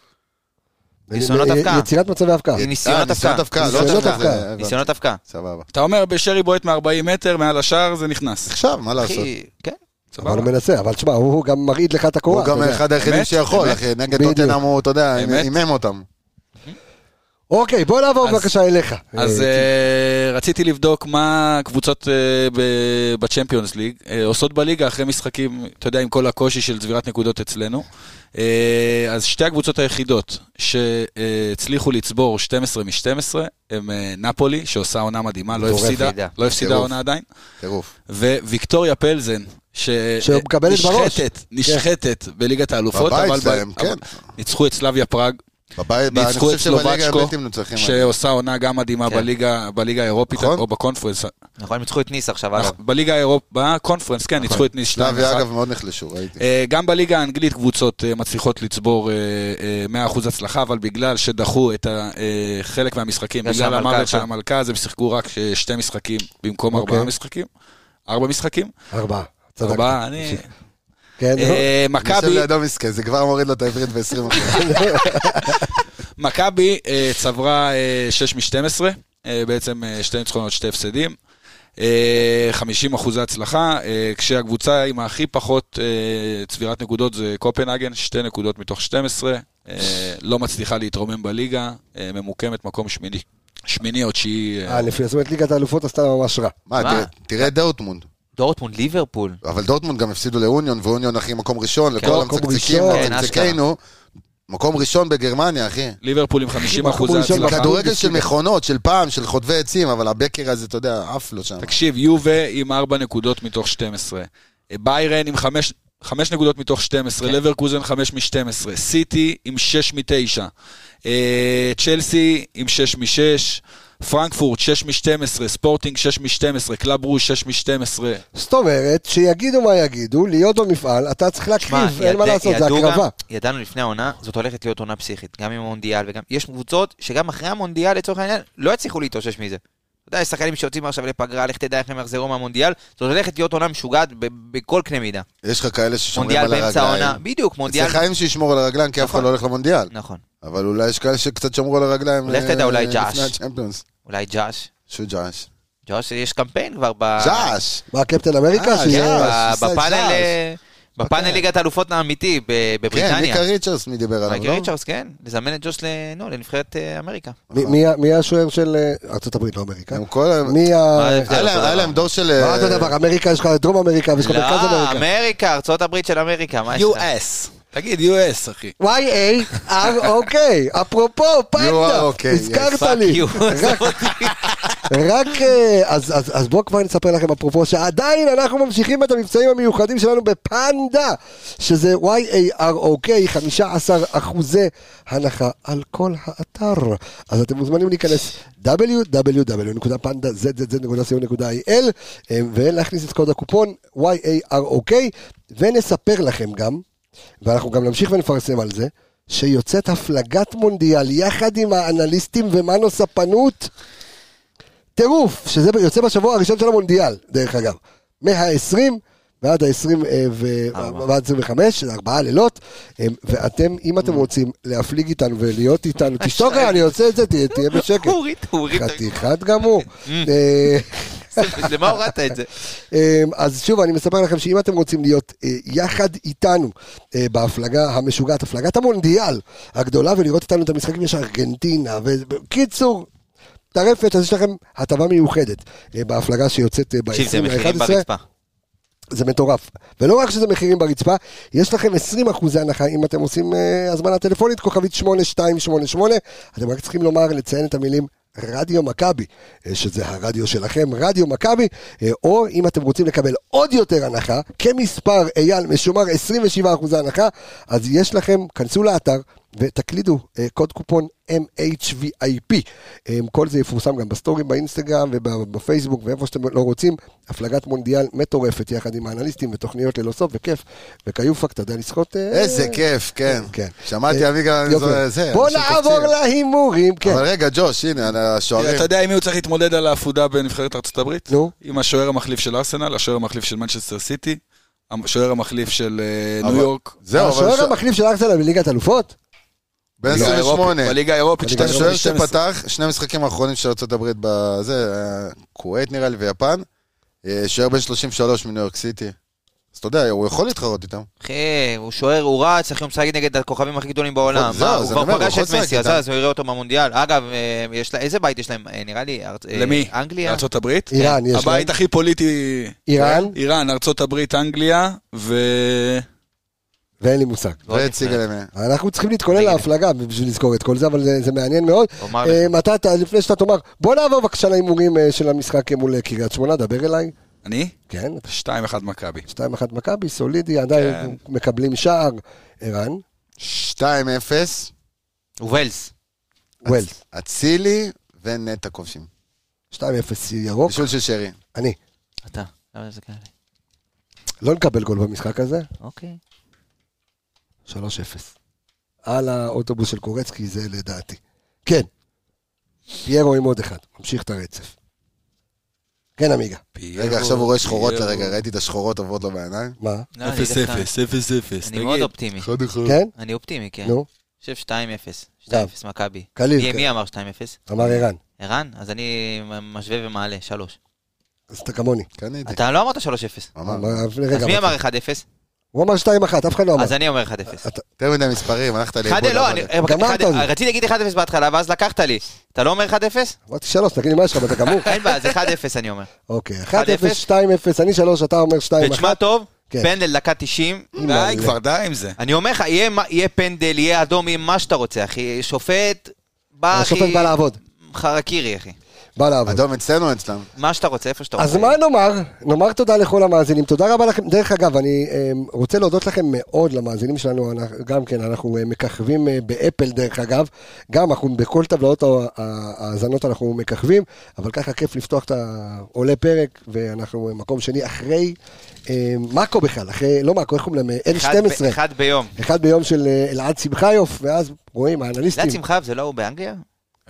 [SPEAKER 7] ניסיונות
[SPEAKER 1] אה,
[SPEAKER 7] הפקעה.
[SPEAKER 1] יצירת מצבי הפקעה.
[SPEAKER 7] זה ניסיונות
[SPEAKER 6] אה, ניסיונות
[SPEAKER 7] הפקעה.
[SPEAKER 6] הפקעה, לא
[SPEAKER 1] ניסיונות
[SPEAKER 6] תפקעה.
[SPEAKER 1] הפקעה.
[SPEAKER 6] זה- הבנתי.
[SPEAKER 7] ניסיונות הפקעה.
[SPEAKER 6] סבבה.
[SPEAKER 5] אתה אומר, בשרי בועט מ-40 מטר, מעל השער, זה נכנס.
[SPEAKER 6] עכשיו, מה לעשות?
[SPEAKER 7] אחי, כן.
[SPEAKER 1] אבל הוא מנסה, אבל תשמע, הוא גם מרעיד לך את הקורה.
[SPEAKER 6] הוא גם
[SPEAKER 1] אתה יודע.
[SPEAKER 6] אחד היחידים
[SPEAKER 5] אמת?
[SPEAKER 6] שיכול,
[SPEAKER 5] אמת?
[SPEAKER 6] אחי. נגד
[SPEAKER 1] בדיוק.
[SPEAKER 6] טוטנאם הוא, אתה יודע,
[SPEAKER 5] אמת?
[SPEAKER 6] אימם אותם.
[SPEAKER 1] אוקיי, בוא נעבור
[SPEAKER 5] אז-
[SPEAKER 1] בבקשה אליך.
[SPEAKER 5] אז
[SPEAKER 1] אה,
[SPEAKER 5] אה, רציתי לבדוק מה קבוצות אה, בצ'מפיונס ליג אה, עושות בליגה אחרי משחקים, אתה יודע, עם כל הקושי של צבירת נקודות אצלנו. אה, אז שתי הקבוצות היחידות שהצליחו לצבור 12 מ-12 הם אה, נפולי, שעושה עונה מדהימה, לא
[SPEAKER 1] מטורף.
[SPEAKER 5] הפסידה,
[SPEAKER 7] יחידה.
[SPEAKER 5] לא הפסידה
[SPEAKER 6] טירוף.
[SPEAKER 5] עונה עדיין,
[SPEAKER 6] טירוף.
[SPEAKER 5] וויקטוריה פלזן. ש-
[SPEAKER 1] שמקבלת בראש.
[SPEAKER 5] נשחטת, נשחטת בליגת האלופות,
[SPEAKER 6] בבית
[SPEAKER 5] אבל ב-
[SPEAKER 6] שלהם,
[SPEAKER 5] אבל
[SPEAKER 6] כן.
[SPEAKER 5] ניצחו את סלאביה פראג,
[SPEAKER 6] בבית, אני
[SPEAKER 5] ניצחו
[SPEAKER 6] חושב
[SPEAKER 5] את
[SPEAKER 6] שבליגה הם
[SPEAKER 5] סלובצ'קו,
[SPEAKER 6] בלתי מנוצחים.
[SPEAKER 5] שעושה עונה גם מדהימה
[SPEAKER 7] כן.
[SPEAKER 5] בליגה בליגה האירופית,
[SPEAKER 6] נכון.
[SPEAKER 5] או בקונפרנס,
[SPEAKER 7] נכון, הם ניצחו את ניס עכשיו, אגב.
[SPEAKER 5] בליגה האירופית, בקונפרנס, כן, ניצחו את ניס
[SPEAKER 6] שלב,
[SPEAKER 5] 2-1.
[SPEAKER 6] נכון. אגב, מאוד נחלשו, ראיתי.
[SPEAKER 5] אה, גם בליגה האנגלית קבוצות אה, מצליחות לצבור אה, אה, 100% הצלחה, אבל בגלל שדחו את ה- אה, חלק מהמשחקים,
[SPEAKER 7] בגלל
[SPEAKER 5] בגלל
[SPEAKER 7] שהמלכה
[SPEAKER 5] המוות של
[SPEAKER 6] כן.
[SPEAKER 7] הלכה.
[SPEAKER 5] המלכה, אז הם שיחקו רק אה, שתי משחקים במקום
[SPEAKER 1] אוקיי.
[SPEAKER 5] ארבעה משחקים. ארבע משחקים?
[SPEAKER 1] ארבעה. צדקת.
[SPEAKER 5] ארבעה, אני...
[SPEAKER 1] כן, נו.
[SPEAKER 5] אה,
[SPEAKER 6] מכבי...
[SPEAKER 5] מכבי,
[SPEAKER 6] יושב לא- לידו מסכן, זה כבר מוריד לו את העברית ב-20
[SPEAKER 5] מכבי אה, צברה 6 מ-12, בעצם אה, שתי ניצחונות, שתי הפסדים. אה, 50 אחוזי הצלחה, אה, כשהקבוצה עם הכי פחות אה, צבירת נקודות זה קופנהגן, שתי נקודות מתוך 12, אה, לא מצליחה להתרומם בליגה, אה, ממוקמת מקום שמיני, שמיני או תשיעי. אה,
[SPEAKER 1] אה, לפי זאת אומרת, ליגת האלופות עשתה ממש רע.
[SPEAKER 6] מה,
[SPEAKER 7] מה?
[SPEAKER 6] תראה- תראה את דורטמונד.
[SPEAKER 7] דורטמונד, ליברפול.
[SPEAKER 6] אבל דורטמונד גם הפסידו לאוניון, ואוניון אחי מקום ראשון, לכל
[SPEAKER 1] מקום
[SPEAKER 6] המצקצקים,
[SPEAKER 1] ראשון.
[SPEAKER 7] כן,
[SPEAKER 6] המצקצקינו. מקום ראשון בגרמניה, אחי.
[SPEAKER 5] ליברפול עם 50
[SPEAKER 1] מקום
[SPEAKER 5] אחוזי
[SPEAKER 1] ראשון
[SPEAKER 5] הצלחה.
[SPEAKER 1] בכדורגל.
[SPEAKER 6] כדורגל של מכונות, של פעם, של חוטבי עצים, אבל הבקר הזה, אתה יודע, עף לו שם.
[SPEAKER 5] תקשיב, יובה עם 4 נקודות מתוך 12. אה, ביירן עם 5... חמש נקודות מתוך 12, לברקוזן 5 מ-12, סיטי עם 6 מ-9, צ'לסי עם 6 מ-6, פרנקפורט 6 מ-12, ספורטינג 6 מ-12, קלאב רוש 6 מ-12.
[SPEAKER 1] זאת אומרת, שיגידו מה יגידו, להיות במפעל, אתה צריך
[SPEAKER 6] כן,
[SPEAKER 1] להקריב, אין מה
[SPEAKER 7] ידע-
[SPEAKER 1] לעשות, זה
[SPEAKER 7] ידעו גם-
[SPEAKER 1] הקרבה.
[SPEAKER 7] ידענו לפני העונה, זאת הולכת להיות עונה פסיכית, גם עם המונדיאל וגם... יש קבוצות שגם אחרי המונדיאל, לצורך העניין, לא יצליחו להתאושש מזה. אתה יודע, יש שחקנים שיוצאים עכשיו לפגרה, לך תדע איך הם יחזרו מהמונדיאל, זאת הולכת להיות עונה משוגעת ב- בכל קנה מידה.
[SPEAKER 6] יש לך כאלה ששומרים
[SPEAKER 7] מונדיאל
[SPEAKER 6] על
[SPEAKER 7] באמצע העונה,
[SPEAKER 6] הרגליים.
[SPEAKER 7] בדיוק, מונדיאל...
[SPEAKER 6] אצל חיים שישמור על הרגליים, כי אף אחד
[SPEAKER 7] נכון.
[SPEAKER 6] לא הולך למונדיאל.
[SPEAKER 7] נכון.
[SPEAKER 6] אבל אולי יש כאלה שקצת שמרו על הרגליים.
[SPEAKER 7] לך תדע,
[SPEAKER 6] אה,
[SPEAKER 7] אולי ג'אש.
[SPEAKER 6] לפני הצ'מפיונס.
[SPEAKER 7] אולי ג'אש.
[SPEAKER 6] שו ג'אש.
[SPEAKER 7] ג'אש, יש קמפיין כבר ב...
[SPEAKER 6] ג'אש!
[SPEAKER 1] מה, קפטן אמריקה?
[SPEAKER 6] אה,
[SPEAKER 1] שיהיה-
[SPEAKER 6] כן.
[SPEAKER 7] ב-
[SPEAKER 6] עשה את
[SPEAKER 7] בפאנל...
[SPEAKER 6] ג'אש.
[SPEAKER 7] אה, בפאנל ליגת האלופות האמיתי ב-
[SPEAKER 6] כן,
[SPEAKER 7] בבריטניה.
[SPEAKER 6] מיקה ריצ'רס, מי דיבר עליו,
[SPEAKER 7] מייקל
[SPEAKER 6] לא?
[SPEAKER 7] ריצ'רס, כן, לזמן את ג'וש ל- נו, לנבחרת אה, אמריקה.
[SPEAKER 1] מי- מי- מי השוער של אה, ארה"ב, לא אמריקה?
[SPEAKER 6] הם כל ה...
[SPEAKER 1] מי ה...
[SPEAKER 7] מה ההבדל?
[SPEAKER 6] היה להם- היה להם דור של... אה,
[SPEAKER 1] מה זה דבר? אמריקה, יש לך דרום אמריקה ויש לך מרכז
[SPEAKER 7] לא,
[SPEAKER 1] אמריקה.
[SPEAKER 7] אמריקה, ארצות הברית של אמריקה, מה יש לך?
[SPEAKER 5] US. תגיד US, אחי.
[SPEAKER 1] Y-A-R-O-K, אוקיי, אפרופו, פנדה,
[SPEAKER 6] are okay,
[SPEAKER 1] הזכרת
[SPEAKER 7] Fuck
[SPEAKER 1] לי.
[SPEAKER 7] you.
[SPEAKER 1] רק- רק, אה, אז- אז אז בואו כבר נספר לכם אפרופו, שעדיין אנחנו ממשיכים את המבצעים המיוחדים שלנו בפנדה, שזה Y-A-R-O-K, 15 אחוזי הנחה על כל האתר. אז אתם מוזמנים להיכנס www.panda.zzz.co.il אה, ולהכניס את קוד הקופון Y-A-R-O-K, ונספר לכם גם, ואנחנו גם נמשיך ונפרסם על זה, שיוצאת הפלגת מונדיאל יחד עם האנליסטים ומנו ספנות. טירוף, שזה יוצא בשבוע הראשון של המונדיאל, דרך אגב. מה-20 ועד ה-20 ו... ועד 25, זה ארבעה לילות. אה, ואתם, אם אתם רוצים להפליג איתנו ולהיות איתנו, תשתוק, אני עושה את זה, תה- תהיה בשקט.
[SPEAKER 7] הוא הוריד, הוא הוריד.
[SPEAKER 1] חתיכת גמור. אה,
[SPEAKER 7] למה הורדת
[SPEAKER 6] (laughs)
[SPEAKER 7] את זה?
[SPEAKER 1] אמ, אז שוב, אני מספר לכם שאם אתם רוצים להיות אה, יחד איתנו אה, בהפלגה המשוגעת, הפלגת המונדיאל הגדולה, ולראות איתנו את המשחקים, יש ארגנטינה, ובקיצור... טרפת, אז יש לכם הטבה מיוחדת אה, בהפלגה שיוצאת אה,
[SPEAKER 7] תקשיב, זה
[SPEAKER 1] ב-20
[SPEAKER 7] מחירים
[SPEAKER 1] ל-11.
[SPEAKER 7] ברצפה.
[SPEAKER 1] זה מטורף. ולא רק שזה מחירים ברצפה, יש לכם 20 אחוזי הנחה אם אתם עושים אה, הזמנה טלפונית, כוכבית 8288, אתם רק צריכים לומר, לציין את המילים. רדיו מכבי, אה, שזה הרדיו שלכם, רדיו מכבי, אה, או אם אתם רוצים לקבל עוד יותר הנחה, כמספר אייל משומר 27% הנחה, אז יש לכם, כנסו לאתר ותקלידו אה, קוד קופון MHVIP. אה, כל זה יפורסם גם בסטורים, באינסטגרם ובפייסבוק ואיפה שאתם לא רוצים. הפלגת מונדיאל מטורפת יחד עם האנליסטים ותוכניות ללא סוף וכיף. וכיופק, אתה יודע לשחות? אה,
[SPEAKER 6] איזה כיף, כן.
[SPEAKER 1] כן.
[SPEAKER 6] שמעתי
[SPEAKER 1] אה,
[SPEAKER 6] אביגל,
[SPEAKER 1] יופי.
[SPEAKER 6] זה- זה,
[SPEAKER 1] בוא
[SPEAKER 6] אנשים
[SPEAKER 1] נעבור
[SPEAKER 6] קופצים.
[SPEAKER 1] להימורים, כן.
[SPEAKER 6] אבל רגע, ג'וש, הנה, על השוערים.
[SPEAKER 5] אתה יודע עם מי הוא צריך להתמודד על העפודה בנבחרת ארצות הברית?
[SPEAKER 1] נו.
[SPEAKER 5] עם השוער המחליף של ארסנל, השוער המחליף של מנצ'סטר סיטי, השוער המחליף של אה,
[SPEAKER 6] אבל-
[SPEAKER 5] ניו יורק.
[SPEAKER 6] זהו, לא, אבל
[SPEAKER 1] השוער לא,
[SPEAKER 6] ש-
[SPEAKER 1] המחליף של ארסנל בליגת אלופות?
[SPEAKER 6] בן
[SPEAKER 5] בליגה
[SPEAKER 6] 28.
[SPEAKER 5] האירופית, לא, בליגה האירופית,
[SPEAKER 1] בליגה
[SPEAKER 5] 12,
[SPEAKER 6] השוער
[SPEAKER 5] 12.
[SPEAKER 6] שפתח, שני המשחקים האחרונים של ארה"ב בזה, היה אה, כווית נראה לי ויפן, אה, שוער בן 33 מניו יורק סיטי. אז אתה יודע, הוא יכול להתחרות איתם.
[SPEAKER 7] אחי, הוא שוער, הוא רץ, אחי, הוא משחק נגד הכוכבים הכי גדולים בעולם.
[SPEAKER 6] זהו,
[SPEAKER 7] מה,
[SPEAKER 6] אז
[SPEAKER 7] הוא
[SPEAKER 6] אני
[SPEAKER 7] כבר
[SPEAKER 6] אומר, הוא
[SPEAKER 7] פגש
[SPEAKER 6] יכול
[SPEAKER 7] את
[SPEAKER 6] לשחק
[SPEAKER 7] מסי, אז
[SPEAKER 6] איתם.
[SPEAKER 7] אז הוא יראה אותו במונדיאל. אגב, אה, יש לה- איזה בית יש להם? אה, נראה לי... ארצ- אה,
[SPEAKER 5] למי?
[SPEAKER 7] אנגליה?
[SPEAKER 5] ארצות הברית?
[SPEAKER 6] כן.
[SPEAKER 1] איראן, יש להם.
[SPEAKER 5] הבית הכי פוליטי...
[SPEAKER 1] איראן?
[SPEAKER 5] איראן, ארצות הברית, אנגליה, ו...
[SPEAKER 1] ואין לי מושג.
[SPEAKER 7] ועוד
[SPEAKER 6] והציג
[SPEAKER 7] נפלא.
[SPEAKER 6] עליהם.
[SPEAKER 1] אנחנו צריכים להתכונן
[SPEAKER 7] נגד.
[SPEAKER 1] להפלגה בשביל לזכור את כל זה, אבל זה, זה מעניין מאוד.
[SPEAKER 7] אומר לך.
[SPEAKER 1] אה, מתי אתה, לפני שאתה תאמר, בוא נעבור בבקשה להימורים אה, של המשחק מול קריית שמונה, דבר אליי.
[SPEAKER 5] אני?
[SPEAKER 1] כן,
[SPEAKER 5] 2-1 מכבי.
[SPEAKER 1] 2-1 מכבי, סולידי, עדיין
[SPEAKER 7] כן.
[SPEAKER 1] מקבלים שער. ערן,
[SPEAKER 6] 2-0,
[SPEAKER 7] וולס.
[SPEAKER 1] ווילס,
[SPEAKER 6] אצילי ונטע כובשים.
[SPEAKER 7] אוקיי.
[SPEAKER 1] 2-0 ירוק.
[SPEAKER 6] בישול של שרי.
[SPEAKER 1] אני,
[SPEAKER 7] אתה. למה זה כאלה?
[SPEAKER 1] לא נקבל גול במשחק הזה,
[SPEAKER 7] אוקיי.
[SPEAKER 1] 3-0. על האוטובוס של קורצקי, זה לדעתי. כן, פיירו עם עוד אחד, ממשיך את הרצף. כן, עמיגה,
[SPEAKER 6] רגע, עכשיו הוא רואה שחורות לרגע, ראיתי את השחורות עוברות לו בעיניים.
[SPEAKER 1] מה?
[SPEAKER 7] לא, אני
[SPEAKER 5] אפס
[SPEAKER 7] דווקא-
[SPEAKER 5] אפס, אפס אפס,
[SPEAKER 7] אני מאוד
[SPEAKER 5] תגיד.
[SPEAKER 7] אופטימי.
[SPEAKER 1] כן?
[SPEAKER 7] אני אופטימי, כן.
[SPEAKER 1] נו,
[SPEAKER 7] אני חושב 2-0.
[SPEAKER 1] גם.
[SPEAKER 7] 2-0 מכבי.
[SPEAKER 1] קליל,
[SPEAKER 7] מי-
[SPEAKER 1] כן.
[SPEAKER 7] מי אמר 2-0?
[SPEAKER 1] אמר ערן,
[SPEAKER 7] ערן? אז אני משווה ומעלה, 3.
[SPEAKER 1] אז אתה כמוני.
[SPEAKER 6] קניתי.
[SPEAKER 7] אתה לא אמרת 3-0.
[SPEAKER 6] אמר.
[SPEAKER 1] אמר, רגע,
[SPEAKER 7] אז מי אמר 1-0?
[SPEAKER 1] הוא אמר 2-1, אף אחד לא אמר.
[SPEAKER 7] אז אני אומר 1-0.
[SPEAKER 6] יותר מדי מספרים, הלכת לאיבוד.
[SPEAKER 7] 1-0, לא,
[SPEAKER 6] אבל-
[SPEAKER 7] אני-
[SPEAKER 1] גמרת אותי.
[SPEAKER 7] רציתי להגיד 1-0 בהתחלה, ואז לקחת לי. אתה לא אומר 1-0?
[SPEAKER 1] אמרתי 3, תגיד לי מה יש לך, אתה
[SPEAKER 7] (laughs)
[SPEAKER 1] גמור.
[SPEAKER 7] אין בעיה, אז 1-0 אני אומר.
[SPEAKER 1] אוקיי, 1-0, 2-0,
[SPEAKER 7] 1-0,
[SPEAKER 1] אני 3, אתה אומר 2-1.
[SPEAKER 7] ותשמע טוב,
[SPEAKER 1] כן.
[SPEAKER 7] פנדל דקה 90.
[SPEAKER 5] די כבר, די עם זה.
[SPEAKER 7] אני אומר לך, יהיה מה- יהיה פנדל, יהיה אדום, יהיה מה שאתה רוצה, אחי. שופט בא, אחי...
[SPEAKER 1] השופט בא לעבוד.
[SPEAKER 7] חרקירי, אחי.
[SPEAKER 1] בא לעבוד.
[SPEAKER 6] אדום אצלנו אצלם.
[SPEAKER 7] מה שאתה רוצה, איפה שאתה רוצה.
[SPEAKER 1] אז מה נאמר? נאמר תודה לכל המאזינים. תודה רבה לכם. דרך אגב, אני אה, רוצה להודות לכם מאוד למאזינים שלנו. אנחנו- גם כן, אנחנו אה, מככבים אה, באפל, דרך אגב. גם אנחנו בכל טבלאות ה- ה- ההאזנות אנחנו מככבים, אבל ככה כיף לפתוח את העולה פרק, ואנחנו אה, מקום שני אחרי אה, מאקו בכלל, אחרי, לא מאקו, איך קוראים להם?
[SPEAKER 7] אחד ב-
[SPEAKER 1] N12.
[SPEAKER 7] אחד ביום.
[SPEAKER 1] אחד ביום של אה, אלעד שמחיוף, ואז רואים, האנליסטים.
[SPEAKER 7] אלעד שמחיו זה לא הוא באנגליה?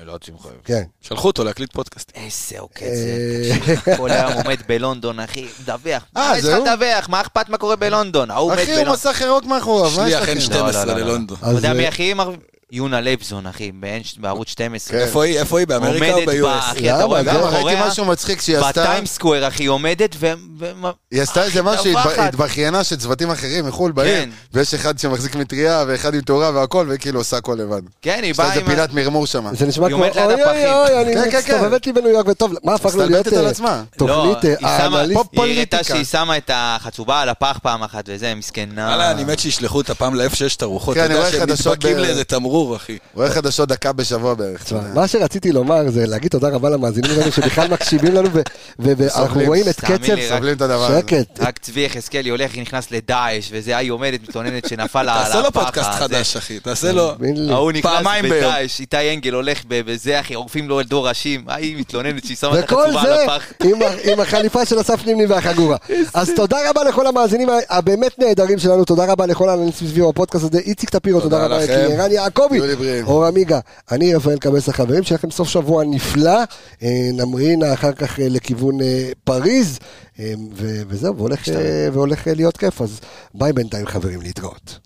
[SPEAKER 7] אלעד שמחיו.
[SPEAKER 1] כן.
[SPEAKER 5] שלחו אותו להקליט פודקאסט.
[SPEAKER 7] איזה עוקץ זה. כל היום עומד בלונדון, אחי, מדווח.
[SPEAKER 6] אה,
[SPEAKER 7] מה יש
[SPEAKER 6] זה
[SPEAKER 7] לך
[SPEAKER 6] הוא?
[SPEAKER 7] לדווח? מה אכפת מה קורה בלונדון? ההוא עומד
[SPEAKER 6] אחי, הוא
[SPEAKER 7] בלונדון.
[SPEAKER 6] מסך ירוק מאחוריו, מה יש
[SPEAKER 5] שליח
[SPEAKER 6] לכם?
[SPEAKER 7] לא, לא, לא,
[SPEAKER 5] N12
[SPEAKER 7] לא.
[SPEAKER 5] ללונדון.
[SPEAKER 6] כן.
[SPEAKER 7] אתה יודע
[SPEAKER 1] אז,
[SPEAKER 7] מי
[SPEAKER 1] אה,
[SPEAKER 7] הכי מר... יונה לייבזון, אחי, ב-N- בערוץ 12.
[SPEAKER 6] כן.
[SPEAKER 5] איפה היא? איפה היא? באמריקה או
[SPEAKER 7] עומדת ב...
[SPEAKER 5] ב-US?
[SPEAKER 7] אחי, אתה
[SPEAKER 1] למה?
[SPEAKER 7] רואה,
[SPEAKER 6] למה? ראיתי
[SPEAKER 7] מאחוריה,
[SPEAKER 6] משהו מצחיק שהיא עשתה.
[SPEAKER 7] בטיימסקוואר, אחי, היא עומדת ו... ו-
[SPEAKER 6] היא עשתה איזה
[SPEAKER 7] אחי,
[SPEAKER 6] משהו, היא התב-
[SPEAKER 7] טבחת.
[SPEAKER 6] התבכיינה שצוותים אחרים מחו"ל באים,
[SPEAKER 7] כן.
[SPEAKER 6] ויש אחד שמחזיק מטריה ואחד עם תאורה והכל, וכאילו עושה הכל לבד.
[SPEAKER 7] כן, היא
[SPEAKER 6] עשתה
[SPEAKER 7] באה
[SPEAKER 6] איזה
[SPEAKER 7] עם... ה-
[SPEAKER 6] פילת מרמור שם.
[SPEAKER 1] זה נשמע
[SPEAKER 7] היא
[SPEAKER 1] כמו,
[SPEAKER 7] עומדת ליד
[SPEAKER 1] אוי אוי
[SPEAKER 7] הפחים.
[SPEAKER 1] אוי, אני
[SPEAKER 6] כן, כן,
[SPEAKER 1] מסתובבת לי בניו יורק, וטוב, מה הפך לו להיות
[SPEAKER 6] מסתלבטת על
[SPEAKER 1] אה,
[SPEAKER 6] עצמה.
[SPEAKER 1] תוכנית
[SPEAKER 7] לא,
[SPEAKER 1] אה,
[SPEAKER 7] היא שמה-
[SPEAKER 1] האנליסט?
[SPEAKER 7] היא הראתה
[SPEAKER 6] פופוליטיקה.
[SPEAKER 7] שהיא שמה את החצובה על הפח פעם אחת וזה, מסכנה.
[SPEAKER 5] וואלה, אני מת שישלחו אותה פעם ל-F6 את הרוחות.
[SPEAKER 6] כן,
[SPEAKER 5] אתה
[SPEAKER 6] אני
[SPEAKER 5] יודע
[SPEAKER 6] רואה
[SPEAKER 5] שהם
[SPEAKER 6] חדשות
[SPEAKER 5] נדבקים
[SPEAKER 6] ב-
[SPEAKER 5] לאיזה תמרור, אחי.
[SPEAKER 6] רואה חדשות דקה בשבוע בערך.
[SPEAKER 1] תשמע, מה שרציתי לומר זה להגיד תודה רבה למאזינים שלנו שבכלל מקשיבים לנו ו- ו- ואנחנו
[SPEAKER 6] סובלים.
[SPEAKER 1] רואים את
[SPEAKER 7] תאמין
[SPEAKER 1] קצב
[SPEAKER 7] לי, רק-
[SPEAKER 6] סובלים את הדבר הזה.
[SPEAKER 1] שקט.
[SPEAKER 7] רק צבי יחזקאלי הולך, היא נכנס לדאעש, וזה, היא עומדת, מתלוננת שנפל על הפחד.
[SPEAKER 5] תעשה לו פודקאסט חדש, אחי. תעשה לו...
[SPEAKER 1] תאמין לי.
[SPEAKER 7] לא, ההוא נכנס
[SPEAKER 5] פעמיים ביום.
[SPEAKER 7] בדאעש, איתי אנגל הולך ב- בזה, אחי, עורפים לו דור ראשים. היא מתלוננת שהיא שמה את
[SPEAKER 1] וכל
[SPEAKER 7] החצובה
[SPEAKER 1] זה
[SPEAKER 7] על הפח.
[SPEAKER 1] עם ה- עם החליפה של אסף נימני והחגורה. אז תודה רבה לכל המאזינים ה- הבאמת נהדרים שלנו, תודה רבה לכל האנליסטים סביב הפודקאסט הזה, איציק טפירו, תודה
[SPEAKER 6] תודה
[SPEAKER 1] רבה
[SPEAKER 6] לכם.
[SPEAKER 1] כי ערן יעקבי,
[SPEAKER 6] יהיו לי בריאים.
[SPEAKER 1] אור עמיגה, אני רפאל קבס החברים, שיהיה לכם סוף שבוע נפלא, אה, נמרינה אחר כך אה, לכיוון אה, פריז, אה, ו- וזהו, והולך, אה, והולך אה, להיות כיף, אז ביי בינתיים חברים, להתראות.